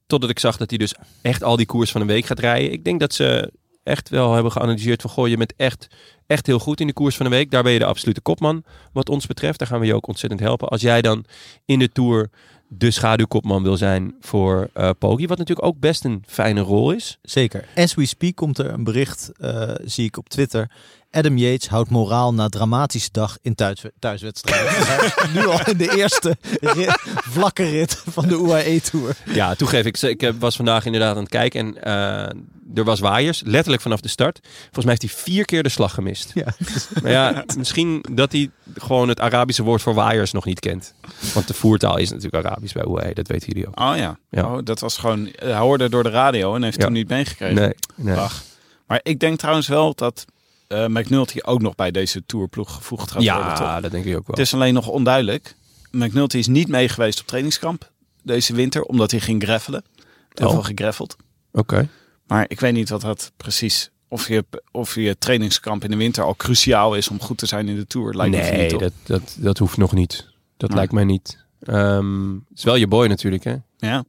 S3: totdat ik zag dat hij dus echt al die koers van een week gaat rijden. Ik denk dat ze echt wel hebben geanalyseerd van, goh, je bent echt, echt heel goed in de koers van een week. Daar ben je de absolute kopman wat ons betreft. Daar gaan we je ook ontzettend helpen. Als jij dan in de Tour de schaduwkopman wil zijn voor eh Poggi, wat natuurlijk ook best een fijne rol is.
S4: Zeker. As we speak komt er een bericht, eh, zie ik op Twitter. Adam Yates houdt moraal na dramatische dag in thuis, thuiswedstrijd. Dus hij is nu al in de eerste rit- vlakke rit van de E UAE-tour.
S3: Ja, toegeef ik. Ik eh, was vandaag inderdaad aan het kijken en eh, er was waaiers, letterlijk vanaf de start. Volgens mij heeft hij vier keer de slag gemist.
S4: Ja.
S3: Maar ja, misschien dat hij gewoon het Arabische woord voor waaiers nog niet kent. Want de voertaal is natuurlijk Arabisch bij UAE, dat weten jullie ook.
S5: Oh ja.
S3: Ja.
S5: Oh, dat was gewoon... Hij hoorde door de radio en heeft
S3: Ja.
S5: toen niet meegekregen.
S3: Nee, nee.
S5: Ach. Maar ik denk trouwens wel dat eh McNulty ook nog bij deze tourploeg gevoegd gaat worden. toch?
S3: Ja, dat denk ik ook
S5: Het
S3: wel.
S5: is alleen nog onduidelijk. McNulty is niet meegeweest op trainingskamp deze winter, omdat hij ging greffelen. Heel
S3: Oh.
S5: veel gegreffeld.
S3: Oké.
S5: Maar ik weet niet wat dat precies... Of je, of je trainingskamp in de winter al cruciaal is om goed te zijn in de Tour. Lijkt me
S3: nee,
S5: niet, toch?
S3: dat, dat, dat hoeft nog niet. Dat
S5: Nee.
S3: lijkt mij niet. Ehm, het is wel je boy natuurlijk, hè?
S5: Ja.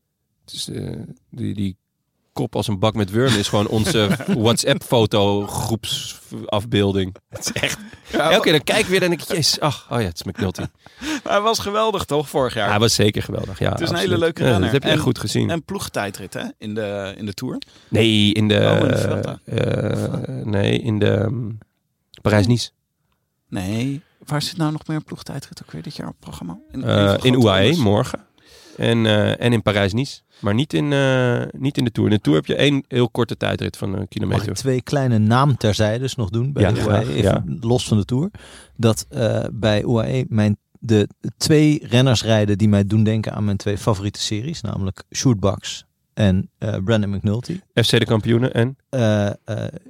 S3: Het is, eh, die, die kop als een bak met wurmen is gewoon onze WhatsApp-foto groepsafbeelding. Het is echt... Elke keer dan kijk ik weer en denk ik, jezus, ach, oh ja, het is McNulty.
S5: Maar hij was geweldig toch, vorig jaar?
S3: Ja, hij was zeker geweldig, ja. Het
S5: is een hele leuke renner.
S3: dat heb je echt
S5: En-
S3: goed gezien.
S5: En ploegtijdrit hè, in de, in de Tour.
S3: nee, in de...
S5: Oh, in de Vuelta.
S3: eh, eh, nee, in de... ehm, Parijs-Nice.
S5: Nee, waar zit nou nog meer een ploegtijdrit ook weer dit jaar op het programma? In,
S3: Eh, in UAE, morgen. En, eh, en in Parijs-Nice. Maar niet in, eh, niet in de Tour. In de Tour heb je één heel korte tijdrit van een
S4: Mag ik
S3: kilometer.
S4: twee kleine naam terzijdes nog doen bij
S3: Ja,
S4: de UAE,
S3: graag,
S4: even
S3: ja.
S4: los van de Tour. Dat eh, bij UAE mijn, de twee renners rijden die mij doen denken aan mijn twee favoriete series. Namelijk Sjoerd Baks en eh, Brandon McNulty.
S3: FC de kampioenen en...
S4: Eh, eh,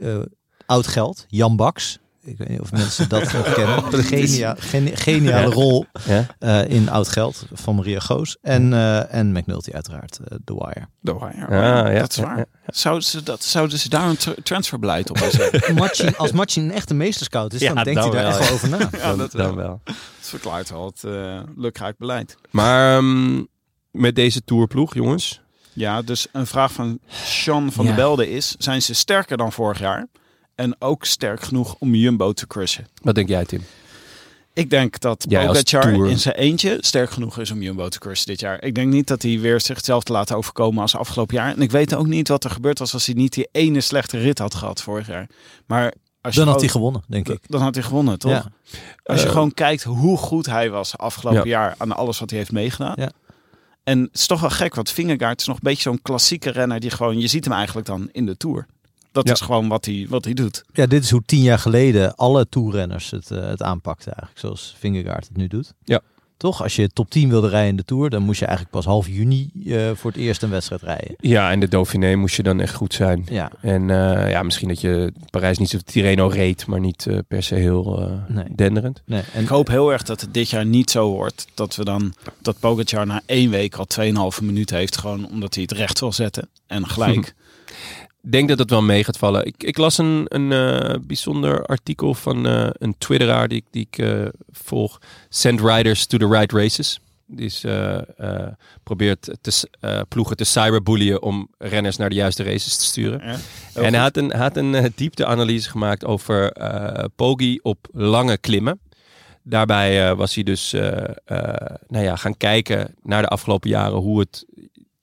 S4: eh, oud geld, Jan Baks. Ik weet niet of mensen dat nog kennen. De genia, geni- geniale
S3: Ja.
S4: rol
S5: Oh,
S3: Ja?
S4: eh, in Oud Geld van Maria Goos. En, eh, en McNulty uiteraard, eh, The Wire.
S5: De Wire.
S3: Ah, ja,
S5: dat is
S3: ja,
S5: waar.
S3: ja.
S5: Zouden, ze dat, zouden ze daar een tra- transferbeleid op hebben?
S4: Martin- als Martin een echte meesterscout is,
S3: Ja,
S4: dan denkt
S3: dan
S4: hij daar
S3: wel,
S4: echt wel over na.
S5: ja,
S3: dan,
S5: dat,
S3: dan wel.
S5: dat verklaart al het eh lukraak beleid.
S3: Maar ehm, met deze tourploeg, jongens.
S5: Ja, dus een vraag van Sean van
S4: Ja.
S5: der Belde is, zijn ze sterker dan vorig jaar? En ook sterk genoeg om Jumbo te crushen?
S3: Wat denk jij, Tim?
S5: Ik denk dat
S3: Jij als
S5: Pogacar
S3: Tour.
S5: in zijn eentje sterk genoeg is om Jumbo te crushen dit jaar. Ik denk niet dat hij weer zichzelf te laten overkomen als afgelopen jaar. En ik weet ook niet wat er gebeurd was als hij niet die ene slechte rit had gehad vorig jaar. Maar Als je
S4: Dan had hij
S5: ook-
S4: gewonnen, denk ik.
S5: dan had hij gewonnen, toch?
S4: Ja.
S5: Als je
S3: Eh,
S5: gewoon kijkt hoe goed hij was afgelopen jaar aan alles wat hij heeft meegedaan.
S4: Ja.
S5: En het is toch wel gek, want Vingegaard is nog een beetje zo'n klassieke renner die gewoon, je ziet hem eigenlijk dan in de Tour. Dat
S3: Ja.
S5: is gewoon wat hij, wat hij doet.
S4: Ja, dit is hoe tien jaar geleden alle toerrenners het, eh, het aanpakten eigenlijk. Zoals Vingegaard het nu doet.
S3: Ja.
S4: Toch? Als je top 10 wilde rijden in de Tour, dan moest je eigenlijk pas half juni eh, voor het eerst een wedstrijd rijden.
S3: Ja, en de Dauphiné moest je dan echt goed zijn.
S4: Ja.
S3: En eh, ja, misschien dat je Parijs niet zo Tireno reed, maar niet eh, per se heel eh,
S4: Nee.
S3: denderend.
S4: Nee, en
S5: Ik hoop heel erg dat het dit jaar niet zo wordt dat we dan, dat Pogacar na één week al 2,5 minuten heeft, gewoon omdat hij het recht wil zetten. En gelijk.
S3: Ik denk dat dat wel mee gaat vallen. Ik, ik las een, een eh, bijzonder artikel van eh, een twitteraar die, ik- die ik eh, volg. Send riders to the right races. Die is, eh, eh, probeert te, s- eh, ploegen te cyberbulliën om renners naar de juiste races te sturen.
S5: Ja, heel
S3: En hij
S5: goed.
S3: had een, hij had een eh, diepteanalyse gemaakt over eh Poggi op lange klimmen. Daarbij eh, was hij dus eh, eh, nou ja, gaan kijken naar de afgelopen jaren hoe het.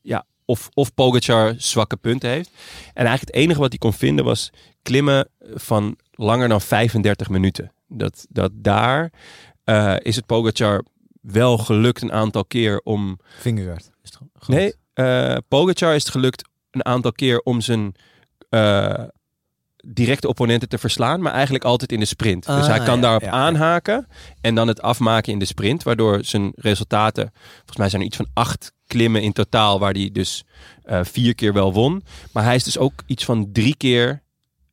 S3: Ja, of, of Pogacar zwakke punten heeft. En eigenlijk het enige wat hij kon vinden was klimmen van langer dan 35 minuten. Dat, dat daar eh, is het Pogacar wel gelukt een aantal keer om
S4: Vingegaard is het goed.
S3: Nee, eh Pogacar is het gelukt een aantal keer om zijn eh, directe opponenten te verslaan, maar eigenlijk altijd in de sprint. dus
S4: Ah,
S3: hij kan
S4: ja,
S3: daarop
S4: ja, ja.
S3: aanhaken en dan het afmaken in de sprint, waardoor zijn resultaten, volgens mij zijn er iets van acht klimmen in totaal, waar hij dus eh, vier keer wel won. Maar hij is dus ook iets van drie keer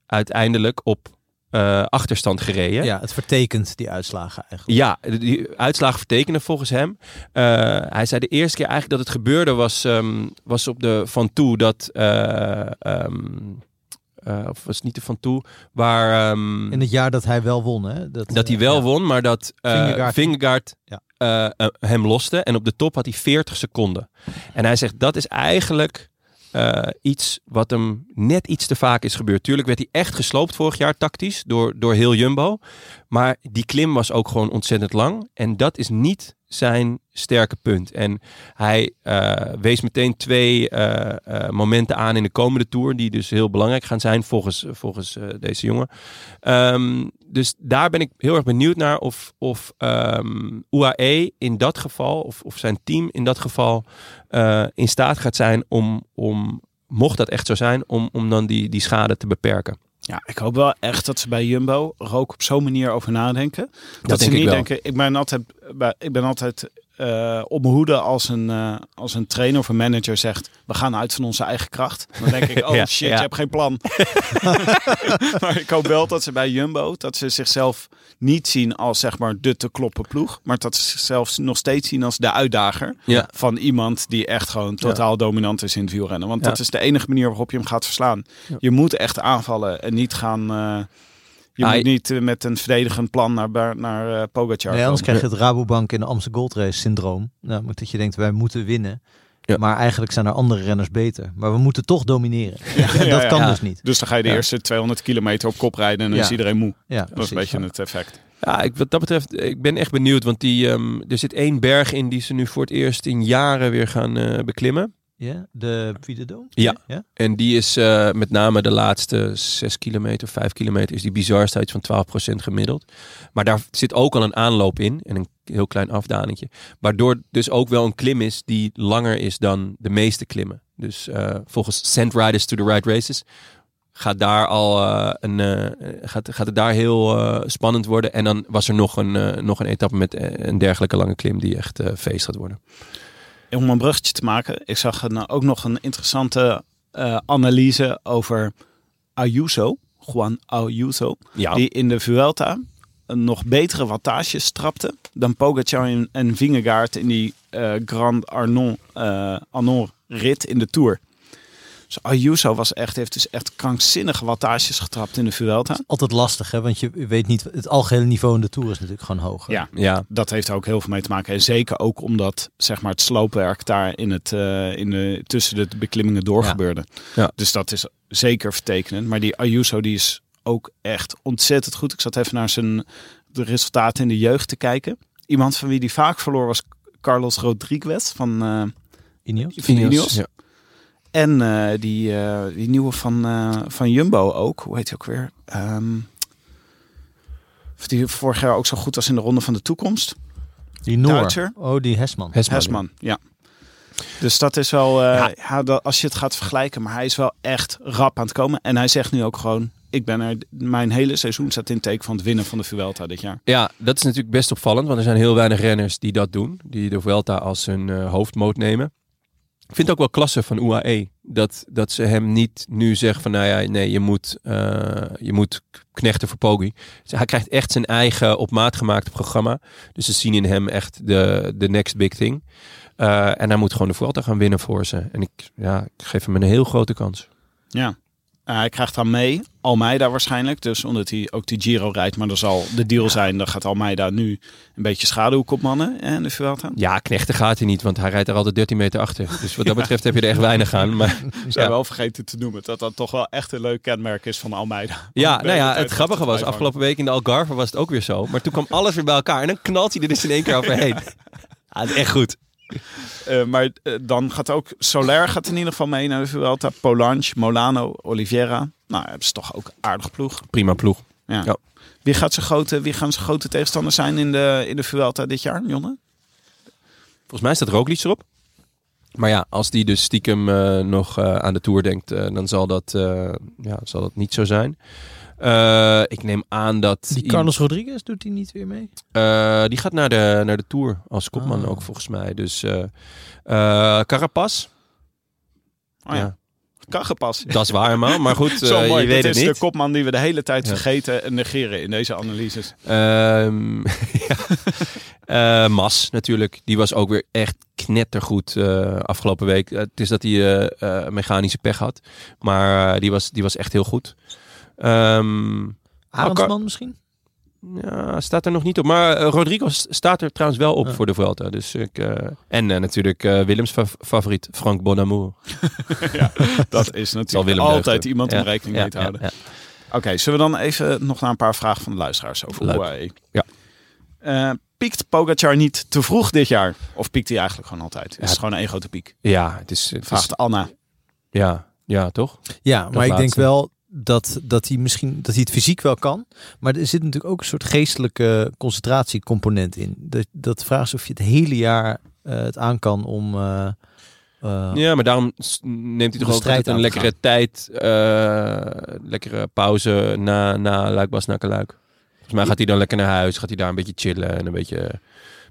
S3: uiteindelijk op eh, achterstand gereden.
S4: Ja, het vertekent die uitslagen eigenlijk.
S3: Ja, de- die uitslagen vertekenen volgens hem. Eh, hij zei de eerste keer eigenlijk dat het gebeurde was, ehm, was op de Van Toe dat... eh, ehm, eh, of was het niet de Van Toe? Waar, ehm,
S4: In het jaar dat hij wel won, hè?
S3: dat hij wel
S4: ja.
S3: won, maar dat eh
S4: Vingegaard-
S3: Vingegaard,
S4: Ja.
S3: eh, eh, hem loste. En op de top had hij 40 seconden. En hij zegt, dat is eigenlijk eh, iets wat hem net iets te vaak is gebeurd. Tuurlijk werd hij echt gesloopt vorig jaar tactisch door, door heel Jumbo. Maar die klim was ook gewoon ontzettend lang. En dat is niet zijn sterke punt. En hij eh, wees meteen twee eh, eh, momenten aan in de komende Tour... die dus heel belangrijk gaan zijn volgens, volgens eh, deze jongen. Ehm, dus daar ben ik heel erg benieuwd naar of, of ehm, UAE in dat geval, of, of zijn team in dat geval, eh, in staat gaat zijn om, om, mocht dat echt zo zijn, om, om dan die, die schade te beperken.
S5: Ja, ik hoop wel echt dat ze bij Jumbo er ook op zo'n manier over nadenken. Dat,
S3: denk
S5: ze
S3: ik
S5: niet
S3: wel.
S5: denken, ik ben altijd, bij- ik ben altijd eh, op mijn hoede als een, eh, als een trainer of een manager zegt, we gaan uit van onze eigen kracht. Dan denk ik, oh
S3: Ja,
S5: shit,
S3: ja.
S5: je hebt geen plan. maar ik hoop wel dat ze bij Jumbo, dat ze zichzelf niet zien als zeg maar de te kloppen ploeg. Maar dat ze zichzelf nog steeds zien als de uitdager
S3: Ja.
S5: van iemand die echt gewoon totaal dominant is in het wielrennen. Want
S3: Ja.
S5: dat is de enige manier waarop je hem gaat verslaan. Je moet echt aanvallen en niet gaan... eh, je
S3: Ah,
S5: moet
S3: je-
S5: niet eh, met een verdedigend plan naar, Bar- naar eh, Pogacar
S4: Nee, anders
S5: komen.
S4: krijg je het Rabobank in de Amsterdam Gold Race syndroom. Namelijk dat je denkt, wij moeten winnen.
S3: Ja.
S4: Maar eigenlijk zijn er andere renners beter. Maar we moeten toch domineren. en dat
S5: ja,
S4: kan
S3: ja.
S4: dus niet.
S5: Dus dan ga je de
S3: Ja.
S5: eerste 200 kilometer op kop rijden en dan
S4: Ja.
S5: is iedereen moe.
S4: Ja,
S5: Dat is
S4: precies.
S5: een beetje het effect.
S3: Ja, ik, wat dat betreft, ik ben echt benieuwd, want die, ehm, er zit één berg in die ze nu voor het eerst in jaren weer gaan eh, beklimmen.
S4: Ja, de Piederdom?
S3: Ja.
S4: ja.
S3: En die is eh, met name de laatste 6 kilometer, 5 kilometer, is die bizar iets van 12% gemiddeld. Maar daar zit ook al een aanloop in en een heel klein afdalingetje. Waardoor dus ook wel een klim is die langer is dan de meeste klimmen. Dus eh, volgens Send Riders to the Right Races gaat, daar al, eh, een, eh, gaat, gaat het daar heel eh, spannend worden. En dan was er nog een, eh, nog een etappe met eh, een dergelijke lange klim die echt eh, feest gaat worden.
S5: Om een bruggetje te maken, ik zag een, eh, ook nog een interessante eh, analyse over Ayuso, Juan Ayuso,
S3: Ja,
S5: die in de Vuelta een nog betere wattage trapte dan Pogacar en- en Vingegaard in die eh Grand Arnon, eh, Arnon rit in de Tour. Dus Ayuso was echt, heeft dus echt krankzinnige wattages getrapt in de Vuelta.
S4: Altijd lastig, hè? Want je weet niet... Het algehele niveau in de Tour is natuurlijk gewoon hoger.
S5: Ja,
S3: ja.
S5: dat heeft er ook heel veel mee te maken. En zeker ook omdat zeg maar, het sloopwerk daar in het, eh, in de, tussen de beklimmingen door
S4: Ja.
S5: gebeurde.
S3: Ja.
S5: Dus dat is zeker vertekenend. Maar die Ayuso die is ook echt ontzettend goed. Ik zat even naar zijn de resultaten in de jeugd te kijken. Iemand van wie die vaak verloor was Carlos Rodriguez van, eh
S4: Ineos?
S5: van Ineos.
S3: Ja.
S5: En eh, die, eh, die nieuwe van, eh, van Jumbo ook. Hoe heet hij ook weer? Ehm, Of die vorig jaar ook zo goed was in de Ronde van de Toekomst.
S4: Die Noor.
S5: Duitser.
S4: Oh, die Hesman.
S3: Hesman.
S5: Hesman, ja. Dus dat is wel, eh,
S3: Ja.
S5: ja. dat, als je het gaat vergelijken, maar hij is wel echt rap aan het komen. En hij zegt nu ook gewoon, ik ben er, mijn hele seizoen staat in teken van het winnen van de Vuelta dit jaar.
S3: Ja, dat is natuurlijk best opvallend, want er zijn heel weinig renners die dat doen. Die de Vuelta als hun eh, hoofdmoot nemen. Ik vind het ook wel klasse van UAE dat, dat ze hem niet nu zeggen van nou ja, nee, je moet, eh, je moet knechten voor Poggi. Dus hij krijgt echt zijn eigen op maat gemaakte programma. Dus ze zien in hem echt de, de next big thing. Eh, en hij moet gewoon de Vuelta gaan winnen voor ze. En ik, ja, ik geef hem een heel grote kans.
S5: Ja. Eh, hij krijgt dan mee, Almeida waarschijnlijk. Dus omdat hij ook die Giro rijdt, maar dat zal de deal zijn. Dan gaat Almeida nu een beetje schaduwkopmannen eh, in de Vuelta.
S3: Ja, knechten gaat hij niet, want hij rijdt er altijd 13 meter achter. Dus wat dat betreft heb je er echt weinig aan. Maar
S5: Ik
S3: Ja.
S5: zou wel vergeten te noemen dat dat toch wel echt een leuk kenmerk is van Almeida.
S3: Ja,
S5: de
S3: nou
S5: hele
S3: ja,
S5: tijd
S3: het grappige
S5: achter
S3: was,
S5: het bijvangen.
S3: afgelopen week in de Algarve was het ook weer zo. Maar toen kwam alles weer bij elkaar en dan knalt hij er dus in één keer overheen. Ja, het is echt goed.
S5: Eh, maar eh, dan gaat ook Soler gaat in ieder geval mee naar de Vuelta. Polange, Molano, Oliveira. Nou, dat is toch ook een aardig ploeg.
S3: Prima ploeg.
S5: Ja.
S3: Ja.
S5: Wie, gaat zijn grote, wie gaan zijn grote tegenstanders zijn in de, in de Vuelta dit jaar, Jonne?
S3: Volgens mij staat Roglic erop. Maar ja, als die dus stiekem eh, nog eh, aan de Tour denkt, eh, dan zal dat, eh, ja, zal dat niet zo zijn. Eh, ik neem aan dat...
S4: Die Carlos Rodriguez doet hij niet weer mee?
S3: Eh, die gaat naar de, naar de Tour als kopman
S4: Ah.
S3: ook volgens mij. Dus eh eh, Carapaz,
S5: Oh ja,
S3: ja.
S5: Kagepas.
S3: dat is waar helemaal. Maar goed,
S5: Zo
S3: eh,
S5: mooi.
S3: je weet
S5: Dit
S3: het
S5: is
S3: niet.
S5: de kopman die we de hele tijd
S3: Ja.
S5: vergeten en negeren in deze analyses.
S3: Ehm ja. Eh, Mas natuurlijk, die was ook weer echt knettergoed eh, afgelopen week. Eh, het is dat hij eh, eh, mechanische pech had, maar eh, die, was, die was echt heel goed. Ehm,
S4: Arendsman misschien?
S3: ja, staat er nog niet op. Maar eh, Rodrigo s- staat er trouwens wel op
S4: Ja.
S3: voor de Vuelta. Dus ik, eh, en eh, natuurlijk eh, Willems fa- favoriet, Frank Bonamour.
S5: Dat is
S3: Zal
S5: natuurlijk
S3: Willem
S5: altijd
S3: deugden.
S5: iemand om
S3: Ja,
S5: rekening
S3: ja,
S5: mee te
S3: ja,
S5: houden.
S3: ja.
S5: Oké, zullen we dan even nog naar een paar vragen van de luisteraars over
S3: Leuk.
S5: UAE?
S3: Ja.
S5: Eh, piekt Pogacar niet te vroeg dit jaar? Of piekt hij eigenlijk gewoon altijd? Is
S3: Ja.
S5: het gewoon één grote piek?
S3: Ja, het is... Het is
S5: Vraagt Anna.
S3: ja, ja, toch?
S4: Ja, maar ik denk
S3: laatste.
S4: wel dat, dat hij misschien dat hij het fysiek wel kan. Maar er zit natuurlijk ook een soort geestelijke concentratiecomponent in. Dat, dat de vraag is of je het hele jaar eh, het aan kan om. eh, eh,
S3: Ja, maar daarom s- neemt hij
S4: de
S3: toch ook
S4: strijd
S3: altijd
S4: aan
S3: een
S4: te
S3: lekkere tijd, eh, lekkere pauze na, na Luikbas naar Luik. Volgens mij gaat hij dan lekker naar huis, gaat hij daar een beetje chillen en een beetje, een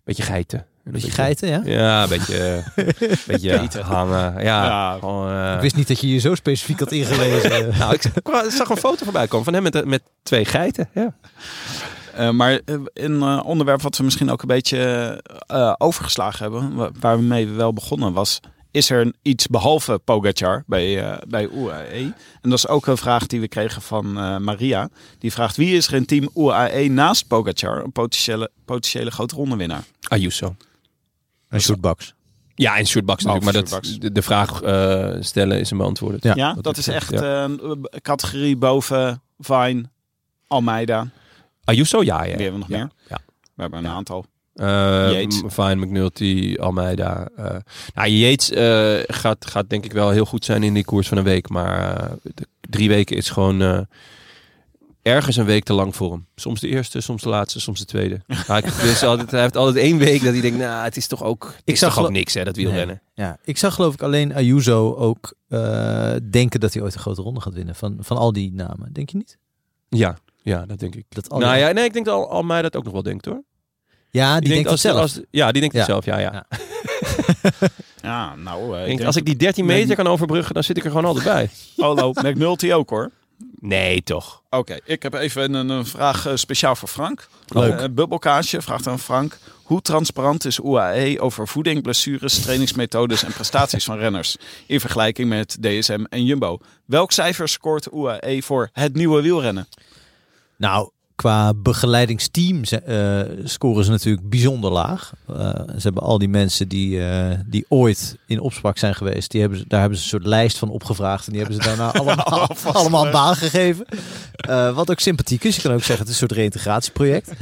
S3: beetje geiten. En Een
S4: Een beetje geiten, ja.
S3: Ja, een beetje, een beetje hangen. Ja,
S5: Ja.
S3: gewoon, eh,
S4: Ik wist niet dat je je zo specifiek had ingelezen.
S3: nou, ik zag- ik zag een foto voorbij komen van hem met, eh, met twee geiten. Ja.
S5: Eh, maar eh, een eh, onderwerp wat we misschien ook een beetje eh, overgeslagen hebben, wa- waar we mee wel begonnen, was: is er een- iets behalve Pogacar bij, eh, bij UAE? En dat is ook een vraag die we kregen van eh, Maria. Die vraagt: wie is er in team UAE naast Pogacar een potentiële, potentiële grote rondewinnaar?
S3: Ayuso.
S4: Een shootbox.
S3: Ja, en Sjoerd Baks natuurlijk.
S5: Behalve
S3: Maar
S5: Sjoerd
S3: dat,
S5: Baks.
S3: de, de vraag eh, stellen is hem beantwoord.
S4: Ja.
S5: Ja, dat, is echt
S3: ja.
S5: eh, een eh, categorie boven Vine, Almeida.
S3: Ayuso, ja, ja.
S5: Wie hebben we nog meer?
S3: ja.
S5: We hebben een aantal.
S3: Eh,
S5: Yates.
S3: M- Fine, McNulty, Almeida. eh nou, Yates eh, gaat, gaat denk ik wel heel goed zijn in die koers van een week. Maar eh, de- drie weken is gewoon eh, ergens een week te lang voor hem. Soms de eerste, soms de laatste, soms de tweede. Hij, dus altijd, hij heeft altijd één week dat hij denkt, nou, het is toch ook, het is
S4: zag
S3: toch ook
S4: wel-
S3: niks hè, dat wielrennen.
S4: Ja, ik zag geloof ik alleen Ayuso ook eh, denken dat hij ooit een grote ronde gaat winnen. Van, van al die namen, denk je niet?
S3: Ja, ja, dat denk ik.
S4: Dat al die-
S3: Nou ja, nee, ik denk dat Al- Almeida dat ook nog wel denkt hoor.
S4: ja, die, denkt
S3: als,
S4: vanzelf.
S3: als- ja, die denkt
S4: Ja.
S3: het zelf, ja, ja.
S4: Ja.
S5: Ja, nou,
S3: Ik
S5: eh, ik
S3: denk,
S5: denk
S3: als ik die 13
S5: Nee,
S3: meter kan overbruggen, dan zit ik er gewoon altijd bij.
S5: Polo McNulty ook hoor.
S3: Nee, toch.
S5: Oké, ik heb even een, een vraag eh, speciaal voor Frank.
S4: Leuk.
S5: Eh, bubbelkaasje vraagt aan Frank. Hoe transparant is UAE over voeding, blessures, trainingsmethodes en prestaties van renners? In vergelijking met DSM en Jumbo. Welk cijfer scoort UAE voor het nieuwe wielrennen?
S4: Nou, qua begeleidingsteam ze- eh, scoren ze natuurlijk bijzonder laag. Eh, ze hebben al die mensen die, eh, die ooit in opspraak zijn geweest, die hebben, ze- daar hebben ze een soort lijst van opgevraagd. En die hebben ze daarna allemaal, allemaal een baan gegeven. Eh, wat ook sympathiek is. Je kan ook zeggen, het is een soort reïntegratieproject.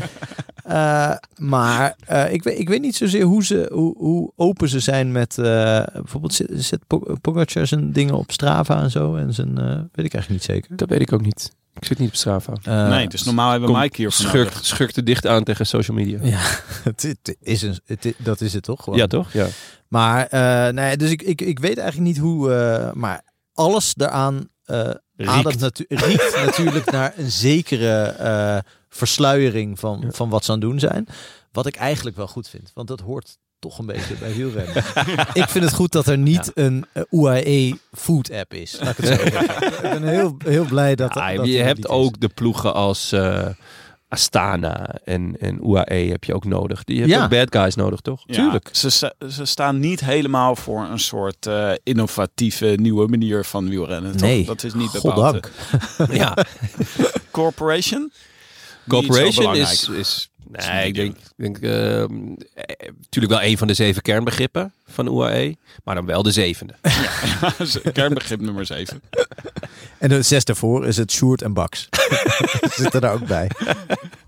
S4: Eh, maar eh, ik, weet, ik weet niet zozeer hoe, ze, hoe, hoe open ze zijn met... eh, bijvoorbeeld zet, zet Po- Pogacar zijn dingen op Strava en zo. En zijn, eh, weet ik eigenlijk niet zeker.
S3: Dat weet ik ook niet. Ik Ik zit niet op Strava.
S4: Eh,
S5: nee, dus normaal hebben we
S3: kom,
S5: Mike hier voor nodig.
S3: Schurkt, schurkte dicht aan tegen social media. Ja,
S4: het, het is een, het is- dat is het toch? Gewoon.
S3: toch? Ja.
S4: Maar, eh, nee, dus ik, ik, ik weet eigenlijk niet hoe... eh, maar alles daaraan eh ademt natu- riekt natuurlijk naar een zekere eh, versluiering van, van wat ze aan het doen zijn. Wat ik eigenlijk wel goed vind, want dat hoort toch een beetje bij wielrennen. ik vind het goed dat er niet een eh, UAE food app is. Laat ik, het zo zeggen. ik ben heel, heel blij dat,
S3: Ah,
S4: dat
S3: je
S4: er
S3: hebt
S4: niet is.
S3: ook de ploegen als eh, Astana en, en UAE heb je ook nodig. Die hebben
S4: Ja.
S3: ook bad guys nodig, toch?
S5: Ja, Ze, sta- ze staan niet helemaal voor een soort eh, innovatieve nieuwe manier van wielrennen. toch?
S4: Nee,
S5: dat is niet bepaald. eh,
S4: goddank.
S3: ja.
S5: Corporation? Niet zo
S3: Corporation
S5: belangrijk.
S3: is, is...
S5: niet
S3: Nee, ik denk... denk ehm, eh, natuurlijk wel een van de zeven kernbegrippen van UAE. Maar dan wel de zevende.
S5: Kernbegrip nummer 7.
S4: En de zes daarvoor is het Sjoerd en Baks. Zitten daar ook bij.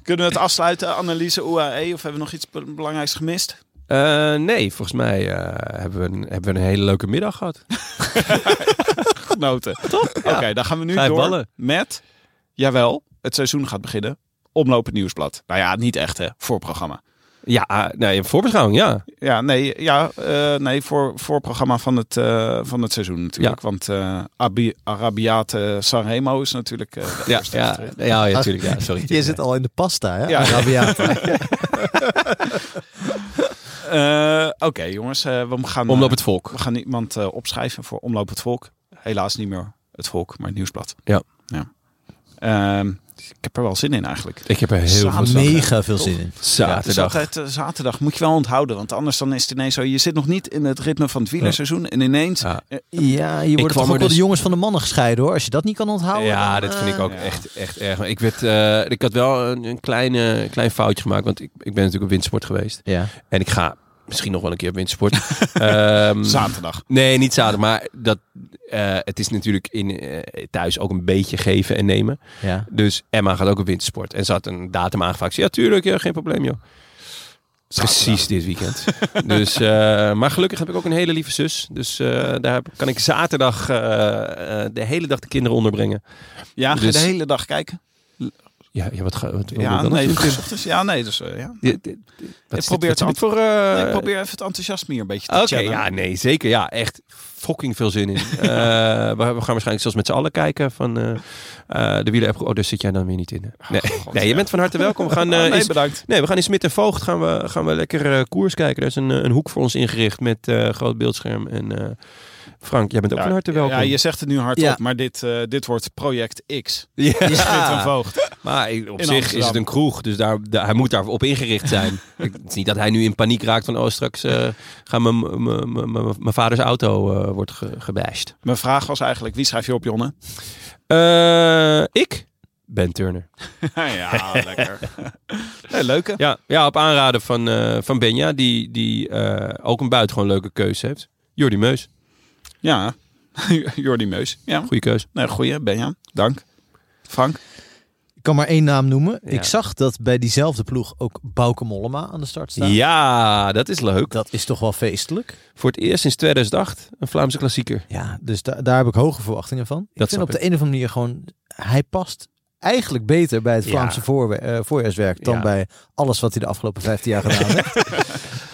S5: Kunnen we het afsluiten, analyse UAE? Of hebben we nog iets be- belangrijks gemist?
S3: Eh, nee, volgens mij eh, hebben, we een, hebben we een hele leuke middag gehad.
S5: Genoten. Oké, dan gaan we nu
S3: Vijf
S5: door
S3: ballen.
S5: met, jawel, het seizoen gaat beginnen. Omlopend nieuwsblad. Nou ja, niet echt hè, voorprogramma.
S3: Ja, ah, nee, een voorbeschouwing, ja.
S5: Ja, nee, ja, eh, nee voor, voorprogramma van het, eh, van het seizoen natuurlijk. Want eh Abi, Arabiate Sanremo is natuurlijk eh, de
S3: Ja,
S5: eerste
S3: ja,
S5: wedstrijd.
S3: ja, ja, tuurlijk, ja sorry.
S4: Je zit al in de pasta, hè?
S5: Ja.
S4: Arabiata.
S5: Eh, Oké jongens, eh, we gaan...
S3: Omloop het volk.
S5: We gaan iemand eh, opschrijven voor Omloop het Volk. Helaas niet meer het Volk, maar het Nieuwsblad.
S3: Ja.
S5: ja. Ehm, ik heb er wel zin in eigenlijk.
S3: Ik heb er heel
S5: Samen-
S3: veel zin in.
S4: Mega veel zin in.
S5: Het is
S3: Zaterdag.
S5: altijd eh, zaterdag. Moet je wel onthouden, want anders dan is het ineens zo. Je zit nog niet in het ritme van het wielerseizoen en ineens...
S3: Ja.
S4: Ja, je wordt
S3: kwam
S4: toch
S3: er
S4: ook wel de
S3: dus-
S4: jongens van de mannen gescheiden hoor. Als je dat niet kan onthouden.
S3: Ja,
S4: dan,
S3: dat vind ik
S4: eh,
S3: ook
S5: ja.
S3: echt, echt erg. Maar Ik, werd, eh, ik had wel een, een kleine, klein foutje gemaakt, want ik, ik ben natuurlijk op windsport geweest.
S4: Ja.
S3: En ik ga misschien nog wel een keer op windsport. Ehm,
S5: Zaterdag.
S3: nee, niet zaterdag, maar dat, eh, het is natuurlijk in, eh, thuis ook een beetje geven en nemen.
S4: ja.
S3: Dus Emma gaat ook op wintersport. En ze had een datum aangevraagd. Ik zei, Ja, tuurlijk, ja, geen probleem joh. Precies dit weekend. dus, eh, maar gelukkig heb ik ook een hele lieve zus. Dus eh, daar heb- kan ik zaterdag eh, eh, de hele dag de kinderen onderbrengen.
S5: Ja, ga je
S3: Dus-
S5: de hele dag kijken.
S3: Ja, ja wat ga wat, wat
S5: Ja,
S3: dan?
S5: nee,
S3: Wat is
S5: dus, ja, nee, dus eh, ja.
S3: dit- dit- wat
S5: Ik
S3: is
S5: probeer
S3: dit-
S5: het
S3: wat heb ik voor... eh,
S5: ik probeer even het enthousiasme hier een beetje te
S3: Oké,
S5: channelen.
S3: ja, nee, zeker. Ja, echt fucking veel zin in. Eh, we, we gaan waarschijnlijk zelfs met z'n allen kijken van eh eh de wielen. Oh, daar zit jij dan weer niet in. hè? Nee,
S5: Oh, God,
S3: nee je
S5: ja.
S3: bent van harte welkom. We gaan
S5: Ah,
S3: eh,
S5: nee,
S3: eens-
S5: bedankt.
S3: Nee, we gaan in Smit en Voogd gaan we, gaan we lekker eh, koers kijken. Er is een, eh, een hoek voor ons ingericht met eh, groot beeldscherm. En eh, Frank, jij bent ook
S5: Ja,
S3: van harte welkom.
S5: Ja, je zegt het nu hardop,
S4: Ja.
S5: maar dit, eh, dit wordt project X.
S3: Ja,
S5: Is dit een voogd?
S3: maar ik- op
S5: In
S3: zich
S5: Amsterdam.
S3: is het een kroeg, dus daar, daar- hij moet daarop ingericht zijn. Ik- het is niet dat hij nu in paniek raakt van... oh, straks eh, gaan mijn- mijn- mijn- mijn mijn- mijn vaders auto eh wordt ge, gebashed.
S5: Mijn vraag was eigenlijk, wie schrijf je op, Jonne?
S3: Eh, ik? Ben Turner.
S5: ja, lekker. Nee, leuke.
S3: Ja, ja op aanraden van, eh, van Benja, die, die eh, ook een buitengewoon leuke keuze heeft. Jordi Meus,
S5: Ja, Jordi Meus. Ja,
S3: goede keuze.
S5: nee, goeie. Benja, dank. Frank.
S4: Ik kan maar één naam noemen.
S3: Ja.
S4: Ik zag dat bij diezelfde ploeg ook Bouke Mollema aan de start staat.
S3: Ja, dat is leuk.
S4: Dat is toch wel feestelijk.
S3: Voor het eerst sinds 2008 een Vlaamse klassieker.
S4: Ja, dus da- daar heb ik hoge verwachtingen van.
S3: Dat
S4: ik vind
S3: snap
S4: op de een of andere manier gewoon... Hij past eigenlijk beter bij het
S3: Ja.
S4: Vlaamse voorwe- eh, voorjaarswerk... dan
S3: Ja.
S4: bij alles wat hij de afgelopen 15 jaar gedaan heeft.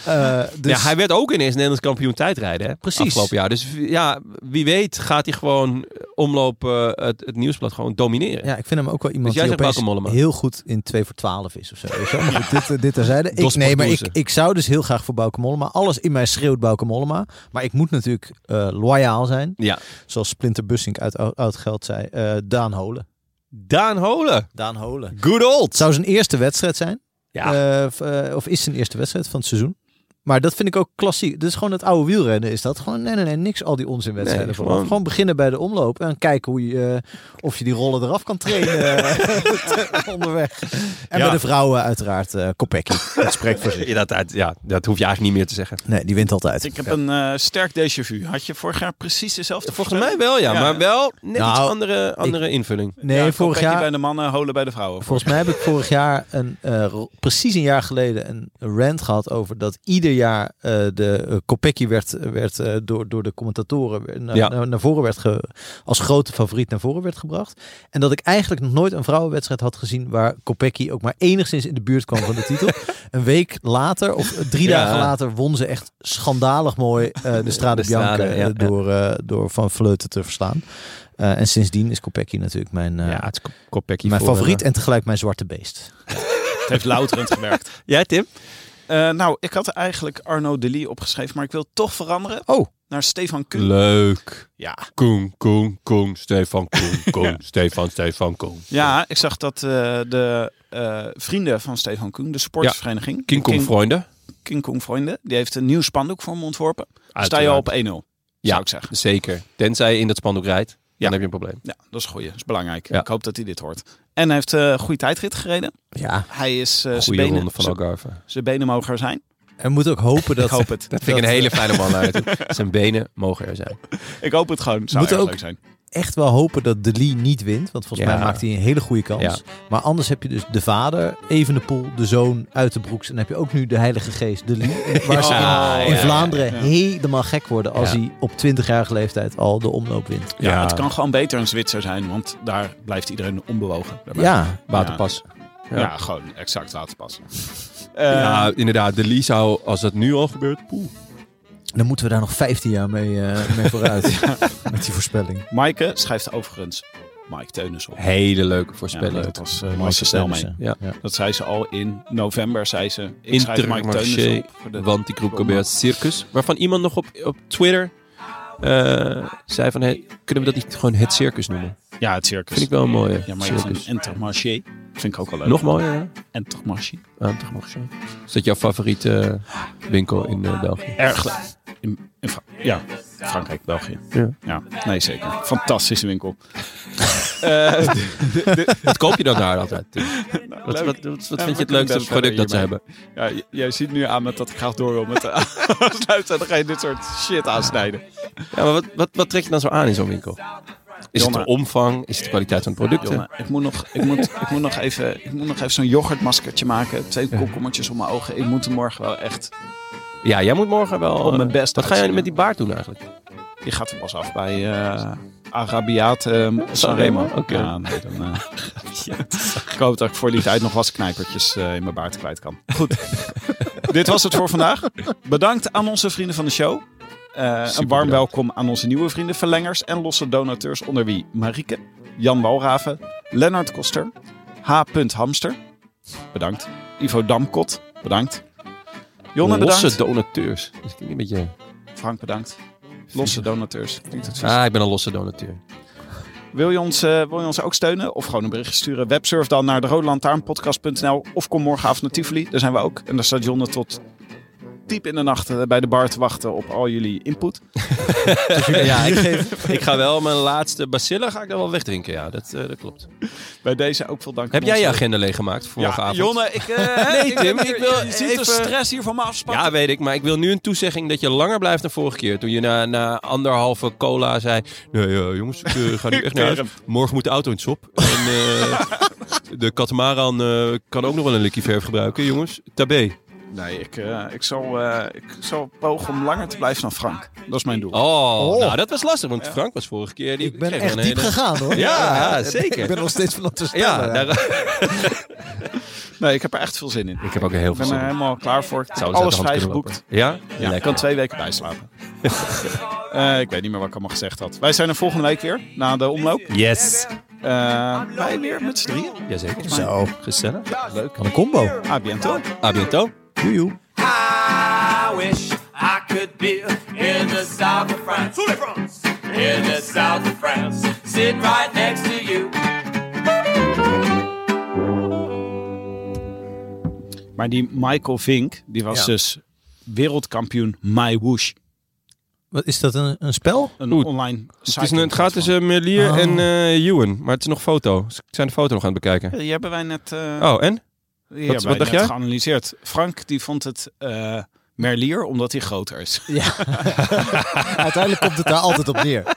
S4: Eh, dus
S3: Ja, hij werd ook ineens Nederlands kampioen tijdrijden. Hè?
S4: Precies.
S3: Afgelopen jaar. Dus ja, wie weet gaat hij gewoon omlopen het, het nieuwsblad gewoon domineren.
S4: Ja, ik vind hem ook wel iemand
S3: Dus jij
S4: die
S3: zegt
S4: opeens
S3: Bauke Mollema.
S4: heel goed in 2 voor 12 is of zo. Weet je? wel. Maar goed, dit, eh, dit terzijde. Ik,
S3: Dos
S4: nee, maar ik,
S3: Portuguese.
S4: ik zou dus heel graag voor Bauke Mollema. Alles in mij schreeuwt Bauke Mollema. Maar ik moet natuurlijk eh, loyaal zijn.
S3: Ja.
S4: Zoals Splinter Bussink uit Oud- Oud-Geld zei. eh, Daan Holen.
S3: Daan Holen.
S4: Daan Holen.
S3: Good old.
S4: Het zou zijn eerste wedstrijd zijn.
S3: Ja.
S4: Eh, of, eh, of is zijn eerste wedstrijd van het seizoen. Maar dat vind ik ook klassiek. Dus gewoon het oude wielrennen is dat. Gewoon nee, nee, nee. Niks al die onzinwedstrijden.
S3: Nee,
S4: vooraf.
S3: gewoon-
S4: gewoon beginnen bij de omloop. En kijken hoe je, eh, of je die rollen eraf kan trainen eh, onderweg. En
S3: Ja.
S4: bij de vrouwen uiteraard eh Kopecky. Dat spreekt voor zich.
S3: Ja, dat, uit- ja, dat hoef je eigenlijk niet meer te zeggen.
S4: Nee, die wint altijd.
S5: Ik heb
S4: Ja.
S5: een eh, sterk déjà vu. Had je vorig jaar precies dezelfde
S3: Volgens mij wel, ja.
S5: Ja.
S3: Maar wel net
S4: Nou,
S3: iets andere, andere invulling.
S4: Nee, vorig jaar...
S5: bij de mannen, holen bij de vrouwen.
S4: Volgens mij heb ik vorig jaar, een, eh, ro- precies een jaar geleden, een rant gehad over dat ieder jaar eh, de uh, werd, werd eh, door, door de commentatoren weer naar,
S3: Ja.
S4: naar, naar voren werd ge, als grote favoriet naar voren werd gebracht. En dat ik eigenlijk nog nooit een vrouwenwedstrijd had gezien waar Kopecky ook maar enigszins in de buurt kwam van de titel. een week later of drie
S3: Ja.
S4: dagen later won ze echt schandalig mooi eh, de Strade
S3: De
S4: Bianca
S3: Strade,
S4: eh,
S3: ja, ja.
S4: door, eh, door Van Vleuten te verslaan. Eh, en sindsdien is Kopecky natuurlijk mijn, eh,
S3: ja, het is kop- koppekkie
S4: mijn
S3: voor,
S4: favoriet
S3: eh,
S4: en tegelijk mijn zwarte beest.
S5: Het heeft louterend gewerkt.
S3: jij, Tim?
S5: Eh, nou, ik had eigenlijk Arno Delis opgeschreven, maar ik wil toch veranderen
S4: Oh.
S5: naar Stefan Kuhn.
S3: Leuk.
S5: Ja.
S3: Koen, Koen, Koen, Stefan, Koen, Koen, Stefan, Stefan, Koen.
S5: Ja, ik zag dat eh, de eh, vrienden van Stefan Koen, de sportvereniging,
S3: King Kong Freunde.
S5: King Kong Vrienden, die heeft een nieuw spandoek voor hem ontworpen. Sta je al op 1-0,
S3: Ja.
S5: zou ik zeggen.
S3: Zeker. Tenzij je in dat spandoek rijdt, dan
S5: Ja. Eh,
S3: heb je een probleem.
S5: Ja, dat is goed. Dat is belangrijk.
S3: Ja.
S5: Ik hoop dat hij dit hoort. En hij heeft eh, een goede tijdrit gereden.
S4: Ja,
S5: Hij is eh zijn
S3: Goede
S5: benen,
S3: ronde van Algarve.
S5: zijn benen mogen er zijn.
S4: en we moeten ook hopen dat...
S5: Ik hoop het.
S3: Dat vind ik een hele fijne man uit. Zijn benen mogen er zijn.
S5: Ik hoop het gewoon. Zou
S4: Moet
S5: erg
S4: ook-
S5: leuk zijn.
S4: echt wel hopen dat De Lee niet wint. Want volgens
S3: Ja.
S4: mij maakt hij een hele goede kans.
S3: Ja.
S4: Maar anders heb je dus de vader, Evenepoel, de zoon uit de broeks. En dan heb je ook nu de heilige geest, De Lee. Waar ze
S3: Ja,
S4: in
S3: ja,
S4: Vlaanderen
S5: ja.
S4: helemaal gek worden als
S3: Ja.
S4: hij op 20-jarige leeftijd al de omloop wint.
S5: Ja, Het kan gewoon beter een Zwitser zijn, want daar blijft iedereen onbewogen. Daarbij.
S4: Ja,
S3: Waterpas.
S5: Ja, Eh,
S3: Ja.
S5: gewoon exact laten passen.
S3: Ja, inderdaad. De Lee zou, als dat nu al gebeurt, poeh.
S4: dan moeten we daar nog 15 jaar mee, eh, mee vooruit. Met die voorspelling.
S5: Maaike schrijft overigens Mike Teunis op.
S3: Hele leuke
S5: Ja,
S3: voorspeller.
S5: dat was eh, was ze snel
S4: Snel
S5: mee.
S3: Ja.
S5: Dat zei ze al in november, zei ze. Ik schrijf Mike Teunis
S3: Intermarché,
S5: op. voor de-
S3: want die groep probeert circus. Waarvan iemand nog op, op Twitter eh, zei van, hey, kunnen we dat niet gewoon het circus noemen?
S5: Ja, het circus.
S3: Vind ik wel een mooie.
S5: ja, maar je
S3: circus.
S5: van Intermarché vind ik ook al leuk.
S3: Nog mooier, hè?
S5: Intermarché.
S3: Ah, toch nog zo. Is dat jouw favoriete eh, winkel in eh, België?
S5: Erg leuk. In, in Fra- ja, Frankrijk, België.
S3: Ja.
S5: nee zeker. Fantastische winkel.
S3: Wat koop je dan daar altijd? Tim? Wat,
S5: leuk.
S3: wat, wat, wat
S5: Ja,
S3: vind je het leukste
S5: we kunnen best verder
S3: product dat ze
S5: hiermee.
S3: hebben?
S5: Ja, j- jij ziet nu aan met dat ik graag door wil met de afsluiten. Dan ga je dit soort shit aansnijden.
S3: Ja, maar wat, wat, wat trek je dan zo aan in zo'n winkel? Is
S5: Jonne.
S3: het de omvang? Is het de kwaliteit van de producten?
S5: Jongen, ik moet nog, ik moet, ik moet nog even, ik moet nog even zo'n yoghurtmaskertje maken. Twee komkommertjes om mijn ogen. Ik moet er morgen wel echt...
S3: Ja, jij moet morgen wel...
S5: Op mijn
S3: eh,
S5: best
S3: Wat ga jij
S5: uitzien.
S3: met die baard doen eigenlijk?
S5: Je gaat er pas af bij eh, Arabiaat ehm, Sanremo.
S3: Sanremo, oké.
S5: Ja, nee, dan, eh, ik hoop dat ik voor die tijd nog wat knijpertjes eh, in mijn baard kwijt kan. Goed, dit was het voor vandaag. Bedankt aan onze vrienden van de show. Eh, een warm
S3: bedankt.
S5: welkom aan onze nieuwe vrienden, verlengers en losse donateurs, onder wie Marieke, Jan Walraven, Lennart Koster, H. Hamster, bedankt. Ivo Damkot, bedankt. Jonne, bedankt.
S3: Losse donateurs. Dat klinkt een beetje...
S5: Frank, bedankt. Losse donateurs. Klinkt het vies?
S3: Ah, ik ben een losse donateur.
S5: Wil je, ons, eh, wil je ons ook steunen? Of gewoon een berichtje sturen? Websurf dan naar de Of kom morgenavond naar Tivoli. Daar zijn we ook. En daar staat Jonne tot diep in de nacht eh, bij de bar te wachten op al jullie input.
S3: ja, ik, geef- ik ga wel mijn laatste bacillen ga ik dan wel wegdrinken. Ja, dat, eh, dat klopt.
S5: Bij deze ook veel dank.
S3: Heb
S5: aan
S3: jij
S5: onze-
S3: je agenda leeggemaakt voor
S5: Ja,
S3: morgenavond?
S5: Jonne, ik... eh,
S3: Nee, Tim,
S5: heb
S3: ik
S5: hier-
S3: wil
S5: Je ziet
S3: even-
S5: de stress hier van me afspannen.
S3: Ja, weet ik. Maar ik wil nu een toezegging dat je langer blijft dan vorige keer. Toen je na, na anderhalve cola zei... Nee, eh, jongens, ik eh, ga nu echt naar huis. Morgen moet de auto in het sop. En eh, de katamaran eh, kan ook nog wel een likje verf gebruiken, jongens. Tabé.
S5: Nee, ik, eh, ik, zal, eh, ik zal pogen om langer te blijven dan Frank. Dat is mijn doel.
S3: Oh,
S4: Oh.
S3: nou dat was lastig. Want Frank was vorige keer... Die,
S4: Ik ben
S3: kreeg
S4: echt
S3: een
S4: diep
S3: hele-
S4: gegaan hoor.
S3: Ja,
S4: Ik
S3: zeker.
S4: ben nog steeds van dat te
S3: Ja,
S4: stellen.
S3: daar...
S5: Nee, ik heb er echt veel zin in.
S3: Ik heb ook heel
S5: Ik ben er helemaal klaar voor. Ik heb
S3: Zou
S5: alles vrijgeboekt.
S3: Ja?
S5: Ja, ik kan twee weken bijslapen. Eh, ik weet niet meer wat ik allemaal gezegd had. Wij zijn er volgende week weer, na de omloop.
S3: Yes.
S5: Eh, wij weer met z'n drieën.
S3: Jazeker.
S4: Zo,
S3: Gezellig.
S4: wat een combo.
S5: A bientôt.
S3: A bientôt.
S4: Joe, joe.
S6: I wish I could be in the south of France. In the south of France. Sit right next to you.
S5: Maar die Michael Vink, die was
S4: Ja.
S5: dus wereldkampioen My Woosh.
S4: Wat is dat, een, een spel?
S5: Een
S3: Oeh,
S5: online site.
S3: Het, is een, het gaat dus, tussen Melier
S4: Oh.
S3: en eh Ewan, maar het is nog foto. Ze zijn de foto nog aan het bekijken.
S5: Die hebben wij net, eh,
S3: Oh, en?
S5: die hebben wij
S3: wat dacht
S5: net
S3: jij?
S5: geanalyseerd. Frank die vond het eh, Merlier omdat hij groter is.
S4: Ja. Uiteindelijk komt het daar altijd op neer.